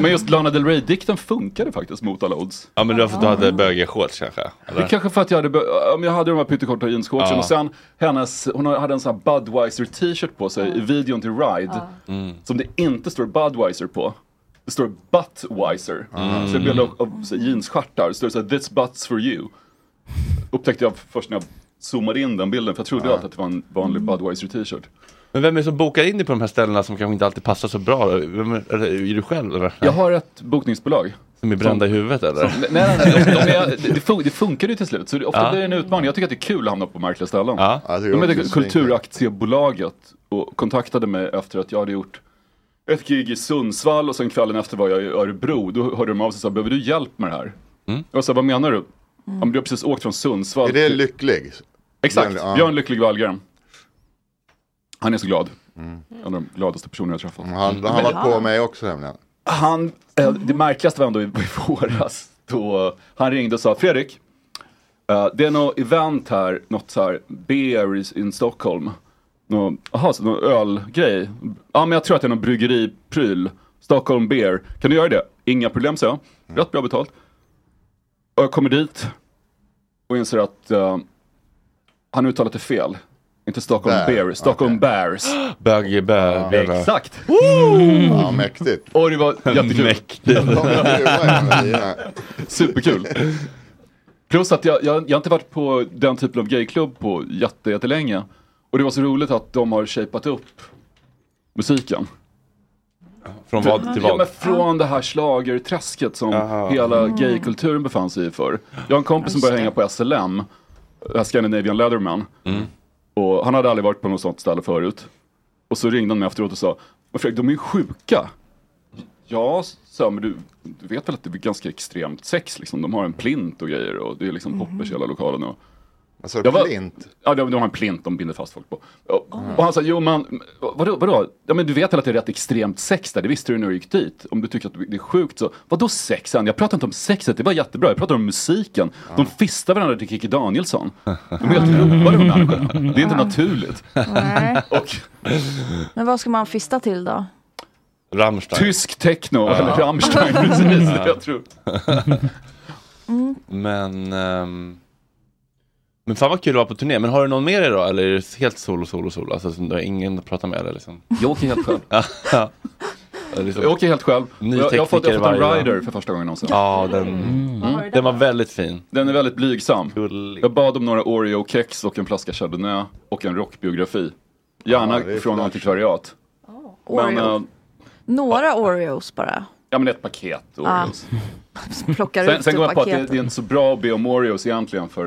J: Men just Lana Del Rey-dikten funkade faktiskt mot alla odds. Ah.
A: Ja men det var för att du hade bögiga shorts kanske?
J: Det är kanske för att jag hade, bö- ja, men jag hade de här pyttekorta jeansshortsen
A: Ja.
J: och sen hennes, hon hade en sån här Budweiser t-shirt på sig i videon till Ride.
A: Mm.
J: Som det inte står Budweiser på. Det står Buttweiser.
A: Mm.
J: Så det är bilder av, av så här jeansstjärtar. Det står så här, this butts for you. Upptäckte jag först när jag zoomade in den bilden. För jag trodde
A: Ja.
J: alltid att det var en vanlig Budweiser t-shirt.
A: Men vem är det som bokar in dig på de här ställena som kanske inte alltid passar så bra? Vem är, är, det, är du själv eller?
J: Jag har ett bokningsbolag.
A: Som är brända i huvudet eller?
J: Som- nej, nej, nej, de, de är, det, fun- det funkar ju till slut. Så det, ofta
A: Ja.
J: blir det en utmaning. Jag tycker att det är kul att hamna på märkliga ställen.
A: Ja. Ja, jag tycker
J: De
A: också
J: hette
A: det är svinkul.
J: Kulturaktiebolaget och kontaktade mig efter att jag hade gjort ett gig i Sundsvall och sen kvällen efter var jag i Örebro. Då hörde de av sig och sa, behöver du hjälp med det här?
A: Mm.
J: Jag sa, vad menar du? Ja, men du har precis åkt från Sundsvall.
I: Är det
J: till-
I: lycklig?
J: Exakt,
I: Björn- ja.
J: Björn Lycklig Wallgren. Han är så glad. En av de gladaste personer jag har träffat.
I: Han, han var på mig också nämligen.
J: Han, eh, det märkligaste var ändå i, i våras då han ringde och sa Fredrik, eh, det är något event här, något så här beer is in Stockholm. Nå- Jaha, så någon ölgrej. Ja, men jag tror att det är någon bryggeripryl. Stockholm beer. Kan du göra det? Inga problem, sa jag. Rätt bra betalt. Och jag kommer dit och inser att eh, han uttalat det fel. Inte Stockholm
I: Bear,
J: beer, Stockholm bears.
A: Bög, bög, bög.
J: Exakt.
O: Mm.
I: Ja, mäktigt.
J: Och det var jättekul. Superkul. Plus att jag, jag, jag har inte varit på den typen av gayklubb på jätte, jättelänge. Och det var så roligt att de har shapat upp musiken.
A: Från vad till
J: Ja, men
A: vad?
J: från det här schlagerträsket som hela
A: Mm.
J: gaykulturen befann sig i förr. Jag har en kompis som började hänga på SLM, eh, Scandinavian Leatherman. Och han hade aldrig varit på något sånt ställe förut. Och så ringde han mig efteråt och sa, men Fredrik, de är ju sjuka. Ja, så men du, du vet väl att det är ganska extremt sex liksom. De har en plint och grejer och det är liksom poppers i hela lokalen. Och...
I: Alltså,
J: Jag var-
I: plint?
J: Ja, de, de har en plint de binder fast folk på. Och, och han sa, jo men vadå, vadå? Ja men du vet väl att det är rätt extremt sex där, det visste du när du gick dit. Om du tycker att det är sjukt så, vadå sexen? Jag pratar inte om sexet, det var jättebra, jag pratar om musiken. De fistar varandra till Kikki Danielsson. De är helt ropade de människorna. Det är inte naturligt.
A: Mm.
J: Och
F: Men vad ska man fista till då?
A: Rammstein.
J: tysk techno,
A: Ja.
J: eller Rammstein, precis,
A: Ja.
J: jag tror.
A: Men... ehm, men fan vad kul att vara på turné. Men har du någon med dig då? Eller är det helt solo, solo, solo? Alltså som du har ingen att prata med eller liksom?
J: Jag åker helt själv.
A: ja. ja. Liksom.
J: Jag åker helt själv.
A: Ny
J: Jag- jag har fått- jag har
A: tekniker
J: fått en
A: varje dag.
J: rider för första gången någonsin.
A: Ja, den,
F: Mm.
A: Mm. den var väldigt fin.
J: Den är väldigt blygsam. Jag bad om några Oreo-kex och en flaska Chardonnay och en rockbiografi. Gärna
F: Ja, det är
J: från
F: flash.
J: antikvariat. Men,
F: Oreo.
J: eh,
F: Några Oreos bara.
J: ja men ett paket Oreos.
F: Plockar
J: Sen,
F: Ah, ut
J: sen
F: ur
J: kom jag på att det,
F: paketen.
J: det är inte så bra att be om Oreos egentligen för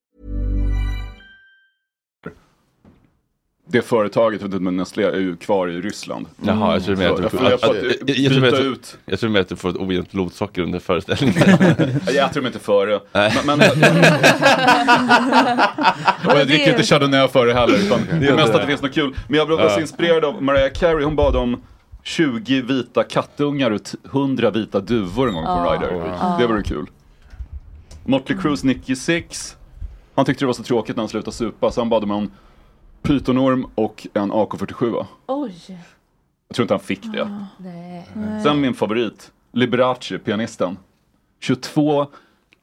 J: det företaget, jag vet inte, men Nestlé är ju kvar i Ryssland.
A: Jaha, jag tror mer att
J: Så
A: du
J: jag får- jag
A: att-
J: får
A: att- jag- jag tror mer
J: byta
A: att du-
J: ut.
A: jag tror mer att du får ett ojämnt blodsocker under föreställningen.
J: Jag äter dem inte före.
A: Nej.
J: Men, men, Och jag dricker inte Chardonnay före heller. Utan det
A: gör
J: är mest
A: det.
J: att det finns något kul. Men jag blev så
A: Ja.
J: inspirerad av Mariah Carey. Hon bad om 20 vita kattungar och t- 100 vita duvor en gång på
E: Ah,
J: en rider.
E: ah. Mm.
J: Det vore kul. Motley Crues Nicky Six. Han tyckte det var så tråkigt när han slutade supa så han bad om en pytonorm och en AK47.
E: Oj.
J: Jag tror inte han fick det.
E: Ah. Nej.
J: Sen min favorit, Liberace, pianisten. 22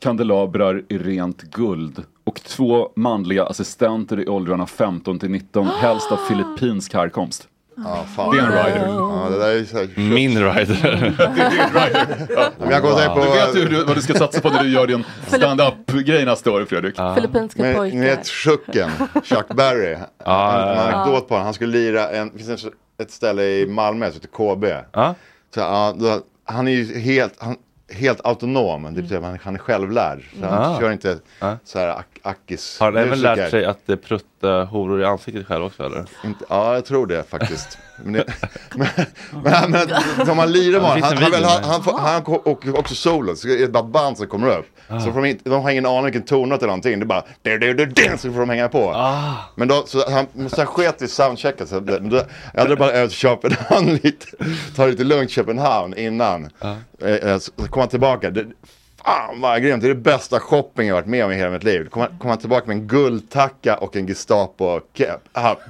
J: kandelabrar i rent guld och två manliga assistenter i åldrarna 15 till 19,
I: Ah!
J: helst av filippinsk härkomst.
I: Ja,
J: fan. Det är en rider.
I: Ah, Ja, det där är så här,
A: Min rider.
J: Ja.
I: Men jag kommer att tänka på-
J: Du vet ju hur- vad du ska satsa på när du gör din stand-up-grej nästa år Fredrik.
A: Ah.
E: Filippinska
I: Men,
E: pojkar.
I: Ni vet Chucken, Chuck Berry.
A: ja,
I: en
A: ja.
I: en anekdot på honom. Han skulle lira, en, det finns ett ställe i Malmö som heter KB. Så, ja, då, han är ju helt, han, helt autonom, det betyder att han, han är självlärd. Så
A: Mm.
I: han
A: Ah.
I: kör inte så här ak- ackis
A: Har han även
I: musiker.
A: lärt sig att eh, prutta horor i ansiktet själv också eller?
I: Inte, ja, jag tror det faktiskt. Men, det, men, men, men de han lirar med
A: Det
I: honom, han,
A: finns en
I: han,
A: video
I: vill
A: med
I: ha-
A: det.
I: han, får- han ko- och också solo, så det är bara band som kommer upp.
A: Ah.
I: Så får de, inte, de har ingen aning vilken tonart eller någonting, det är bara du, du, du, du, så får de hänga på.
A: Ah.
I: Men då, så han, men så han sket i soundchecket, så det, men då, jag hade bara över till Köpenhamn lite, ta det lite lugnt Köpenhamn innan.
A: Ah.
I: Eh, eh, Så kom han tillbaka, det, fan vad grymt, det är det bästa shopping jag varit med om i hela mitt liv. Då kom han, kom han tillbaka med en guldtacka och en Gestapo-cap.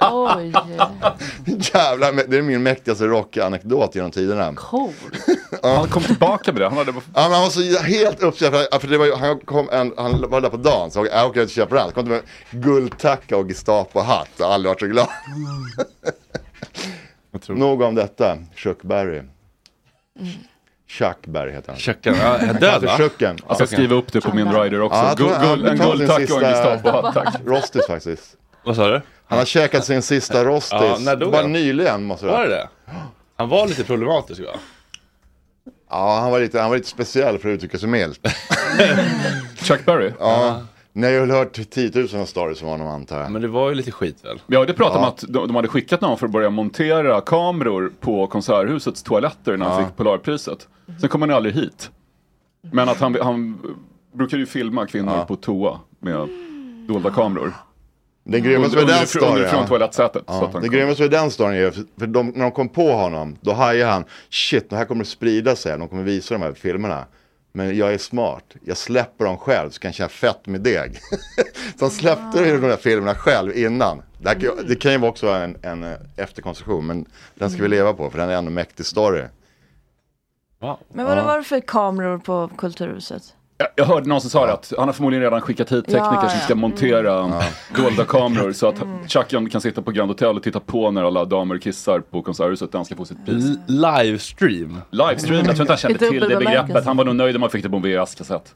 A: Oh,
E: Oj.
I: Jävlar, men det är min mäktigaste rockanekdot genom tiderna.
E: Cool.
J: Han kom tillbaka med det. Han, hade... ja,
I: men han var så helt uppskattad. För det var, ju- han, kom en, han var där på dagen, så jag åker ut och köper allt. Kom till mig med guldtacka och Gestapo-hatt. Jag har aldrig varit så glad.
H: Mm.
I: Nog om detta. Chuck Berry. Chuck Berry heter han. Alltså,
A: Chucken, ja, död, va?
I: Chucken.
A: Jag ska skriva upp det på min rider också.
I: jag tror
A: Guld-
I: han
A: guld- en
I: betalade sin
A: guldtacka och en
I: sista
A: Gestapo-hatt, tack.
I: Rostis faktiskt.
A: Vad sa du?
I: Han har käkat sin sista Rostis.
A: Ja, när dog
I: Bara
A: han?
I: nyligen måste
A: Var det det? Han var lite problematisk va?
I: Ja, han var lite, han var lite speciell för att uttrycka sig milt.
J: Chuck Berry?
I: Ja. Ni har ju hört 10 000 stories om honom antar jag.
A: Men det var ju lite skit väl?
J: Ja, det pratade om
I: Ja.
J: att de, de hade skickat någon för att börja montera kameror på Konserthusets toaletter när han
I: Ja.
J: fick Polarpriset. Sen kom han ju aldrig hit. Men att han, han brukade ju filma kvinnor på toa med dolda kameror.
I: Det grymmaste med
J: Under-
I: den
J: underifrån- Underifrån
I: storyn. ja.
J: toalettsätet. så
I: Ja.
J: att han
I: Det
J: kom.
I: grymmaste med den storyn är för- för de, när de kom på honom, då hajade han, shit, det här kommer att sprida sig, de kommer visa de här filmerna. Men jag är smart, jag släpper dem själv så kan jag tjäna fett med deg. så han släppte ju de där filmerna själv innan. Det, här, kan ju- det kan ju också vara en, en eh, efterkonstruktion, men den ska vi leva på för den är ändå en mäktig story.
F: Men vad
J: Ja.
F: var det för kameror på Kulturhuset?
J: Jag, jag hörde någon som sa det att han har förmodligen redan skickat hit tekniker
F: Ja,
J: som
F: ja.
I: Mm.
J: ska montera dolda kameror så att Chucken kan sitta på Grand Hotel och titta på när alla damer kissar på Konserthuset där han ska få sitt pris.
A: L- livestream?
J: Livestream, jag tror inte han kände
A: I
J: till
A: dubbel
J: det begreppet.
A: bemärkelse.
J: Han var nog nöjd om han fick det på en VHS-kassett.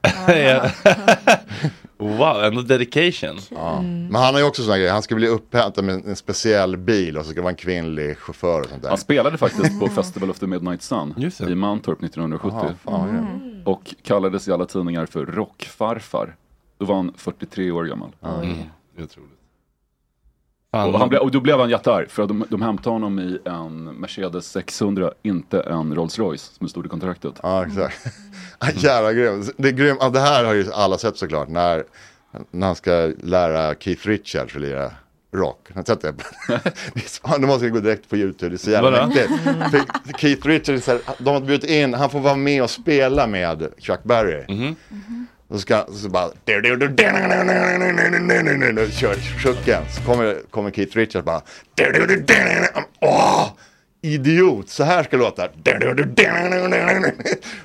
A: wow, ändå dedication.
I: Ja. Men han har ju också sådana grejer, han ska bli upphämtad med en, en speciell bil och så ska det vara en kvinnlig chaufför och sånt där.
J: Han spelade faktiskt på Festival of the Midnight Sun i Mantorp 1970.
I: Aha, fan, ja.
J: Och kallades i alla tidningar för Rockfarfar. Då var han 43 år gammal. Mm. Och, han ble, och då blev han jättearg för att de, de hämtade honom i en Mercedes 600, inte en Rolls Royce som det stod i kontraktet.
I: Ja, exakt. Jävla grym. Det, är grym. Ja, det här har ju alla sett såklart. När, när han ska lära Keith Richards att lira rock. Har ni sett det? Det är så- Ja, Nu måste jag gå direkt på YouTube. Det är så jävla
A: Vadå?
I: mäktigt. För Keith Richards, så här, de har bjudit in, han får vara med och spela med Chuck Berry.
A: Mhm.
F: Mm.
I: Då ska så bara... Kör chucken. Så kommer, kommer Keith Richards bara... Åh! Idiot! Så här ska det låta.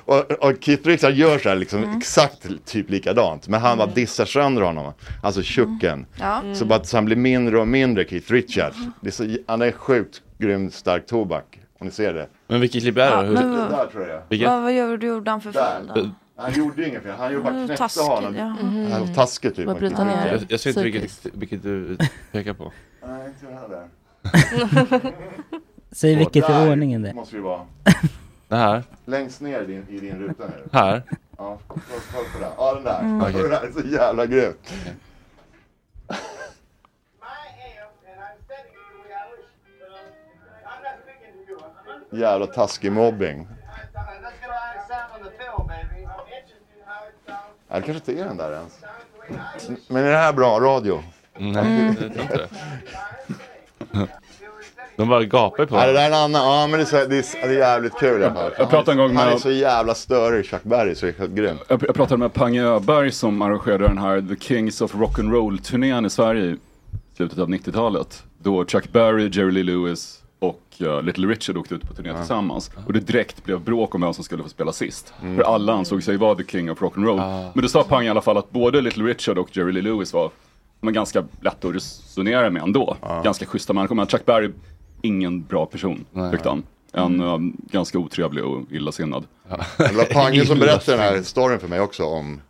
I: Och, och Keith Richards gör så här liksom
F: Mm.
I: exakt typ likadant. Men han bara dissar sönder honom. Alltså chucken.
F: Mm. Ja. Mm.
I: Så bara att han blir mindre och mindre Keith Richards. Det är så, han är sjukt grym stark tobak. Om ni ser det.
A: Men vilket klipp är det? Hur-
F: men vad-
I: Där tror jag.
A: Vilket?
F: Vad, vad gjorde, gjorde han för fel då?
I: Han gjorde inget fel. Han gjorde bara
F: Mm,
I: knäckte
F: taskig,
I: honom.
F: ja.
I: Mm.
F: Mhm.
I: Han var taskig typ.
F: Bara
I: mot
F: bryta
I: Keith
F: ner.
I: Richards.
A: Jag, jag ser inte vilket, vilket du pekar på.
I: Nej, inte den här där.
H: Säg
I: Och
H: vilket i
I: där
H: ordningen det är.
I: måste vi vara.
A: Det här?
I: Längst ner i din, i din ruta nu.
A: Här?
I: Ja, kolla- kolla på det. här. Ja, den där.
A: Mm. Okej.
I: Den där är så jävla grym. Jävla taskig mobbing. Ja, det kanske inte är den där ens. Men är det här bra radio?
A: Nej, det tror jag inte. De bara gapar på
I: Ja, det
A: honom.
I: där är en annan. Ja, men det är, så, det är, det är jävligt kul i alla fall.
J: Jag pratade en gång med-
I: Han är så jävla störig, Chuck Berry, så det är helt grym.
J: Eh, Jag, jag pratade med Pange Öberg som arrangerade den här The Kings of Rock'n'Roll-turnén i Sverige i slutet av 90-talet. Då Chuck Berry, Jerry Lee Lewis och eh, Little Richard åkte ut på turné tillsammans. Och det direkt blev bråk om vem som skulle få spela sist.
A: Mm.
J: För alla ansåg sig vara The King of Rock'n'Roll. Men då sa Pange i alla fall att både Little Richard och Jerry Lee Lewis var men, ganska lätta att resonera med ändå. Ganska schyssta människor. Men Chuck Berry, ingen bra person, tyckte han. En eh, ganska otrevlig och illasinnad.
I: Det var Pange som berättade den här storyn för mig också om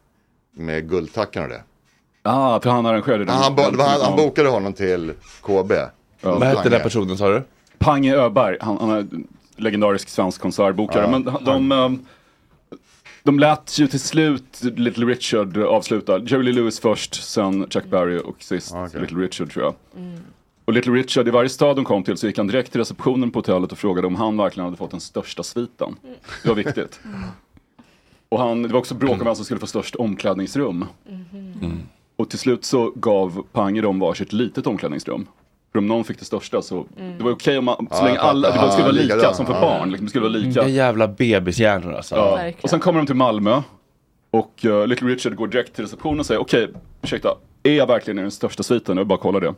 I: med guldtackan och det.
J: Ja, ah, för han arrangerade den.
I: Han, bo, det var han, han bokade honom till KB.
J: Vad hette den här
A: personen sa du?
J: Pange Öberg, han, han är legendarisk svensk konsertbokare.
A: Ja,
J: men de, de, ehm, de lät ju till slut Little Richard avsluta. Jerry Lee Lewis först, sen Chuck Berry och sist Little Richard tror jag. Och Little Richard, i varje stad de kom till så gick han direkt till receptionen på hotellet och frågade om han verkligen hade fått den största sviten. Det var viktigt. Och han, det var också bråk om vem som skulle få störst omklädningsrum. Och till slut så gav Pange dem varsitt litet omklädningsrum. För om någon fick det största så, det var okej om man, så
A: Ja,
J: länge
A: jag
J: alla, det
A: fattar.
J: var- skulle vara
A: Ja,
J: lika
A: likadant.
J: som för
A: Ja.
J: barn. Liksom, det skulle vara lika.
A: Vilka jävla bebishjärnor alltså.
J: Ja. Och sen kommer de till Malmö. Och eh, Little Richard går direkt till receptionen och säger okej, ursäkta, är jag verkligen i den största sviten? Jag vill bara kolla det.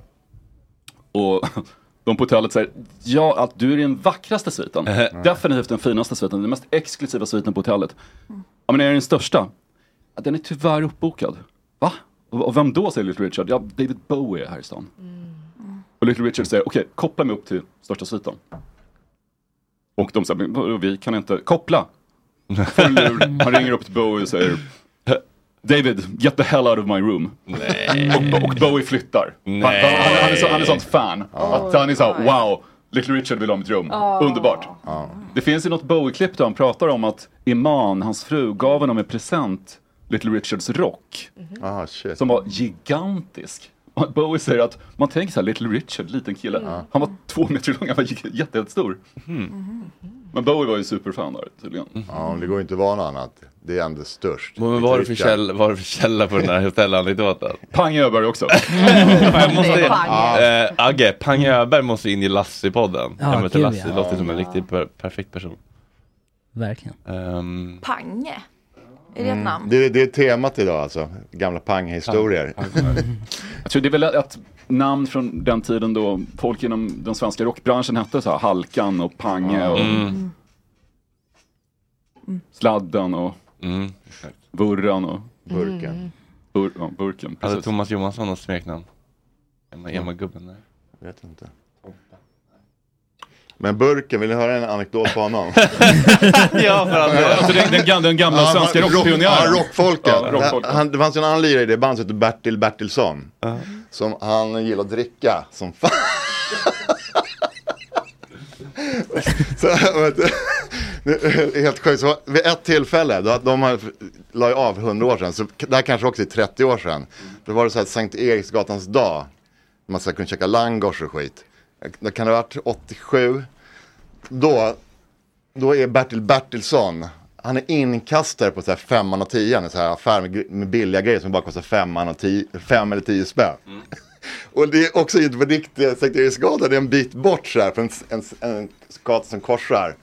J: Och de på hotellet säger, ja, att du är i den vackraste sviten. Definitivt den finaste sviten, den mest exklusiva sviten på hotellet. Ja, men är det den största? Ja, den är tyvärr uppbokad. Va? Och och vem då, säger Little Richard? Ja, David Bowie är här i stan. Och Little Richard säger, okej, koppla mig upp till största sviten. Och de säger, "Men vadå, vi kan inte, koppla! Får en lur. Han ringer upp till Bowie och säger, David, get the hell out of my room. Och, och Bowie flyttar. Han, han, han, är så, han är sånt fan. att han är så här, wow, Little Richard vill ha mitt rum.
A: Ah.
J: Underbart. Det finns ju något Bowie-klipp där han pratar om att Iman, hans fru, gav honom en present, Little Richards rock. Som var gigantisk. Och Bowie säger att man tänker så här, Little Richard, liten kille. Han var två meter lång, han var jätte- jättestor. Men Bowie var ju superfan där tydligen.
I: Ja, men det går ju inte att vara något annat. Det är ändå störst.
A: Men vad var det för källa, vad var det för källa på den här hotellanekdoten?
J: Pang Öberg också.
A: jag måste in.
J: Pang.
A: Eh, Agge, Pang Öberg måste in i Lassie-podden.
H: Ja,
A: jag möter
H: gud,
A: Lassie,
H: ja.
A: låter som en riktigt per perfekt person.
H: Verkligen.
A: Ehm,
C: Pange? Är
A: Mm.
C: det ett namn?
I: Mm. Det, det är temat idag alltså. Gamla panghistorier.
J: Jag tror det är väl ett namn från den tiden då folk inom den svenska rockbranschen hette så här Halkan och Pange och
A: Mm.
J: Sladden och Vurran och
I: Mm. Burken. Mm.
J: Bur, ja, burken,
A: hade
J: precis.
A: Thomas Johansson något smeknamn? Emma- Emma-gubben? nej.
I: Vet inte. Men Burken, vill ni höra en anekdot på honom?
A: Ja, för all del.
J: Alltså, den- den gam- den gamla svenska
I: han-
J: rockpionjären.
I: Ja, rockfolket.
J: Ja, rockfolket.
I: Han, det fanns ju en annan lirare i det bandet som hette Bertil Bertilsson. Som han gillade att dricka som fan. så, vet du, det är helt sjukt. Så vid ett tillfälle, då, de har- la ju av 100 år sedan, så det här kanske också är 30 år sedan. Då var det så här Sankt Eriksgatans dag. Man ska kunna käka langos och skit. Då kan det ha varit 87. Då då är Bertil Bertilsson, han är inkastare på så här femman och tian, en så här affär med, gre- med billiga grejer som bara kostar femman och tio, fem eller tio spänn. Och det är också inte på riktiga Sankt Eriksgatan, det är en bit bort så här, för en, en, en gata som korsar.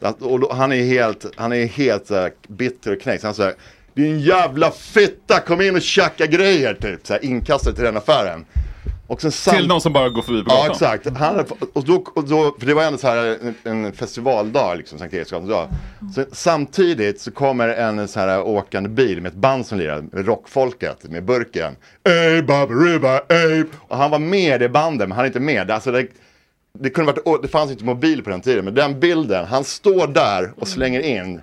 I: Och då, han är helt, han är helt så här, bitter och knäckt, så han säger din jävla fitta, kom in och tjacka grejer, typ. Så här, inkastare till den affären. Och sen sam-
J: Till någon som bara går förbi på gatan.
I: Ja exakt, han hade, och då, och då, för det var ändå så här en, en festivaldag, liksom, Sankt Eriksgatan dag. Så samtidigt så kommer en så här åkande bil med ett band som lirar, med rockfolket, med burken. Ey, baba, ruba, ey. Och han var med i det bandet, men han är inte med. Alltså, det, det, kunde varit, och det fanns inte mobil på den tiden, men den bilden, han står där och slänger in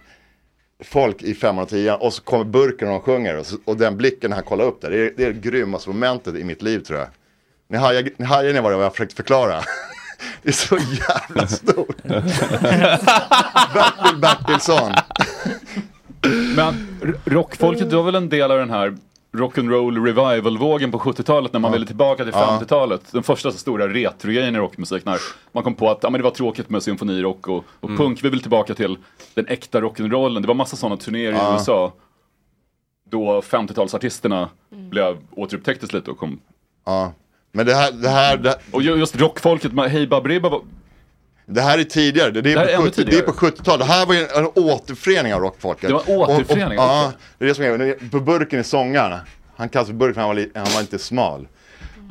I: folk i femman och tian och så kommer burken och de sjunger och, så, och den blicken när han kollar upp där, det är det, är det grymmaste momentet i mitt liv tror jag. Ni hajar, ni hajar ni vad det var jag försökte förklara? Det är så jävla stort. Bertil Bertilsson.
J: Men r- rockfolket, du var väl en del av den här rock'n'roll revival-vågen på 70-talet när man ville tillbaka till
I: Ja.
J: 50-talet. Den första så stora retrogrejen i rockmusik när man kom på att ja, men det var tråkigt med symfonirock och, och
I: Mm.
J: punk. Vi vill tillbaka till den äkta rock'n'rollen. Det var massa sådana turnéer
I: Ja.
J: i USA. Då 50-talsartisterna blev återupptäcktes lite och kom
I: Ja. Men det här, det här, det här...
J: Och ju- just rockfolket, man- Hey Baberiba var...
I: Det här är tidigare, det, det, är,
J: Det här är
I: på
J: ännu
I: 70, det är
J: tidigare.
I: på 70-talet. Det här var ju en, en återförening av rockfolket.
J: Det var en
I: Och- och-
J: återförening av
I: Ja,
J: rockfolket.
I: det är det som är grejen. På Burken är sångaren. Han kallas för Burken för han var, li, han var inte smal.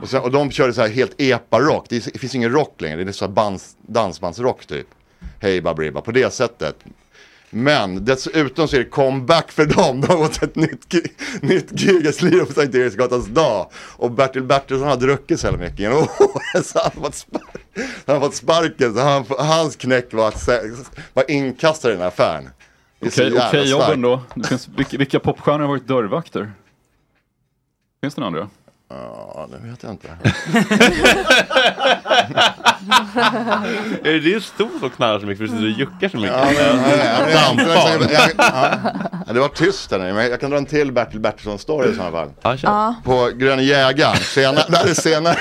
I: Och, sen, och de körde så här helt epa-rock. Det, är- det finns ingen rock längre, det är så här bands, dansbandsrock typ. Hej Baberiba, på det sättet. Men dessutom så är det comeback för dem. De har fått ett nytt, gi- nytt gig. Jag slirade på Sankt Eriksgatans dag. Och Bertil Bertilsson har druckit så jävla mycket genom åren. Så han har fått spark- han har fått sparken. Så han, hans knäck var att sä- var inkastare i den här affären. Det är så
J: Okej,
I: jävla
J: okej
I: starkt.
J: jobben då. Det finns, vilka, vilka popstjärnor har varit dörrvakter? Finns det några andra?
I: Ja, det vet jag inte.
A: Är det din stol som knarrar så mycket för att du sitter och juckar så mycket?
I: Ja, men, nej, nej, jag- jag- jag- jag-
A: Dampar.
I: ja. Det var tyst där nu, men jag kan dra en till Bertil Bertilsson-story i sådana fall.
A: kör. Ja.
I: På Gröna Jägaren, senare, där är senare.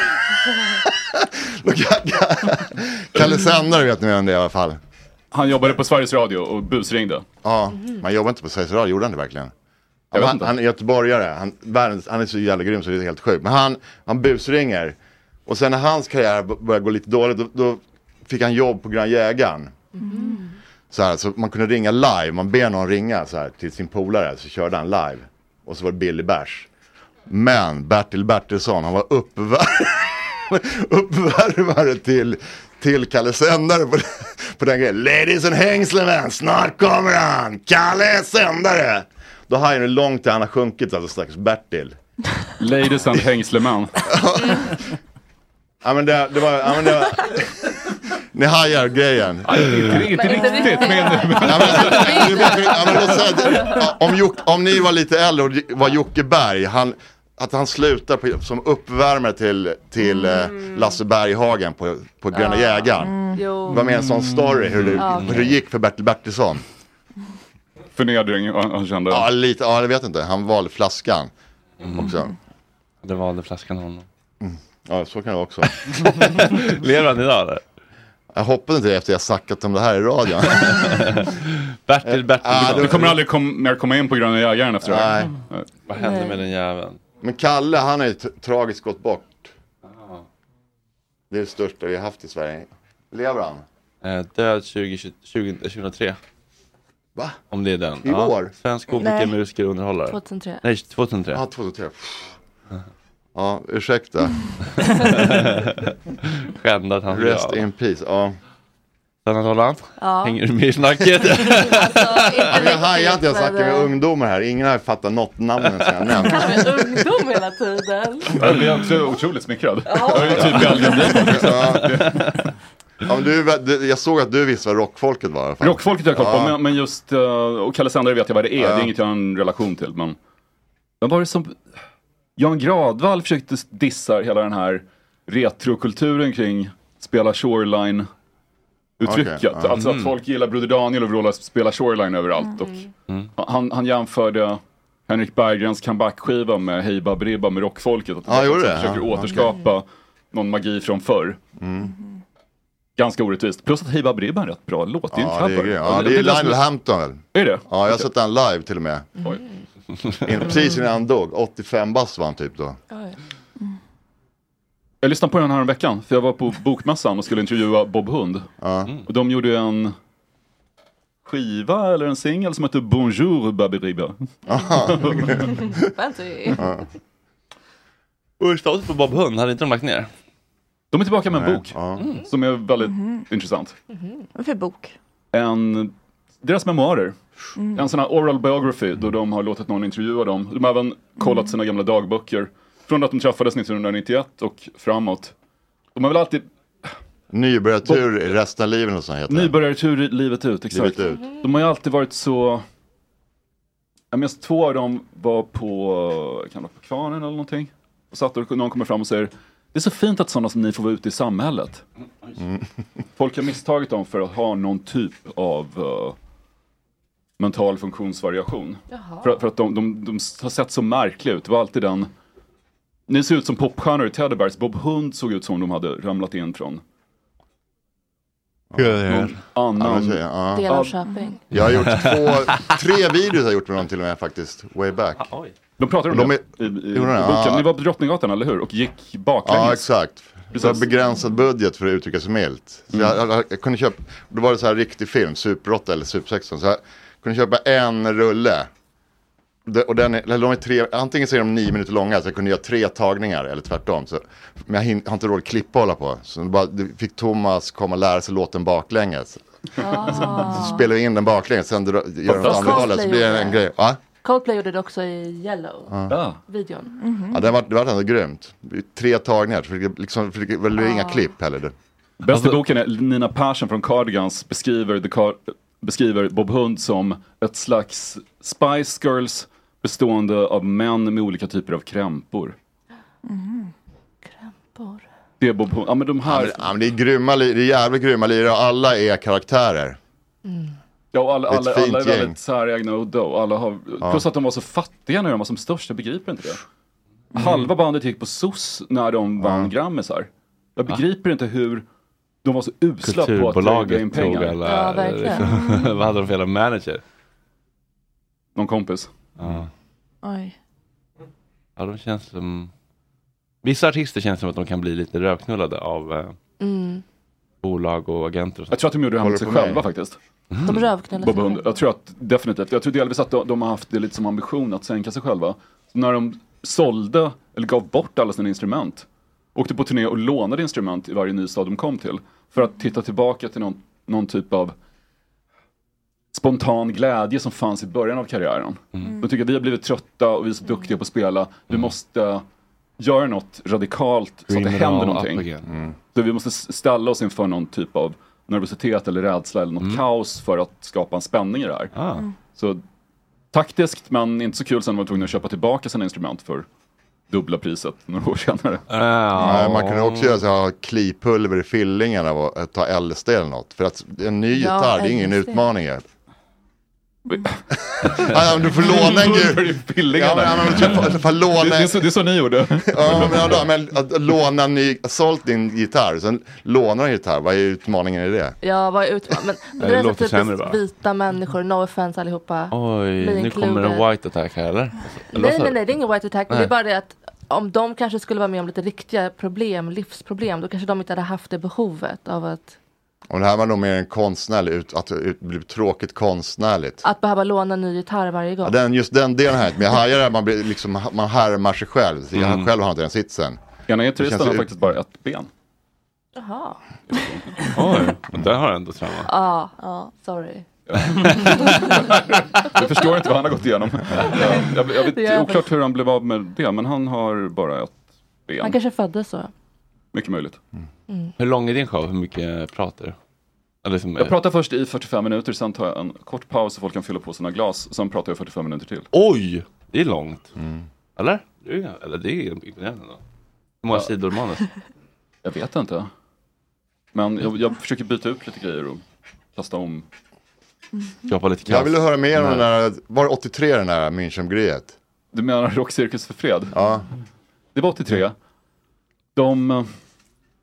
I: Då kan- kan- Kalle Sändare vet ni vem det är i alla fall.
J: Han jobbade på Sveriges Radio och busringde.
I: Ja, man jobbar inte på Sveriges Radio, gjorde han det verkligen?
J: Jag vet
I: Han,
J: inte.
I: han är göteborgare, han, världens, han är så jävla grym så det är helt sjukt. Men han, han busringer. Och sen när hans karriär b- började gå lite dåligt, då, då fick han jobb på Gröna Jägaren.
K: Mm.
I: Så, här, så man kunde ringa live, man ber någon ringa så här, till sin polare, så körde han live. Och så var det billig bärs. Men Bertil Bertilsson, han var uppvärmare, uppvärmare till, till Kalle Sändare på, den- på den grejen. Ladies and hängslen, snart kommer han, Kalle Sändare! Då hajar du långt till han har sjunkit, alltså stackars Bertil.
J: Ladies and hängsleman.
I: Ja men det, det var, ja men det var... Ni hajar grejen.
J: Inte, inte riktigt, men...
I: Du vet, ja, men låt säga att- om, Jock, om ni var lite äldre och var Jocke Berg, han, att han slutar på, som uppvärmare till, till eh, Lasse Berghagen på, på Gröna Jägaren.
E: Mm. Jo. Mm.
I: Det var mer en sån story hur det,
E: Ja, okej.
I: hur det gick för Bertil Bertilsson.
J: Förnedring, han han kände.
I: Ja, lite, ja, jag vet inte, han valde flaskan också.
A: Mm. Det valde flaskan honom. Mm.
I: Ja, så kan det vara också.
A: Lever han idag eller?
I: Jag hoppas inte det efter jag sackat om det här i radion.
A: Bertil
I: Ja,
A: Bertil.
I: det-
J: Du kommer aldrig kom, mer komma in på Gröna Jägaren efter det här.
A: Vad
I: Nej.
A: hände med den jäveln?
I: Men Kalle, han har ju t- tragiskt gått bort. Det är det största vi har haft i Sverige. Lever han?
A: Eh, död 20, 20, 2003.
I: Va?
A: Om det är den.
I: I år?
A: Svensk komiker,
E: Nej.
A: musiker och underhållare.
E: 2003.
A: Nej, 2003.
I: Ja, 2003. Ja, ursäkta.
A: Skämde att han
I: Rest in peace, ja.
A: Lennart Holland,
E: Ja. Alltså,
A: hänger du med i snacket?
I: Ja, men jag hajar inte, jag
E: riktigt,
I: snackar med
E: men- eh,
I: ungdomar här. Ingen har fattat något namn som jag nämnt.
E: Kanske ungdom hela tiden.
J: Jag blev också otroligt smickrad. Jag är ju typ belgien
I: Ja, men du, är vä- du, jag såg att du visste vad rockfolket var i alla fall.
J: Rockfolket har jag koll på,
I: Ja.
J: men, men just, eh, och Kalle Sändare vet jag vad det är, det
I: Ja.
J: är inget jag har en relation till. Men vem var det som, Jan Gradvall försökte dissa hela den här retrokulturen kring spela shoreline uttrycket.
A: Okej, ja.
J: Alltså att
A: Mm.
J: folk gillar Broder Daniel och vrålar spela shoreline överallt.
A: Mm.
J: Och han, han jämförde Henrik Berggrens comeback-skiva med Hej Baberiba med rockfolket. Att
I: Ja, gjorde
J: liksom
I: det?
J: försöker
I: Ja, Mm.
J: återskapa någon magi från förr. Ganska orättvist. Plus att Hey Baberiba är en rätt bra låt. Det är ju en
I: Ja, det är,
J: cover.
I: grej. ja, det är Lionel Hampton väl?
J: Är det?
I: Ja, jag har sett den live till och med. In, precis innan han dog, 85 bast var han typ då.
J: Jag lyssnade på den här om veckan, för jag var på Bokmässan och skulle intervjua Bob Hund. Och de gjorde en skiva eller en singel som hette Bonjour Baberiba.
E: Fancy.
A: Urstatus på Bob Hund, hade inte de lagt ner?
J: De är tillbaka med en
A: Nej,
J: bok som är väldigt intressant.
F: Vad för bok?
J: En, deras memoarer. En sån här oral biography då de har låtit någon intervjua dem. De har även kollat sina gamla dagböcker. Från att de träffades 1991 och framåt. De har väl alltid
I: Nybörjartur i resten av livet eller sånt heter det.
J: Nybörjartur i livet ut, exakt.
I: Livet ut.
J: De har ju alltid varit så... Jag minns två av dem var på, kan det vara på Kvarnen eller någonting. Och satt och någon kommer fram och säger Det är så fint att sådana som ni får vara ute i samhället.
I: Mm.
J: Folk har misstagit dem för att ha någon typ av eh, mental funktionsvariation.
E: Jaha.
J: För, för att de, de, de har sett så märkliga ut. Det var alltid den... Ni ser ut som popstjärnor i Teddybears. Bob Hund såg ut som om de hade ramlat in från Någon annan.
I: Ja.
E: Del av Köping.
I: Jag har gjort två, tre videos har jag gjort med dem till och med faktiskt, way back.
J: Ah, De pratade om
I: De är-
J: det i, i, i
I: Gjorde de?
J: boken.
I: Ja.
J: Ni var på Drottninggatan, eller hur? Och gick baklänges.
I: Ja, exakt. Det var begränsad budget för att uttrycka sig milt. Så
J: Mm.
I: jag, jag, jag kunde köpa, då var det så här riktig film, Super 8 eller Super 16. Så jag kunde köpa en rulle. Det- Och den är, eller de är tre, antingen så är de nio minuter långa så jag kunde göra tre tagningar eller tvärtom. Så, men jag hin, har inte råd att klippa och hålla på. Så det bara, det fick Thomas komma och lära sig låten baklänges. Så spelade vi in den baklänges, sen dra- gör de åt andra hållet så blir det en grej. Ja,
E: Coldplay gjorde det också i Yellow.
I: Ja.
E: Videon.
I: ja det, var, det var ändå grymt. Tre tagningar, så fick, jag liksom, fick, det var inga
E: Ah.
I: klipp heller. Det.
J: Bästa
I: Alltså-
J: boken är Nina Persson från Cardigans beskriver, the car beskriver Bob Hund som ett slags Spice Girls bestående av män med olika typer av krämpor.
E: Krämpor.
J: Det är Bob Hund. Ja men de
I: Ja,
J: här.
I: men, ja, men det är grymma, li- det är jävligt grymma lirare och alla är karaktärer.
J: Ja, och alla,
I: Ett
J: alla,
I: fint
J: alla är
I: gäng.
J: väldigt säregna och udda. och Alla har,
I: Ja.
J: Plus att de var så fattiga när de var som störst, jag begriper inte det.
I: Mm.
J: Halva bandet gick på SOS när de vann Grammisar. Jag begriper inte hur de var så usla på att lägga in
A: Kulturbolaget tog
J: pengar.
A: alla... liksom, vad hade de för jävla manager?
J: Någon kompis.
A: Ja.
F: Oj.
A: ja, de känns som... Vissa artister känns som att de kan bli lite rövknullade av eh,
E: Mm.
A: bolag och agenter och sånt.
J: Jag tror att de gjorde det här mot sig själva faktiskt.
E: De rövknullade
J: Bob
E: sig
J: Hund.
E: själva.
J: Jag tror att definitivt. Jag tror delvis att de, de har haft det lite som ambition att sänka sig själva. Så när de sålde, eller gav bort alla sina instrument, åkte på turné och lånade instrument i varje ny stad de kom till. För att titta tillbaka till någon, någon typ av spontan glädje som fanns i början av karriären.
E: Mm.
J: De tycker att vi har blivit trötta och vi är så duktiga på att spela. Vi måste göra något radikalt så att det
A: Green
J: händer
A: Roll
J: någonting.
A: up again. Mm.
J: Så vi måste s- ställa oss inför någon typ av nervositet eller rädsla eller något kaos för att skapa en spänning i det här.
A: Mm.
J: Så taktiskt men inte så kul sen när man var tvungen att köpa tillbaka sina instrument för dubbla priset några år senare. Ah.
I: Nej, man kan ju också göra så här, ha klipulver i fillingarna och eh, ta LSD eller något. För att en ny
J: Ja,
I: gitarr, det är ingen
J: LSD.
I: utmaning. här. Ja, men du får låna en
J: Klipulver i
I: gul.
J: fillingarna.
I: Ja, men, ja, men, du får- du får låna...
J: Det- det är så- det är så ni gjorde.
I: Ja, men, ja, då, men att låna en ny, sålt din gitarr, sen lånar en gitarr, vad är utmaningen i det?
E: Ja, vad är utmanande. Men, men
I: Nej,
E: det
I: det
E: är så
I: låter
E: typiskt
I: sämre bara.
E: vita människor, no offense allihopa.
A: Oj,
E: Me
A: nu kommer
E: included.
A: en white attack här eller? Eller vad
E: Nej,
A: sa
E: nej,
A: du?
E: nej, det är ingen white attack. men Det
A: Nej.
E: är bara det att om de kanske skulle vara med om lite riktiga problem, livsproblem, då kanske de inte hade haft det behovet av att,
I: Och det här var nog mer en konstnärlig, ut, att det blir tråkigt konstnärligt.
E: att behöva låna ny gitarr varje gång.
I: Ja, den, just den delen här, men jag hajar det här, man, blir liksom, man härmar sig själv. Så Jag
J: Mm.
I: själv har inte den sitsen.
J: Ena
I: Det
J: gitarristen
I: känns
J: har
I: ju-
J: faktiskt bara ett ben.
E: Jaha.
A: Oj, där har jag ändå trauma.
E: Ja, sorry.
J: Jag förstår inte vad han har gått igenom. Ja, Jag, jag vet
E: Det är
J: oklart hur han blev av med det, men han har bara ett ben.
E: Han kanske föddes så.
J: Mycket möjligt.
E: Mm.
A: Hur lång är din show? Hur mycket pratar du? Eller som,
J: Jag pratar först i 45 minuter, sen tar jag en kort paus så folk kan fylla på sina glas. Sen pratar jag 45 minuter till.
A: Oj, det är långt.
I: Mm.
A: Eller? Det är- Eller det är imponerande då. Hur många sidor manus?
J: Jag vet inte. Men jag, jag försöker byta ut lite grejer och kasta om.
A: Skapa lite
I: Jag ville höra mer om
J: Nej.
I: den där, var det 83 den där Münchengrejet?
J: Du menar Rockcirkus för fred?
I: Ja.
J: Det var 83. De... eh,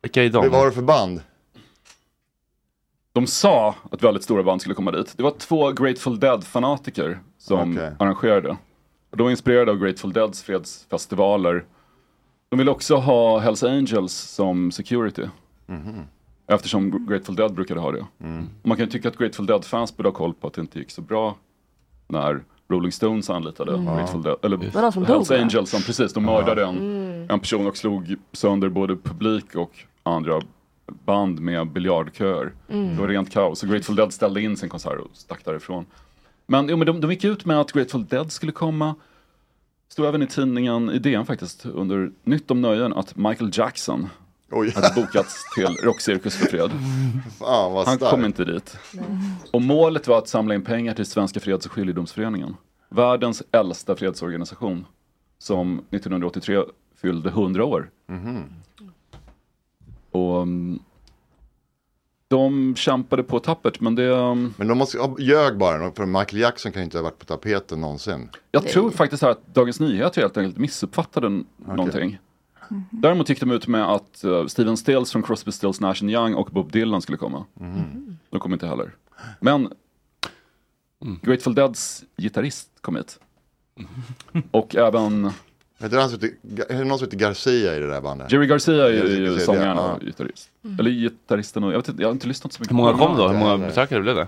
A: Vilka är de?
I: Vad var det för band?
J: De sa att väldigt stora band skulle komma dit. Det var två Grateful Dead-fanatiker som
I: Okej.
J: arrangerade. Och de var inspirerade av Grateful Deads fredsfestivaler. De ville också ha Hells Angels som security. Eftersom Gr- Grateful Dead brukade ha det. Och man kan ju tycka att Grateful Dead-fans borde ha koll på att det inte gick så bra när Rolling Stones anlitade
E: Mm.
J: Grateful Dead, eller
E: Var det de som
J: Hells
E: dog, va?
J: Angels, som precis, de mördade en,
E: Mm.
J: en person och slog sönder både publik och andra band med biljardköer.
A: Mm.
J: Det var rent kaos. Och Grateful Dead ställde in sin konsert och stack därifrån. Men, jo, men de, de gick ut med att Grateful Dead skulle komma. Stod även i tidningen, i DN faktiskt, under Nytt om Nöjen att Michael Jackson hade bokats till Rockcirkus för fred.
I: Fan vad
J: Han
I: starkt.
J: kom inte dit. Och målet var att samla in pengar till Svenska Freds och Skiljedomsföreningen. Världens äldsta fredsorganisation. Som 1983 fyllde 100 år. Och mm, de kämpade på tappert men det... um,
I: Men de måste, ja, ljög bara, för Michael Jackson kan ju inte ha varit på tapeten någonsin.
J: Jag tror faktiskt här att Dagens Nyheter helt enkelt missuppfattade n- någonting. Däremot gick de ut med att eh, Steven Stills från Crosby, Stills, Nash Young och Bob Dylan skulle komma. De kom inte heller. Men Grateful Deads gitarrist kom hit. Och även
I: Heter han som heter, är det någon som heter Garcia i det där bandet?
J: Jerry Garcia är
I: Jerry
J: ju
I: Garcia,
J: sångaren
I: ja.
J: och gitarrist. Eller gitarristen och, jag, vet inte, jag har inte lyssnat så mycket.
A: Hur många
J: på
A: kom då?
J: honom.
A: Hur många besökare blev det?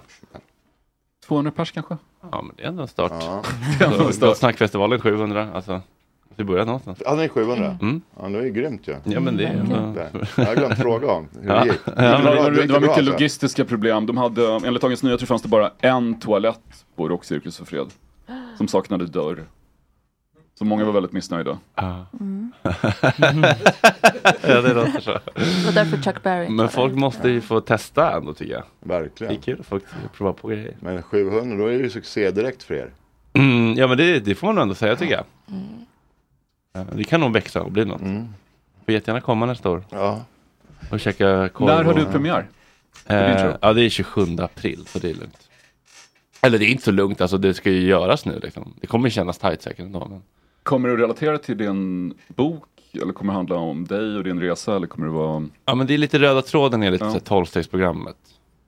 J: 200 pers kanske?
A: Ja, men det är ändå en start.
J: Det är ändå en
A: Så,
J: start.
A: Gott Snackfestivalen 700, alltså. Vi börjar någonstans.
I: Hade ni 700?
A: Mm.
I: Ja, det var ju grymt ju.
A: Ja, men det är
I: Mm,
A: ändå-
I: verkligen. Jag har glömt fråga om hur det gick.
J: Det var-
I: bra,
J: det var, det var
I: bra,
J: mycket
I: alltså.
J: logistiska problem. De hade, enligt Dagens Nyheter fanns det bara en toalett på Rockcirkus för fred. Som saknade dörr. Så många var väldigt missnöjda.
E: Mm.
A: ja, det låter så.
E: Det var därför Chuck Berry.
A: Men folk måste ju få testa ändå tycker jag.
I: Verkligen.
A: Det är kul att folk provar på grejer.
I: Men 700, då är det ju succé direkt för er.
A: Mm, ja men det, det får man nog ändå säga tycker jag. Ja, Det kan nog växa och bli något.
J: Mm.
A: Får jättegärna komma nästa år.
I: Ja.
A: Och käka korv.
J: När har
A: och-
J: du premiär? För din
A: Eh,
J: show?
A: ja det är 27 april så det är lugnt. Eller det är inte så lugnt alltså det ska ju göras nu liksom. Det kommer kännas tajt säkert ändå. Men...
J: Kommer du relatera till din bok? Eller kommer det handla om dig och din resa? Eller kommer det vara...
A: Ja men det är lite röda tråden enligt
J: Ja.
A: ja. tolvstegsprogrammet.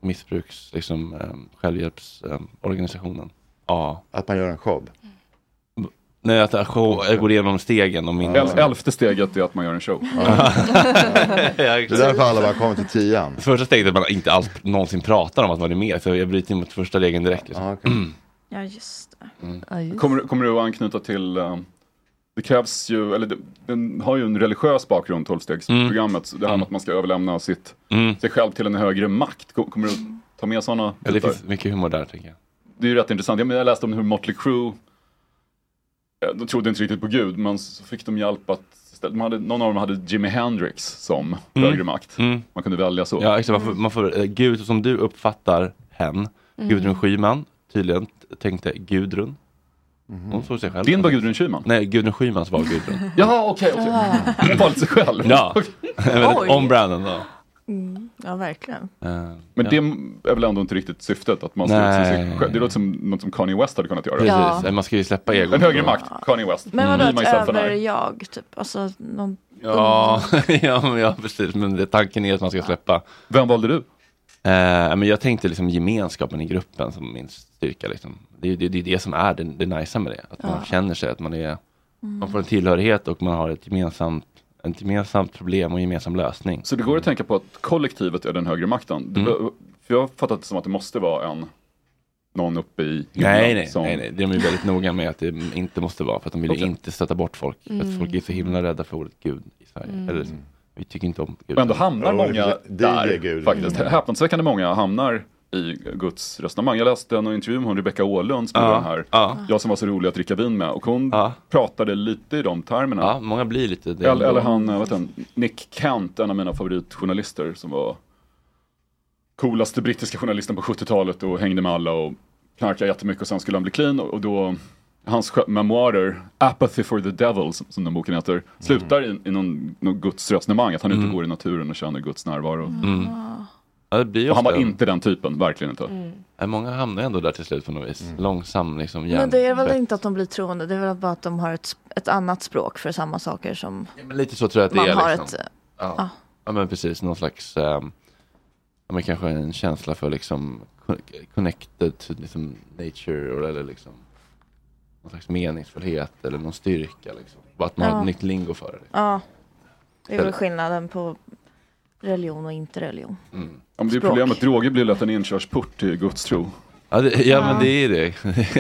A: Missbruks, liksom um, självhjälpsorganisationen. ja. Mm.
I: Att man gör en show.
A: Nej att jag show- jag går igenom stegen och min...
J: El- elfte steget är att man gör en show.
I: Det är därför alla bara kommer till tian.
A: Första steget är att man inte alls någonsin pratar om att man är med. Så jag bryter in mot första regeln direkt. Liksom.
C: Ja, just det.
J: Kommer, du- kommer du att anknyta till, eh, det krävs ju, eller det, den har ju en religiös bakgrund, tolvstegsprogrammet.
A: Mm.
J: Så Det här med att man ska överlämna sitt, sig själv till en högre makt. Ko- Kommer du att ta med sådana?
A: Ja, det finns mycket humor där tänker jag.
J: det är ju rätt intressant. Jag, menar, jag läste om hur Motley Crue, eh, de trodde inte riktigt på Gud, men så fick de hjälp att de hade, någon av dem hade Jimi Hendrix som
A: Mm.
J: högre makt.
A: Mm.
J: Man kunde välja så.
A: Ja, exakt, man får, man får, eh, Gud som du uppfattar hen.
J: Mm.
A: Gudrun Schyman tydligen t- tänkte Gudrun.
I: Mhm.
A: Hon såg sig själv.
J: Din var Gudrun Schyman?
A: Nej, Gudrun Schymans var Gudrun.
J: Jaha, okej. okej.
F: Ah.
J: Hon valde sig själv.
A: ja, väldigt
C: Oj.
A: on brand ändå.
C: Mm. Ja, verkligen.
A: Eh,
J: Men
A: ja.
J: det är väl ändå inte riktigt syftet? Att man ska
A: Nej.
J: utse sig själv. Det låter som något som Kanye West hade kunnat göra.
A: Precis, man ska ju släppa egon.
J: En högre makt, Kanye West.
C: Men vadå,
J: Be
C: ett
J: myself and I.
C: över-jag, typ? Alltså, någon...
A: Ja, ja, men ja precis. Men det, tanken är att man ska släppa.
J: Vem valde du?
A: men jag tänkte liksom gemenskapen i gruppen som min styrka. Liksom. Det, är- det, det är det som är det, det nice med det. Att man
J: Ja.
A: känner sig att man är
J: Mm.
A: Man får en tillhörighet och man har ett gemensamt, ett gemensamt problem och en gemensam lösning.
J: Så det går att tänka på att kollektivet är den högre makten? Det,
A: Mm.
J: För jag har fattat det som att det måste vara en, någon uppe i himlen
A: Nej, nej,
J: som...
A: nej, nej, de är ju väldigt noga med att det inte måste vara för att de vill ju
J: Okej.
A: inte stöta bort folk. För
J: Mm.
A: Att folk är så himla rädda för ordet Gud i Sverige.
J: Mm.
A: Eller, vi tycker inte om Gud.
J: Och ändå hamnar
A: Ja,
J: många
A: det är
J: där
A: Gud.
J: faktiskt.
A: Mm.
J: Häpnadsväckande många hamnar i Guds resonemang. Jag läste en intervju med hon Rebecca Åhlund som
A: Ja,
J: är den här,
A: ja.
J: jag som var så rolig att dricka vin med. Och hon pratade lite i de termerna.
A: Ja, många blir lite det.
J: eller, eller
A: ändå.
J: han, eh, vad heter han, Nick Kent, en av mina favoritjournalister som var coolaste brittiska journalisten på 70-talet och hängde med alla och knarkade jättemycket och sen skulle han bli clean och och då Hans sjö- memoarer, Apathy for the Devil, som, som den boken
A: Mm.
J: heter, slutar i, i någon, någon Guds resonemang, att han ute går i naturen och känner Guds närvaro.
A: Mm. Ja, det blir ju
J: Och han var
A: ofta-
J: inte den typen, verkligen inte.
A: Nej, Många hamnar ändå där till slut på något vis.
J: Mm.
A: Långsam liksom
C: Men det är väl
A: hjärntvätt.
C: inte att de blir troende, det är väl bara att de har ett, ett annat språk för samma saker som...
A: Men lite så tror jag att det
C: Man
A: är.
C: har
A: liksom.
C: ett- eh,
A: ja.
C: ja.
A: Ja. men precis, någon slags, ehm, ja, men kanske en känsla för liksom con- connected to liksom nature or, eller liksom någon slags meningsfullhet eller någon styrka liksom. Bara att man har
C: Ja.
A: ett nytt lingo för det.
C: Ja. Det är väl
A: Eller-
C: skillnaden på religion och inte religion.
J: Ja, men det är
C: Språk.
J: problemet, droger blir lätt en inkörsport till Guds tro.
A: Ja, det, ja, men
C: Ja.
A: det är det.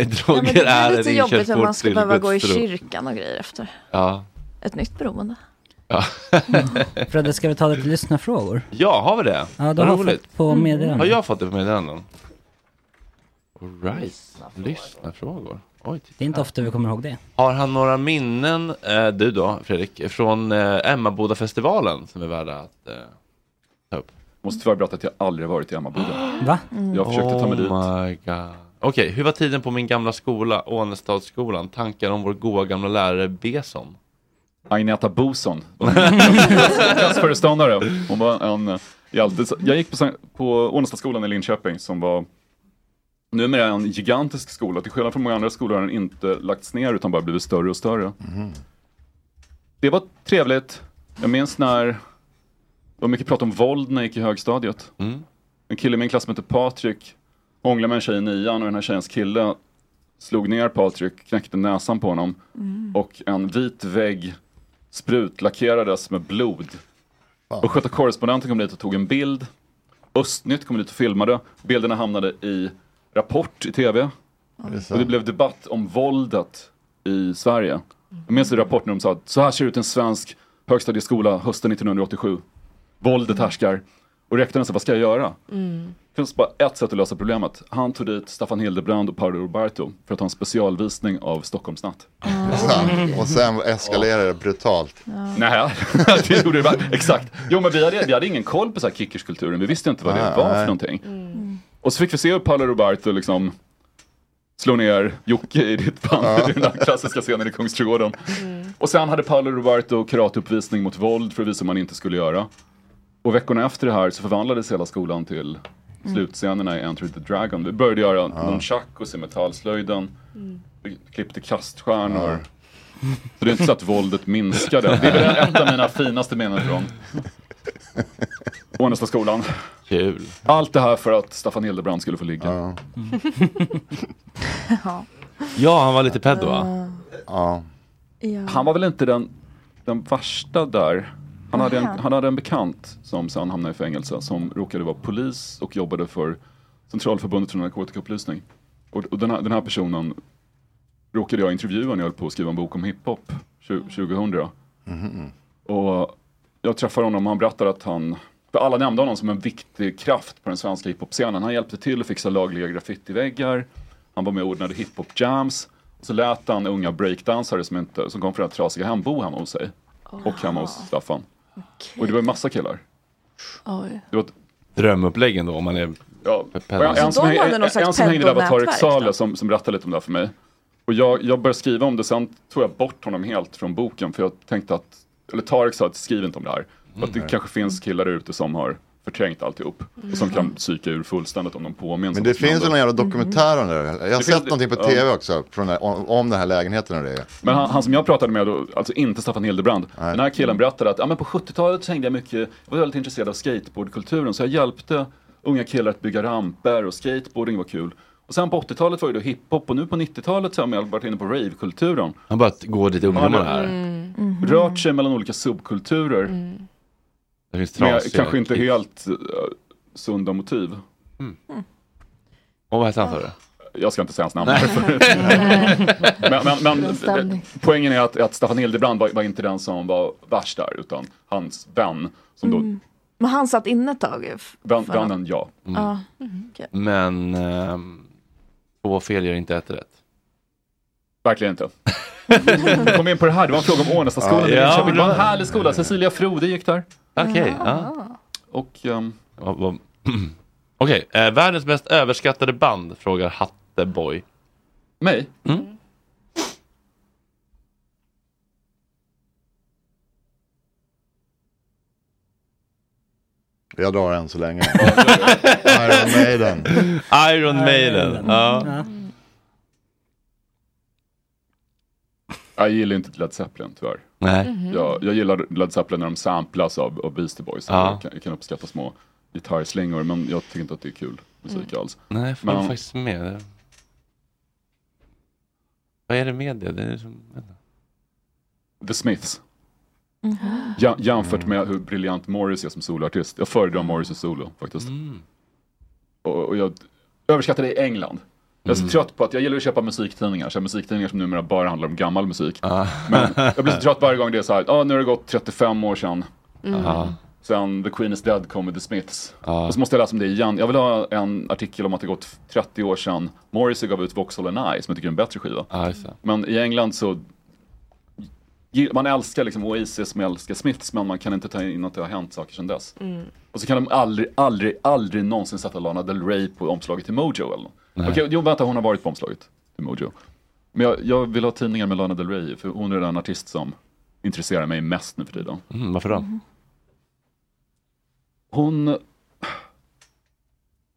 A: Droger
C: men det
A: är
C: blir lite
A: en
C: jobbigt när man
A: inkörsport
C: ska
A: till
C: behöva gå i
A: gudstro.
C: kyrkan och grejer efter.
A: Ja.
C: Ett nytt beroende.
A: Ja.
H: Fredde, ska vi ta lite lyssnarfrågor?
A: ja, har vi det?
H: Ja, du
A: Vad
H: har fått på meddelanden.
A: Har jag fått det på meddelanden? All right. Lyssnarfrågor. Oj,
H: Det är inte ofta vi kommer ihåg det.
A: Har han några minnen, eh, du då Fredrik, från eh, Emmabodafestivalen som är värda att eh, ta upp?
J: Måste tyvärr berätta att jag aldrig varit i Emmaboda.
H: Va?
J: Jag försökte ta mig dit.
A: Oh my god. Okej, hur var tiden på min gamla skola, Ånestadsskolan? Tankar om vår goa gamla lärare Beson?
J: Agneta Boson. Klassföreståndare. Hon var en eh, hjälte. Så Jag gick på, Sank- på Ånestadsskolan i Linköping som var numera en gigantisk skola. Till skillnad från många andra skolor har den inte lagts ner utan bara blivit större och större. Det var trevligt. Jag minns när det var mycket prat om våld när jag gick i högstadiet. En kille i min klass som hette Patrik hånglade med en tjej i nian och den här tjejens kille slog ner Patrik, knäckte näsan på honom
K: Mm.
J: och en vit vägg sprutlackerades med blod. Och Sköta korrespondenten kom dit och tog en bild. Östnytt kom dit och filmade. Bilderna hamnade i Rapport i tv.
I: det
J: Och det blev debatt om våldet i Sverige. Jag minns i Rapport när de sa att så här ser ut en svensk högstadieskola hösten 1987. Våldet härskar. Och rektorn sa, vad ska jag göra?
K: Mm.
J: Det finns bara ett sätt att lösa problemet. Han tog dit Staffan Hildebrand och Paolo Roberto för att ha en specialvisning av Stockholmsnatt.
I: Och sen eskalerade det brutalt.
J: Nej, det gjorde det bara. Exakt. Jo, men vi hade, vi hade ingen koll på så här kickerskulturen. Vi visste inte vad det
I: Nej,
J: var för
I: nej.
J: någonting. Och så fick vi se hur Paolo Roberto liksom slår ner Jocke i ditt band. Det är den där klassiska scenen i Kungsträdgården. Och sen hade Paolo Roberto karateuppvisning mot våld för att visa hur man inte skulle göra. Och veckorna efter det här så förvandlades hela skolan till
K: Mm.
J: slutscenerna i Enter the Dragon. Vi började göra nunchakus i metallslöjden. Vi klippte kaststjärnor. Så det är inte så att våldet minskade. Det är väl ett av mina finaste minnen från Ånesta skolan.
A: Kul.
J: Allt det här för att Staffan Hildebrand skulle få ligga.
F: ja.
A: Ja, han var lite pedo va?
F: Ah.
I: Ja.
J: Han var väl inte den, den värsta där. Han hade, en,
F: Aha.
J: han hade en bekant som sen hamnade i fängelse som råkade vara polis och jobbade för Centralförbundet för narkotikaupplysning. Och, och den, här, den här personen råkade jag intervjua när jag höll på att skriva en bok om hiphop tju- 2000. Och jag träffar honom och han berättar att han, för alla nämnde honom som en viktig kraft på den svenska hiphop-scenen. Han hjälpte till att fixa lagliga graffitiväggar, han var med och ordnade hiphop-jams. Och så lät han unga breakdansare som, inte, som kom från det här trasiga hem bo hemma hos sig. Och hemma hos Staffan. Och det var ju massa killar.
E: Oj.
J: Det var ett
A: Drömupplägg ändå om man är
J: Ja.
A: pedo.
J: Och En, en, som,
E: de
J: häng,
E: hade
J: en,
E: någon slags
J: en som hängde där var Tarek
E: pedonätverk då?
J: Saleh som, som berättade lite om det här för mig. Och jag, jag började skriva om det, sen tog jag bort honom helt från boken för jag tänkte att, eller Tarek sa att skriv inte om det här. För att det
I: Mm.
J: kanske finns killar där ute som har förträngt alltihop. Och
E: Mm.
J: som kan psyka ur fullständigt om de påminns.
I: Men
J: om
I: det
J: vad som
I: finns ju
J: hände.
I: någon jävla dokumentär om det där. Jag har
J: Det
I: sett
J: finns-
I: någonting på
J: ja.
I: tv också från den här, om, om den här lägenheten och det.
J: Men han, han som jag pratade med, då, alltså inte Staffan Hildebrand, den här killen berättade att ja, men på 70-talet så hängde jag mycket, jag var väldigt intresserad av skateboardkulturen så jag hjälpte unga killar att bygga ramper och skateboarding var kul. Och sen på 80-talet var ju då hiphop och nu på 90-talet så har man varit inne på ravekulturen.
A: Han bara går dit ungdomar här.
J: Mm.
A: Mm-hmm.
J: Rört sig mellan olika subkulturer
A: Mm. Det finns
J: med
A: trasiga
J: kanske inte
A: kids.
J: helt eh, sunda motiv.
A: Mm. Och vad hette han sa du?
J: Jag ska inte säga hans namn.
A: Nej.
J: men men,
A: Bra
J: men
A: stämning.
J: poängen är att, att Staffan Hildebrand var, var inte den som var värst där, utan hans vän, som då
F: Mm. Men han satt inne ett
C: eh,
F: tag. ju f-
J: Vän,
F: för att-
J: vännen, ja.
F: Ja. Mm, okej.
A: Men ehm, två fel gör inte ett rätt.
J: Verkligen inte. Vi kom in på det här, det var en fråga om Ånestaskolan i
A: Ja,
J: Linköping. Det var en
A: bra.
J: härlig skola, Cecilia Frode gick där.
A: Okej. ja.
J: Och... ehm,
A: Vad- vad- Okej, eh, världens mest överskattade band frågar Hatteboy.
J: Mig?
A: Mm.
I: Jag drar en så länge. Iron Maiden.
A: Iron Maiden, Oh. Uh-huh. ja.
J: Jag gillar inte Led Zeppelin tyvärr.
A: Nej. Mhm.
J: Jag, jag gillar Led Zeppelin när de samplas av, av Beastie Boys.
A: Ja.
J: Jag, kan, jag kan uppskatta små gitarrslingor men jag tycker inte att det är kul musik
A: Mm.
J: alls.
A: Nej, jag håller faktiskt med. Det- Vad är det med det? det är som...
J: The Smiths.
F: Mm.
J: Ja, jämfört
A: Mm.
J: med hur briljant Morris är som soloartist. Jag föredrar Morris i solo faktiskt.
A: Mm.
J: Och, och jag överskattar det i England. Jag är så
A: Mm.
J: trött på att jag gillar att köpa musiktidningar, så här, musiktidningar som numera bara handlar om gammal musik. Men jag blir så trött varje gång det är så här, ja nu har det gått 35 år sedan.
A: Mm. Ja.
J: Sen The Queen is Dead kom med The Smiths.
A: Ja.
J: Och så måste jag läsa om det igen. Jag vill ha en artikel om att det gått 30 år sedan Morrissey gav ut Vauxhall and I, som jag tycker är en bättre skiva.
A: Ja, just det.
J: Men i England så gi- man älskar liksom Oasis, man älskar Smiths, men man kan inte ta in att det har hänt saker sedan dess.
K: Mm.
J: Och så kan de aldrig, aldrig, aldrig någonsin sätta Lana Del Rey på omslaget till Mojo eller något.
A: Nej.
J: Okej, jo vänta, hon har varit på omslaget till Mojo. Men jag, jag vill ha tidningar med Lana Del Rey, för hon är den artist som intresserar mig mest nu för tiden.
A: Mm, varför då?
J: Hon...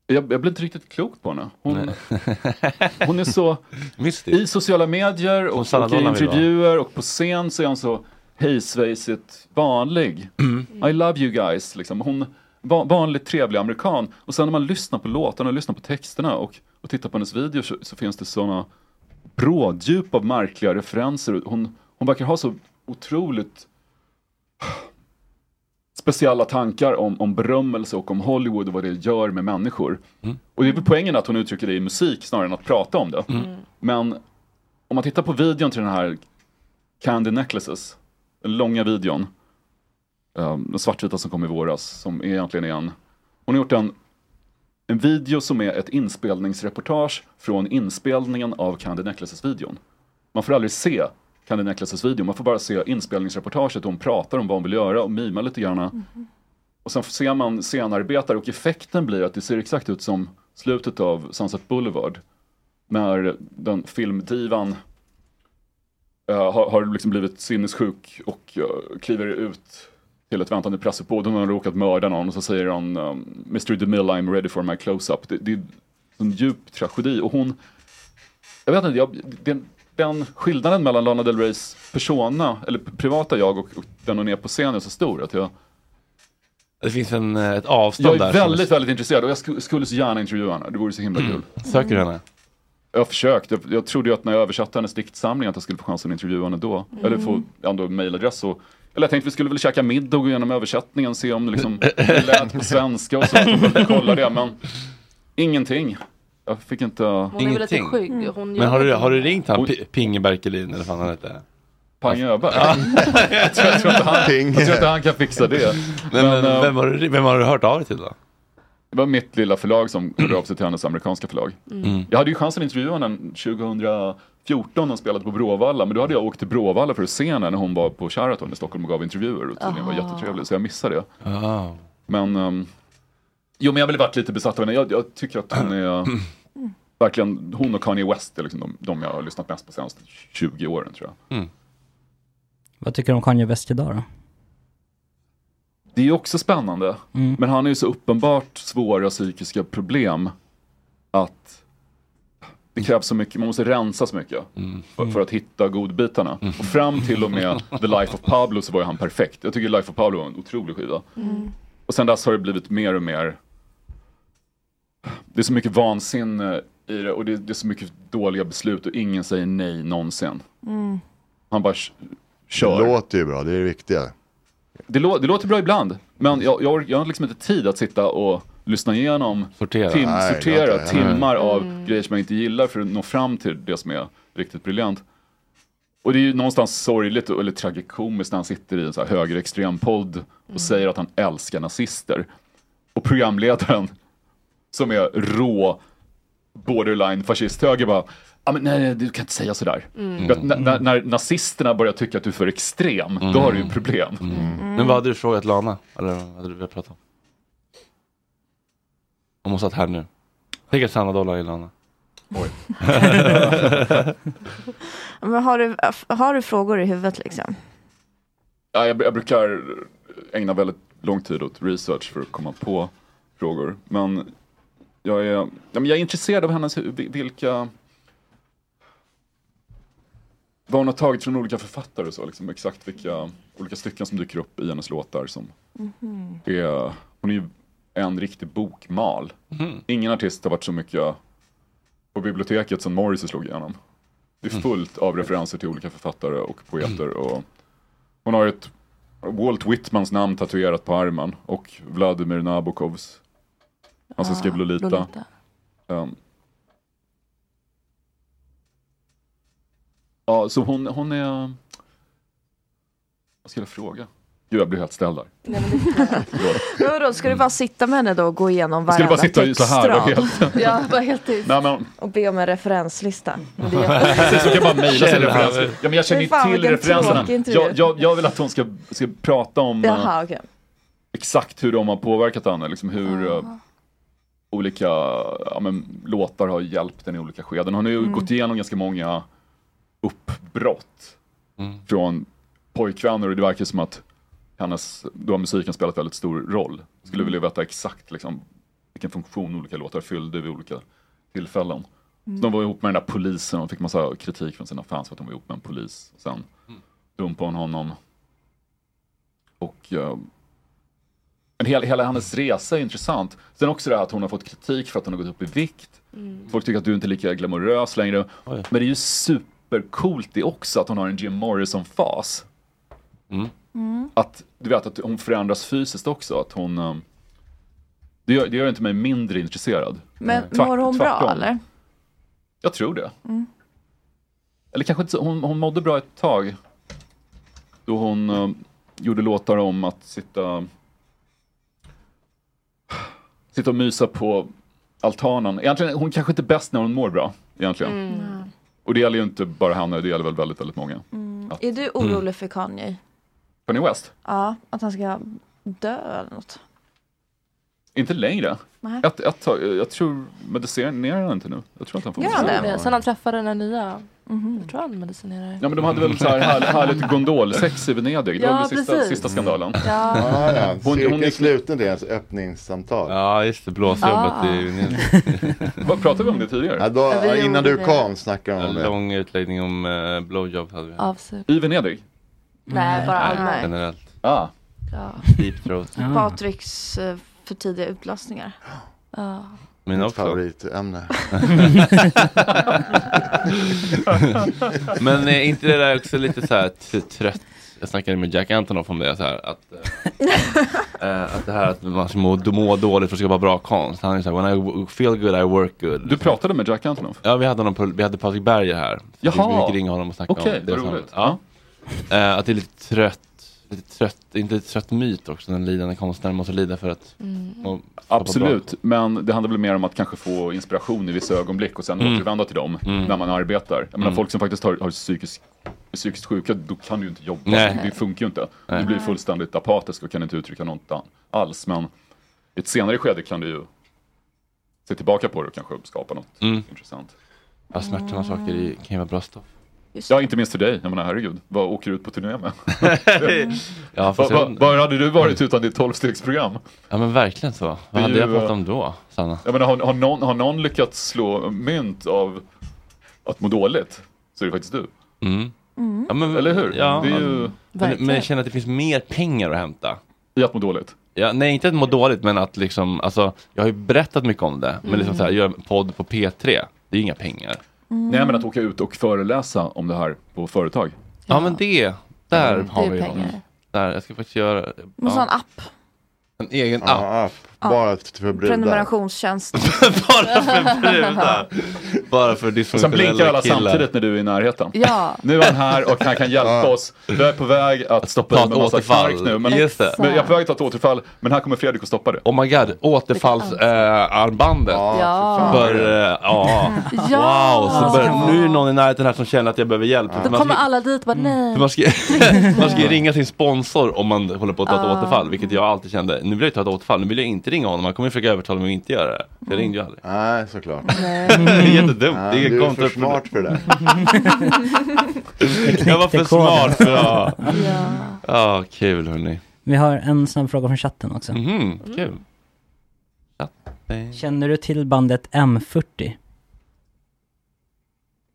J: Jag, jag blir inte riktigt klok på henne. Hon, hon är så...
A: Mystisk.
J: I sociala medier och,
A: Som Sanna
J: och i
A: Dolan vill vara.
J: intervjuer och på scen så är hon så hejsvejsigt vanlig.
A: Mm.
J: I love you guys, liksom. Hon, va, vanligt trevlig amerikan. Och sen när man lyssnar på låtarna och lyssnar på texterna och, och tittar på hennes videor så, så finns det sådana bråddjup av märkliga referenser. Hon, hon verkar ha så otroligt speciella tankar om, om berömmelse och om Hollywood och vad det gör med människor. Och det är väl poängen att hon uttrycker det i musik snarare än att prata om det. Men om man tittar på videon till den här Candy Necklaces, den långa videon, ehm, den svartvita som kom i våras, som är egentligen är en... Hon har gjort en, en video som är ett inspelningsreportage från inspelningen av Candy Necklaces-videon. Man får aldrig se Candy Necklaces-videon, man får bara se inspelningsreportaget och hon pratar om vad hon vill göra och mimar lite grann.
G: 嗯
J: Och sen ser man scenarbetare och effekten blir att det ser exakt ut som slutet av Sunset Boulevard. När den filmdivan eh, har, har liksom blivit sinnessjuk och eh, kliver ut till ett väntande pressuppbåd. Hon har råkat mörda någon och så säger hon um, Mr. DeMille I'm ready for my close-up. Det, det är en djup tragedi och hon, jag vet inte, jag, den, den skillnaden mellan Lana Del Reys persona, eller p- privata jag och, och den hon är på scen är så stor att jag,
A: Det finns en, eh, ett avstånd
J: jag är
A: där. som- Mm.
J: väldigt, väldigt intresserad och jag sku- skulle så gärna intervjua henne. Det vore så himla kul.
A: Söker du henne?
J: Jag har försökt. Jag, jag trodde ju att när jag översatte hennes diktsamling att jag skulle få chansen att intervjua henne då.
A: Mm.
J: Eller få ändå mailadress och eller jag tänkte vi skulle väl käka middag och gå igenom översättningen, se om det liksom det lät på svenska och så, att hon kunde kolla det, men ingenting. Jag fick inte...
E: Hon är väl lite skygg. Hon gör
A: Mm. Men har du,
E: någonting.
A: har du ringt han, P- Pingeberg Kjellin, eller vad han hette?
J: Pang Öberg? jag, tror, jag, tror inte han, jag tror inte han kan fixa det.
A: Men, men,
J: eh,
A: vem, har du, vem har du hört av dig till då?
J: Det var mitt lilla förlag som hörde av sig till hennes amerikanska förlag.
A: Mm.
J: Jag hade ju chansen att intervjua henne 2014 när hon spelade på Bråvalla, men då hade jag åkt till Bråvalla för att se henne när hon var på Sheraton i Stockholm och gav intervjuer och tydligen var
A: Aha.
J: jättetrevlig, så jag missade det. Men, um, jo men jag har väl varit lite besatt av henne. Jag, jag tycker att hon är, verkligen, hon och Kanye West är liksom de, de jag har lyssnat mest på senaste 20 åren tror jag.
H: Vad tycker du om Kanye West idag då?
J: Det är ju också spännande.
H: Mm.
J: Men han har ju så uppenbart svåra psykiska problem att det krävs så mycket, man måste rensa så mycket för, för att hitta godbitarna. Och fram till och med The Life of Pablo så var ju han perfekt. Jag tycker Life of Pablo var en otrolig skiva.
K: Mm.
J: Och sen dess har det blivit mer och mer det är så mycket vansinne i det och det, det är så mycket dåliga beslut och ingen säger nej någonsin.
G: 嗯
K: Mm.
J: Han bara k- kör.
I: Det låter ju bra, det är det viktiga.
J: Det, lå- det låter bra ibland, men jag, jag, or- jag har liksom inte tid att sitta och lyssna igenom, sortera, tim,
I: Nej,
J: sortera
I: jag vet inte.
J: timmar
I: Mm.
J: av grejer som jag inte gillar för att nå fram till det som är riktigt briljant. Och det är ju någonstans sorgligt, och- eller tragikomiskt, när han sitter i en så här högerextrem podd
A: Mm.
J: och säger att han älskar nazister. Och programledaren, som är rå borderline fascisthöger, bara Ja men nej, du kan inte säga sådär.
A: Mm.
J: För att När, när, när nazisterna börjar tycka att du är för extrem, då har du ju problem.
A: Mm. Men vad hade du frågat Lana? Eller vad hade du velat prata om? Om hon satt här nu. Tänk att Sanna Dollar är Lana. Oj.
F: Men har du, har du frågor i huvudet liksom?
J: Ja, jag, jag brukar ägna väldigt lång tid åt research för att komma på frågor. Men jag är, ja, men jag är intresserad av hennes, hu- vi- vilka... Vad hon har tagit från olika författare och så, liksom, exakt vilka olika stycken som dyker upp i hennes låtar. Som Mm-hmm.
K: Mhm.
J: är, hon är ju en riktig bokmal. Ingen artist har varit så mycket på biblioteket som Morrissey slog igenom. Det är fullt av referenser till olika författare och poeter. Och hon har ett Walt Whitmans namn tatuerat på armen och Vladimir Nabokovs. Alltså Han som
E: Ja,
J: skrev Lolita.
E: Lolita.
J: Ehm. ja, så hon, hon är... Vad skulle jag fråga? Gud, jag blir helt ställd där.
F: Nej, men det...
J: Förlåt.
F: Men vadå, ska du bara sitta med henne då och gå igenom
J: Jag skulle
F: varenda
J: bara sitta så här och
F: textrad?
J: helt...
F: Ja, bara helt tyst.
J: Nej, Mm. men,
F: Och be om en referenslista.
J: Precis, hon kan bara mejla sin
A: Känner
J: referens.
A: han-
J: Ja, men jag känner
F: Men
J: ju
F: fan,
J: till
F: vilken
J: referenserna.
F: tråkig intervju.
J: Jag, jag, jag vill att hon ska, ska prata om eh,
F: Jaha, okej.
J: exakt hur de har påverkat henne. Liksom hur eh, olika ja, men, låtar har hjälpt henne i olika skeden. Hon har ju
A: Mm.
J: gått igenom ganska många uppbrott från pojkvänner och det verkar som att hennes, då har musiken spelat väldigt stor roll.
A: Mm.
J: Skulle vilja veta exakt liksom, vilken funktion olika låtar fyllde vid olika tillfällen.
A: Mm.
J: Så de var ihop med den där polisen och fick massa kritik från sina fans för att de var ihop med en polis. Sen dumpade hon honom eh, men hela, hela hennes resa är intressant. Sen också det här att hon har fått kritik för att hon har gått upp i vikt.
F: Mm.
J: Folk tycker att du inte är lika glamorös längre. Men det är ju supercoolt det också att hon har en Jim Morrison-fas. Att du vet att hon förändras fysiskt också. Att hon, eh, det, gör, det gör inte mig mindre intresserad.
F: Men
J: Tvärt-
F: mår hon bra
J: tvärtom.
F: eller?
J: Jag tror det.
G: 嗯
F: Mm.
J: Eller kanske inte så, hon, hon mådde bra ett tag. Då hon eh, gjorde låtar om att sitta... Sitta och mysa på altanen. Egentligen, hon kanske inte är bäst när hon mår bra. Egentligen.
E: Mm.
J: Och det gäller ju inte bara henne, det gäller väl väldigt, väldigt många.
F: Mm.
J: Att-
F: Är du orolig för Kanye?
J: Kanye West?
F: Ja, att han ska dö eller något?
J: Inte längre.
F: Nej.
J: Ett, ett tag, jag tror medicinerar han inte nu. Jag tror att han får
E: Gör han
J: medicin.
E: det? Mhm. Sen han träffade den här nya. Jag tror han medicinerar.
J: Ja men de hade väl så här här, härligt gondolsex i Venedig. Det var
E: Ja,
J: väl sista,
E: precis.
J: sista skandalen.
E: Ja.
I: Ah, ja.
J: Hon-
I: Cirkeln
J: hon gick-
I: sluten, det är ens öppningssamtal.
A: Ja, just det. Blåsjobbet
I: Ah.
A: i Unionen.
J: Vad pratade vi om det tidigare?
I: Ja, då,
E: Ja, vi
I: innan
E: gjorde
I: du
E: det.
I: kom snackade de om
A: En
I: det.
A: lång utläggning om uh, blowjob hade vi.
E: Avsug.
J: I Venedig? Mm.
F: Nej, bara allmänt.
A: Generellt.
J: Ah.
F: Ja.
A: Deep throat.
F: Patriks eh, för tidiga utlösningar. Ja.
A: Min
I: Mitt
A: också.
I: favoritämne.
A: Men är inte det där också lite så här t- trött? Jag snackade med Jack Antonoff om det så här att, eh, eh, att det här att man ska må, må dåligt för att skapa bra konst. Han är så här, when I w- feel good I work good.
J: Du pratade med Jack Antonoff?
A: Ja, vi hade, honom på, vi hade Patrik Berger här.
J: Jaha.
A: Vi fick ringa honom och snacka
J: Okej,
A: om det.
J: vad
A: som-
J: roligt.
A: Ja. Eh, att det är lite trött, lite trött, inte lite trött myt också, den lidande konstnären måste lida för att må- skapa bra
J: Mm. Absolut, men det handlar väl mer om att kanske få inspiration i vissa ögonblick och sen
A: Mm.
J: återvända till dem
A: Mm.
J: när man arbetar. Jag menar
A: Mm.
J: folk som faktiskt har, har psykisk, är psykiskt sjuka, då kan du ju inte jobba.
A: Nej.
J: Det funkar ju inte.
A: Nej.
J: Du blir fullständigt apatisk och kan inte uttrycka något an- alls. Men i ett senare skede kan du ju se tillbaka på det och kanske skapa något
A: Mm.
J: intressant.
A: Ja, smärtsamma saker i, kan ju vara bra stoff.
J: Ja, inte minst för dig. Jag menar, herregud, vad åker du ut på turné med?
A: Ja,
J: Vad
A: fast
J: va,
A: jag-
J: var hade du varit utan ditt tolvstegsprogram?
A: Ja men verkligen så.
J: Det är
A: Vad hade jag
J: ju,
A: pratat
J: eh,
A: om då, Sanna?
J: Jag menar, har, har, någon, har någon lyckats slå mynt av att må dåligt så är det faktiskt du.
A: Mm.
J: Mm.
A: Ja, men,
J: Eller hur?
A: Ja,
J: Det är
A: ja.
J: ju-
A: men,
J: Verkligen.
A: men jag känner att det finns mer pengar att hämta.
J: I att må dåligt?
A: Ja, nej, inte att må dåligt, men att liksom, alltså, jag har ju berättat mycket om det, men liksom
J: Mm.
A: så här, göra en podd på P3, det är ju inga pengar.
J: Nej men att åka ut och föreläsa om det här på företag.
A: Ja, men det, där
J: Mm.
A: har
J: Det är
A: vi
J: pengar.
A: dem. Där, jag ska faktiskt göra
F: Måste
A: ja,
F: ha en app.
A: en egen
I: Ja,
A: app.
I: Bara för brudar.
F: Prenumerationstjänst.
A: Bara för
F: uh,
A: brudar. Bara för
J: Och sen blinkar alla
A: dysfunktionella killar.
J: samtidigt när du är i närheten.
F: Ja.
J: Nu är han här och han kan hjälpa oss. Jag är på väg att stoppa
A: Ta
J: i mig
A: ett
J: massa
A: återfall.
J: knark nu. Men,
A: Just det.
J: men jag är på väg att ta ett återfall, men här kommer Fredrik och stoppa det.
A: Oh my god, återfallsarmbandet.
E: Ja.
A: För, eh, ja.
E: Ja.
A: Wow, så bör, nu är det någon i närheten här som känner att jag behöver hjälp.
E: Då
J: Mm.
A: Man
E: kommer
A: ska-
E: alla dit och bara nej.
A: För man ska, man ska ju ringa sin sponsor om man håller på att ta ett
E: Ah.
A: återfall, vilket jag alltid kände. Nu vill jag ju ta ett återfall, nu vill jag inte ringa honom. Han kommer ju försöka övertala mig att inte göra det. Jag ringde ju aldrig.
I: Nej, såklart.
A: Det är jättedumt.
I: Ja,
A: det är
I: du är för
A: kontraproduktivt.
I: smart för det.
A: Jag var för
H: knäckte koden.
A: smart för ja.
H: Ja.
A: Ja, Ah, kul hörni.
H: Vi har en snabb fråga från chatten också.
A: Mhm, kul.
H: Känner du till bandet M40?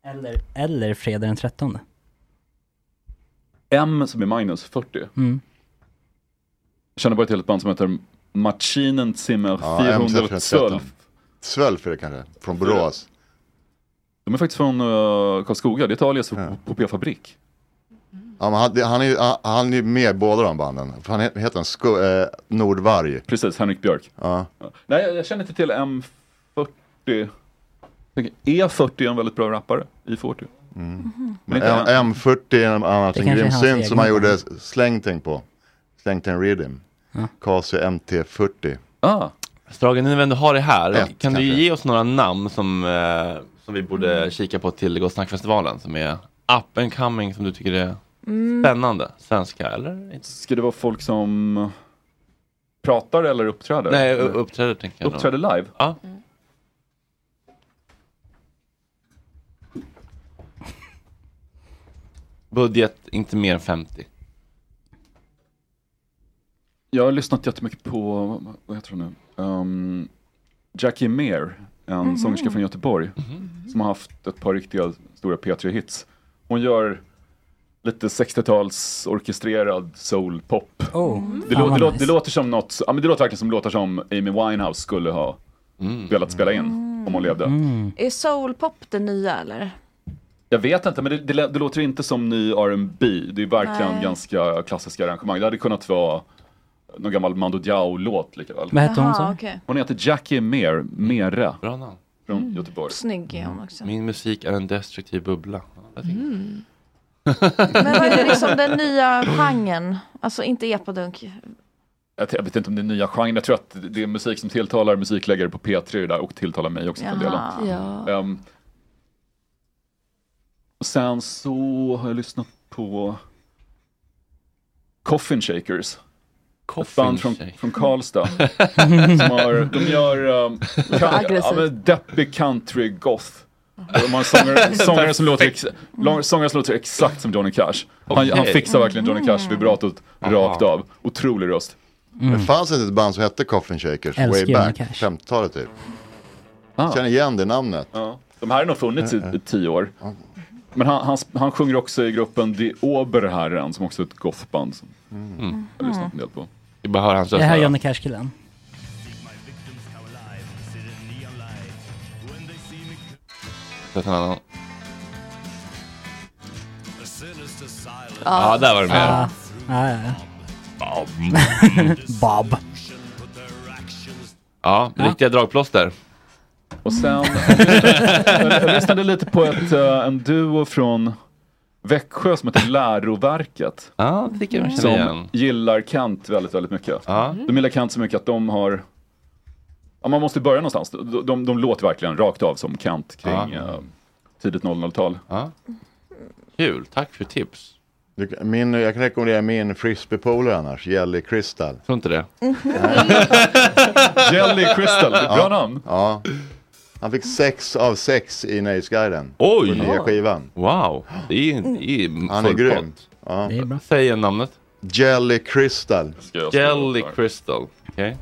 H: Eller, eller Fredag den 13?
J: M som är minus 40.
H: Mm.
J: Jag känner bara till ett band som heter Machinen Zimmer
I: Ja,
J: 412.
I: Svölf är det kanske, från Borås.
J: De är faktiskt från uh, Karlskoga, det är Italiens HPP-fabrik.
I: Ja, men han, det- han, är, ju- han- han är ju med i båda de banden. För Han he- heter han Sko, eh, Nordvarg.
J: Precis, Henrik Björk.
I: Ja.
J: Nej, jag- jag känner inte till M40. Jag tänker, E40 är en väldigt bra rappare, I40.
I: Men
J: inte
I: M- M40 är en annan
J: Det
I: en
J: kanske är
I: grym
J: hans
I: synt
J: egen
I: som han gjorde
J: band.
I: slängting på. Slängting Rhythm.
H: Ja.
I: Casio MT40.
J: Ah.
A: Strage, nu när du har det här,
I: Ett,
A: kan du
I: kanske.
A: ge oss några namn som, eh, som vi borde kika på till Gott Snackfestivalen som är up and coming som du tycker är
J: Mm.
A: spännande? Svenska eller?
J: Ska det vara folk som pratar eller uppträder?
A: Nej, u- uppträder tänker jag. då.
J: Uppträder live?
A: Ja.
I: Mm.
A: Budget inte mer än 50.
J: Jag har lyssnat jättemycket på, vad heter hon nu? Um, Jackie Meer, en
A: Mhm.
J: sångerska från
H: Mhm.
J: Göteborg, som har haft ett par riktiga stora P3-hits. Hon gör lite 60-tals orkestrerad soulpop.
H: Oh,
F: Mm.
J: Det,
H: fan
J: lå-
H: vad
J: det, lå-
H: nice.
J: det låter som något, ja, men det låter verkligen som låtar som Amy Winehouse skulle ha velat spela in
H: Mm.
J: om hon levde.
F: Är soulpop det nya eller?
J: Jag vet inte, men det, det, lä- det låter inte som ny R&B. Det är verkligen
F: Nej.
J: ganska klassiska arrangemang. Det hade kunnat vara någon gammal Mando Diao-låt lika väl.
H: Vad hette hon, Jaha, sa du?
F: okej.
J: Hon heter Jackie Mer, Mere.
A: Bra namn.
J: Från Göteborg.
F: Snygg är hon också.
A: Min musik är en destruktiv bubbla.
F: Mm. Men vad är det liksom den nya genren? Alltså inte epadunk.
J: Jag, jag vet inte om det är nya genrer. Jag tror att det- det är musik som tilltalar musikläggare på P3 där och tilltalar mig också för
F: Jaha.
J: delen.
F: Ja.
J: Ehm, och sen så har jag lyssnat på Coffin Shakers. Ett band från, från Karlstad. Mm. som har, de gör um, kan, ja,
K: aggressivt.
J: men deppig country goth. De har en sångare, sångare, som låter ex, lång- sångare som låter exakt som Johnny Cash. Han,
I: Okej.
J: han fixar verkligen Johnny Cash-vibratot rakt av. Otrolig röst.
I: Det fanns inte ett band som hette Coffin Shakers
J: Mm. Älskar
I: way
J: Johnny
I: back,
J: Cash.
I: 50-talet typ.
J: Ah.
I: Känner igen det namnet. Eh,
J: Ja. De här har nog funnits i, i tio år. Men han, han, han sjunger också i gruppen Die Oberherren som också är ett gothband. Som
A: Mm.
J: Jag har lyssnat en del på.
A: Vi bara hör hans
H: Det
A: röst.
H: här är
A: här.
H: Johnny Cash-killen.
A: Så att han har- Ja, där var det mer.
H: Ja, ja, ja. Bob.
A: Ja, riktiga dragplåster.
J: Och sen, jag lyssnade lite på ett, eh, en duo från Växjö som heter Läroverket.
A: Ja, det tycker jag känner
J: Som
A: igen.
J: gillar Kant väldigt, väldigt mycket. De gillar Kant så mycket att de har Ja, man måste börja någonstans. De, de, de låter verkligen rakt av som Kant kring
A: Ja.
J: eh, tidigt 00-tal.
A: Kul, tack för tips.
I: Du- Min, jag kan rekommendera min frisbeepolare annars, Jelly Crystal.
A: Tror inte det.
J: Jelly Crystal, det är bra namn.
I: Ja. Han fick sex av sex i Nöjesguiden.
A: Oj!
I: På nya skivan.
A: Wow, det är, det är
I: Han är
A: full
I: grym.
A: pott.
I: Ja.
H: Mm. Det är bra.
A: Säg igen namnet.
I: Jelly Crystal.
A: Jelly Crystal. Okej.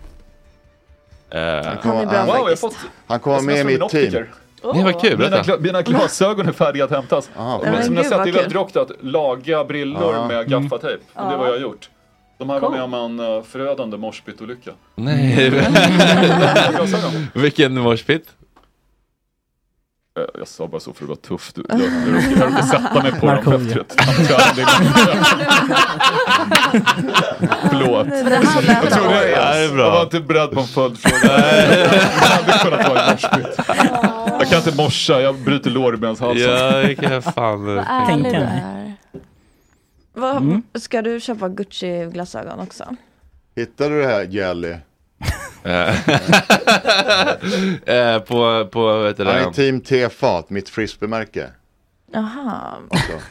A: Eh,
I: Han är bra
J: wow, jag har
I: faktiskt.
J: fått
I: Han kommer med i
J: sms från
I: mitt
J: min
I: team.
J: optiker.
A: Nej, vad kul,
J: Mina,
A: berätta.
J: gla- mina glasögon är färdiga att hämtas.
I: Nej, men
J: men som ni har
I: gud,
J: sett,
I: vad
J: det är väldigt
I: kul.
J: rockigt att laga brillor
I: Ja.
J: med gaffatejp. Och det
I: Ja.
J: är vad jag har gjort. De här var med om en eh, förödande morsbytolycka.
A: Nej.
J: Glasögon.
A: Vilken morspit?
J: Eh, Jag sa bara så för att vara tuff. Du, jag, jag, råkade- jag råkade sätta mig på dem
K: Markoolio.
J: efter ett framträdande. Förlåt.
K: Det här lät
J: Jag trodde
K: bra.
J: jag,
K: Det
J: jag,
K: är bra.
J: var inte beredd på en följdfråga. Det hade kunnat vara en morspit. Jag kan inte morsa, jag bryter lårbenshalsen.
A: Ja, det kan jag fan- Vad ärlig
F: du är. Vad,
J: Mm.
F: Ska du köpa Gucci-glasögon också?
I: Hittade du det här Jelly?
A: Eh, på, på, vad heter
I: Han är
A: det?
I: team Tefat, mitt frisbeemärke.
F: Jaha.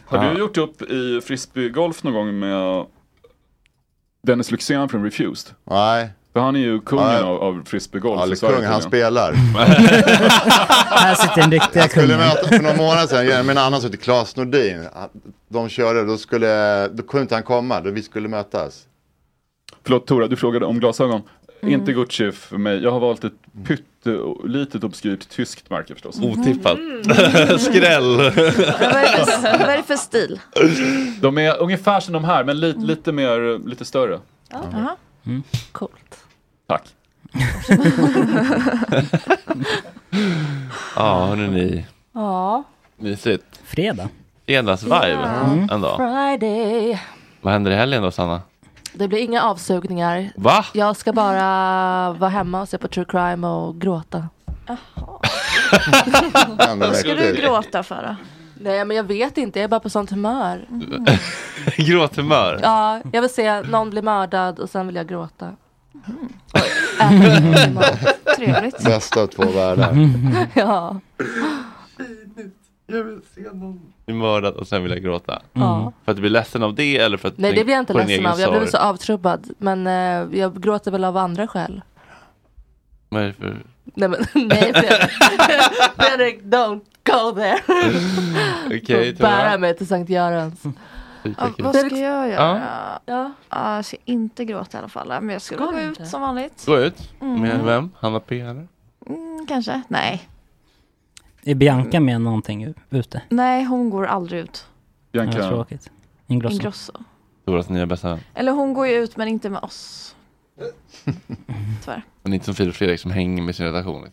J: Har
I: Ja.
J: du gjort upp i frisbeegolf någon gång med Dennis Lyxzén från Refused?
I: Nej.
J: För han är ju kungen
I: Nej.
J: av, av frisbeegolf
I: Ja,
J: i
I: eller
J: Sverige
I: kung, han
J: tydligen.
I: spelar.
H: Här sitter den riktiga
I: Jag skulle
H: kungen.
I: möta för några månader sedan, jag med en annan som hette Claes Nordin. De körde, då, skulle, då kunde inte han komma, då vi skulle mötas.
J: Förlåt Tora, du frågade om glasögon.
F: Mm.
A: Mm.
J: Inte Gucci för mig. Jag har valt ett
I: Mm.
J: pyttelitet obskyrt tyskt märke förstås.
A: Otippat. Skräll.
F: Mm. Vad är, det för, vad är det för stil?
J: De är ungefär som de här men li, lite mer, lite större.
F: Jaha.
A: Mm.
F: Coolt.
J: Tack.
A: Ja, hörni.
E: Ja.
A: Mysigt.
H: Fredag.
A: Fredagsvibe
E: Mm.
A: ändå.
E: Friday.
A: Vad händer i helgen då Sanna?
E: Det blir inga avsugningar.
A: Va?
E: Jag ska bara vara hemma och se på true crime och gråta.
F: Vad ska du gråta för då?
E: Nej men jag vet inte, jag är bara på sånt humör.
J: Mm.
A: Gråthumör?
E: Ja, jag vill se någon bli mördad och sen vill jag gråta. Mm. Äta mycket mat. Trevligt.
I: Bästa av två världar.
A: Mm.
E: Ja.
K: Jag vill se någon.
A: Du mördat och sen vill jag gråta.
F: Mm.
E: Ja.
A: För att du blir ledsen av det eller för att
E: Nej det blir jag inte
A: på din
E: ledsen
A: egen
E: av, jag blev
A: sorg?
E: så avtrubbad. Men eh, jag gråter väl av andra skäl.
A: Vad är det för...
E: Nej men nej Fredrik. Fredrik don't go there.
A: Okej,
E: Bära
A: Tora.
E: mig till Sankt Görans.
F: Vad ska jag göra?
E: Ja.
F: Ja, jag ska inte gråta i alla fall. Men jag ska
E: Ska
F: gå
E: du
F: ut
E: inte?
F: som vanligt.
A: Gå ut.
F: Mm.
A: Med vem? Hanna P eller?
F: Mm, kanske. Nej.
H: Är Bianca med någonting ute?
F: Nej, hon går aldrig ut.
H: Ja, tråkigt. Ingrosso.
F: Ingrosso.
A: Doras nya bästa.
F: Eller hon går ju ut men inte med oss. Tyvärr.
A: Men inte som Filip Fredrik som hänger med sin relation.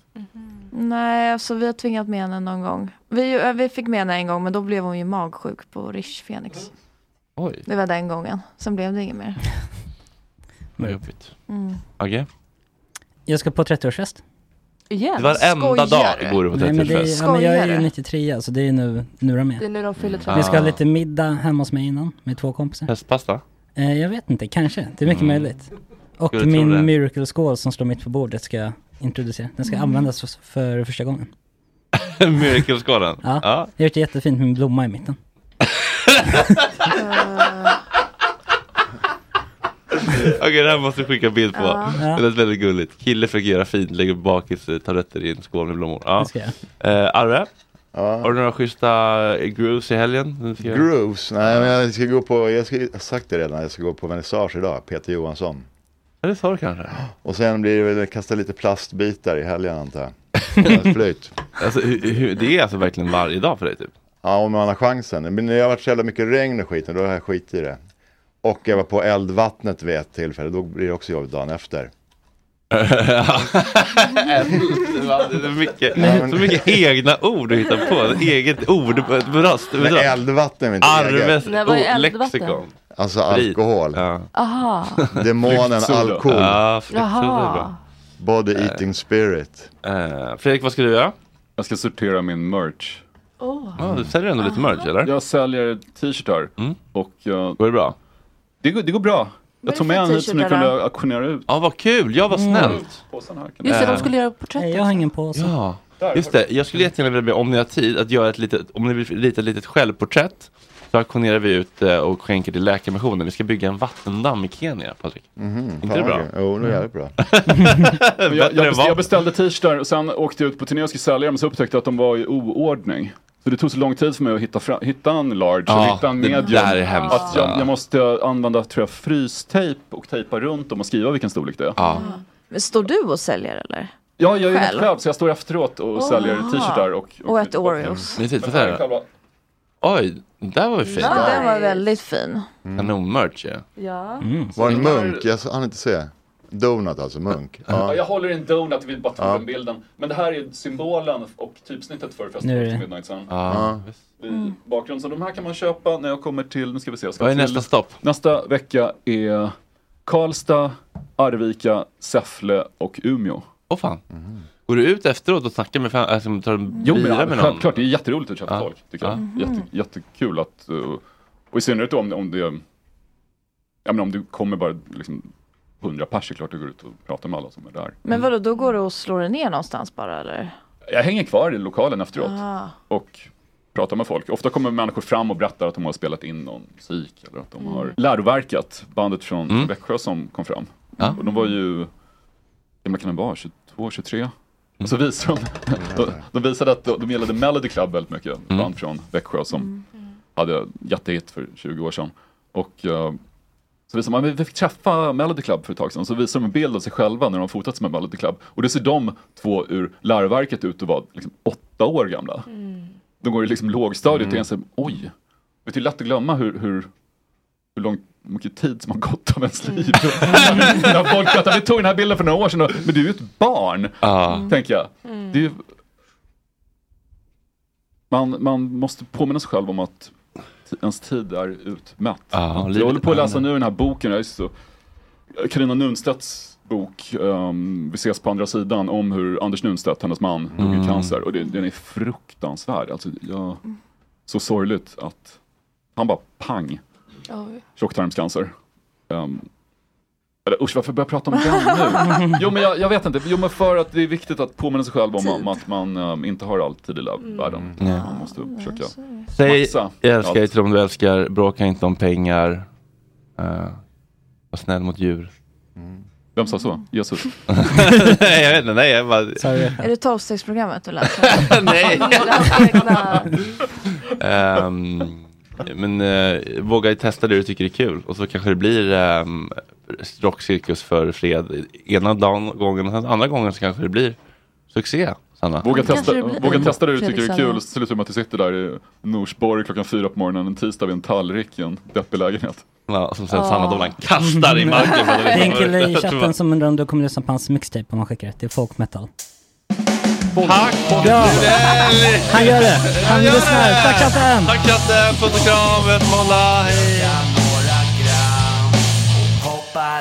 F: Nej, alltså vi har tvingat med henne någon gång. Vi, eh, vi fick med henne en gång men då blev hon ju magsjuk på Rish Phoenix.
A: Oj.
F: Det var den gången. Sen blev det inget mer.
A: Vad jobbigt.
F: Mm.
A: Agge?
H: Jag ska på 30-årsfest.
E: Igen?
A: Det var enda dag går du på
H: Nej, men det är,
A: 30-årsfest.
H: ja, men jag är ju
E: Skojare.
H: 93 alltså det är nu, nu de är.
E: Det är nu de fyller
H: Mm. Vi ska ha
E: Ah.
H: lite middag hemma hos mig innan, med två kompisar.
A: Hästpasta?
H: Eh, jag vet inte, kanske. Det är mycket
A: Mm.
H: möjligt. Och
A: Skulle tro det.
H: min miracle-skål som står mitt på bordet ska jag introducera. Den ska
A: Mm.
H: användas för, för första gången.
A: Miracle-skålen?
H: Ja. Jag har gjort det jättefint med en blomma i mitten.
A: Okej, det här måste vi skicka bild på.
H: Ja.
A: Det lät väldigt gulligt. Kille försöker göra fint, lägger bakis eh, tabletter i en skål med blommor. Ja.
H: Det ska jag
A: Eh, Arve? Har du några schyssta eh, grooves i helgen? Du ska göra?
I: Grooves? Nej, men jag ska gå på, jag, ska, jag har sagt det redan, jag ska gå på vernissage idag, Peter Johansson.
A: Ja, det sa du kanske.
I: Och sen blir det väl kasta lite plastbitar i helgen antar jag. Med Flöjt.
A: Alltså, hur, hur, det är alltså verkligen varje dag för dig typ?
I: Ja, om man har chansen. Men det har varit så jävla mycket regn och skit, och då har jag skit i det. Och jag var på eldvattnet vid ett tillfälle, då blir det också jobbigt dagen efter.
A: Det är mycket, så mycket egna ord du hittar på. Ett Eget ord, ett bröst.
I: Men eldvatten är inte
A: Arves
I: eget. Nej,
E: vad är
A: ord-
E: eldvatten?
A: lexikon.
I: Alltså alkohol.
E: Aha.
I: Demonen
A: Flyktsoda.
I: alkohol.
A: Ja, flyktsoda är bra. Eh,
I: Body eating spirit.
A: Fredrik, vad ska du göra?
J: Jag ska sortera min merch.
A: Ja, du säljer ändå lite merch eller? Mm.
J: Jag säljer t-shirtar. Och jag...
A: Går det bra?
J: Det går, det går bra. Jag tog med en hit som ni kunde auktionera ut.
A: Ja, vad kul. Ja,
J: Mm.
A: vad snällt.
E: Just det, de
A: Eh,
E: skulle göra porträtt
H: Nej, jag har ingen påse.
A: Ja, just det. Jag skulle jättegärna vilja be, om ni har tid, att göra ett litet, om ni vill rita ett litet självporträtt. Så auktionerar vi ut eh, och skänker till Läkarmissionen. Vi ska bygga en vattendamm i Kenya, Patrik. Inte
I: Mhm. fan
A: det bra?
I: vad kul. Jo, det är jävligt bra.
J: Men Jag,
A: Bättre
J: jag,
A: än
J: beställde,
A: vapen.
J: jag beställde t-shirtar och sen åkte jag ut på turné och skulle sälja dem så upptäckte jag att de var i oordning. Så det tog så lång tid för mig att hitta, fra- hitta en large och
A: Ja,
J: hitta en
A: det
J: medium.
A: där är hemskt.
J: Att jag, jag måste använda tror jag, frystejp och tejpa runt dem och skriva vilken storlek det är. Ja,
F: Men står du och säljer eller?
J: jag gör ju det
F: Själv?
J: själv så jag står efteråt och
F: Åh.
J: säljer t-shirtar. Och,
F: Och ett Oreos.
A: Ni tittar typ så här. Oj, där var ju fint. Mm.
F: Ja, den var väldigt fin.
A: Kanonmerch ju.
E: Ja.
I: Var Mm, det en munk? Jag hann inte se. Donut alltså, munk.
J: Ja,
I: Ja.
J: jag håller i en donut, vi bara tog
I: Ja.
J: den bilden. Men det här är symbolen och typsnittet för
I: Nu
J: Festival
I: är det-
J: to Midnight Sun.
I: Ja.
J: I bakgrunden. Så de här kan man köpa när jag kommer till, nu ska vi se. Jag ska
A: Vad är
J: till,
A: nästa stopp?
J: Nästa vecka är Karlstad, Arvika, Säffle och Umeå.
A: Åh fan.
I: Mm.
A: Går du ut efteråt och snackar med, fan- alltså, tar en
J: Jo,
A: bira
J: men
A: med någon?
J: självklart, det är jätteroligt att köpa
A: Ja.
J: folk. Tycker jag.
A: Ja.
J: Jätte, jättekul att, eh, och i synnerhet då om, om det, ja men om du kommer bara liksom hundra pers, det är klart du går ut och pratar med alla som är där.
F: Men vadå, då går du och slår dig ner någonstans bara eller?
J: Jag hänger kvar i lokalen efteråt.
F: Ah.
J: och prata med folk. Ofta kommer människor fram och berättar att de har spelat in någon musik eller att de
F: Mm.
J: har läroverkat bandet från
A: Mm.
J: Växjö som kom fram.
A: Ja.
J: Och de var ju, hur gamla kan de vara, 22, 23?
A: Mm.
J: Och så visade de, de, de visade att de, de gillade Melody Club väldigt mycket, ett band från Växjö som
F: Mm.
J: hade jättehit för 20 år sedan. Och eh, så visade man, "Men vi fick träffa Melody Club för ett tag sedan, så visade de en bild av sig själva när de har fotats med Melody Club. Och då ser de två ur läroverket ut att vara liksom åtta år gamla.
F: Mm.
J: De går i liksom lågstadiet
A: Mm.
J: och inser, oj, vet du, det är typ lätt att glömma hur, hur, hur lång mycket tid som har gått av ens liv. När folk pratar, vi tog den här bilden för några år sedan, och, men du är ju ett barn, tänker jag. Det är ju, man, man måste påminna sig själv om att t- ens tid är utmätt.
A: Ja,
J: jag
A: livet
J: håller på att läsa
A: är-
J: nu den här boken, jag är så Carina Nunstedts bok, ehm, Vi ses på andra sidan, om hur Anders Nunstedt, hennes man, dog
A: Mm.
J: i cancer. Och det, den är fruktansvärd. Alltså, jag, så sorgligt att han bara pang,
E: Oj.
J: tjocktarmscancer. Um, eller usch, varför börjar jag prata om den nu? Jo men jag, jag vet inte, jo men för att det är viktigt att påminna sig själv om, om att man ehm, inte har all tid i la- världen.
A: Typ. Mm. Ja.
J: Man måste försöka
A: Säg,
J: maxa
A: jag älskar dig
J: allt.
A: till om du älskar, bråka inte om pengar. Eh, var snäll mot djur.
J: Mm. Vem sa så? Jesus?
A: nej, jag vet inte, nej jag bara...
F: Är det tolvstegsprogrammet du läser?
A: Nej.
F: Egna...
A: Ehm, men eh, våga testa det du tycker är kul och så kanske det blir um, rockcirkus för fred ena dagen, gången och sen andra gången så kanske det blir succé. Anna?
J: Våga
A: Kanske
J: testa,
A: det blir-
J: våga testa det du tycker är
A: Fredriksson.
J: kul. Så ser det ut som att du sitter där i Norsborg klockan fyra på morgonen en tisdag vid en tallrik i en deppig lägenhet.
A: Ja, som
H: sen Sanna Ja. Dolan
A: kastar i marken för att
H: Det är en kille i
A: Jag tror
H: chatten
A: att-
H: som undrar om du kommer lyssna på hans mixtape om han skickar det. Det är folk metal.
A: Tack!
H: Ja. Han gör det! Han lyssnar! Tack katten!
A: Tack katten! Puss och kram! Ett måndag! Hej!
K: Hoppa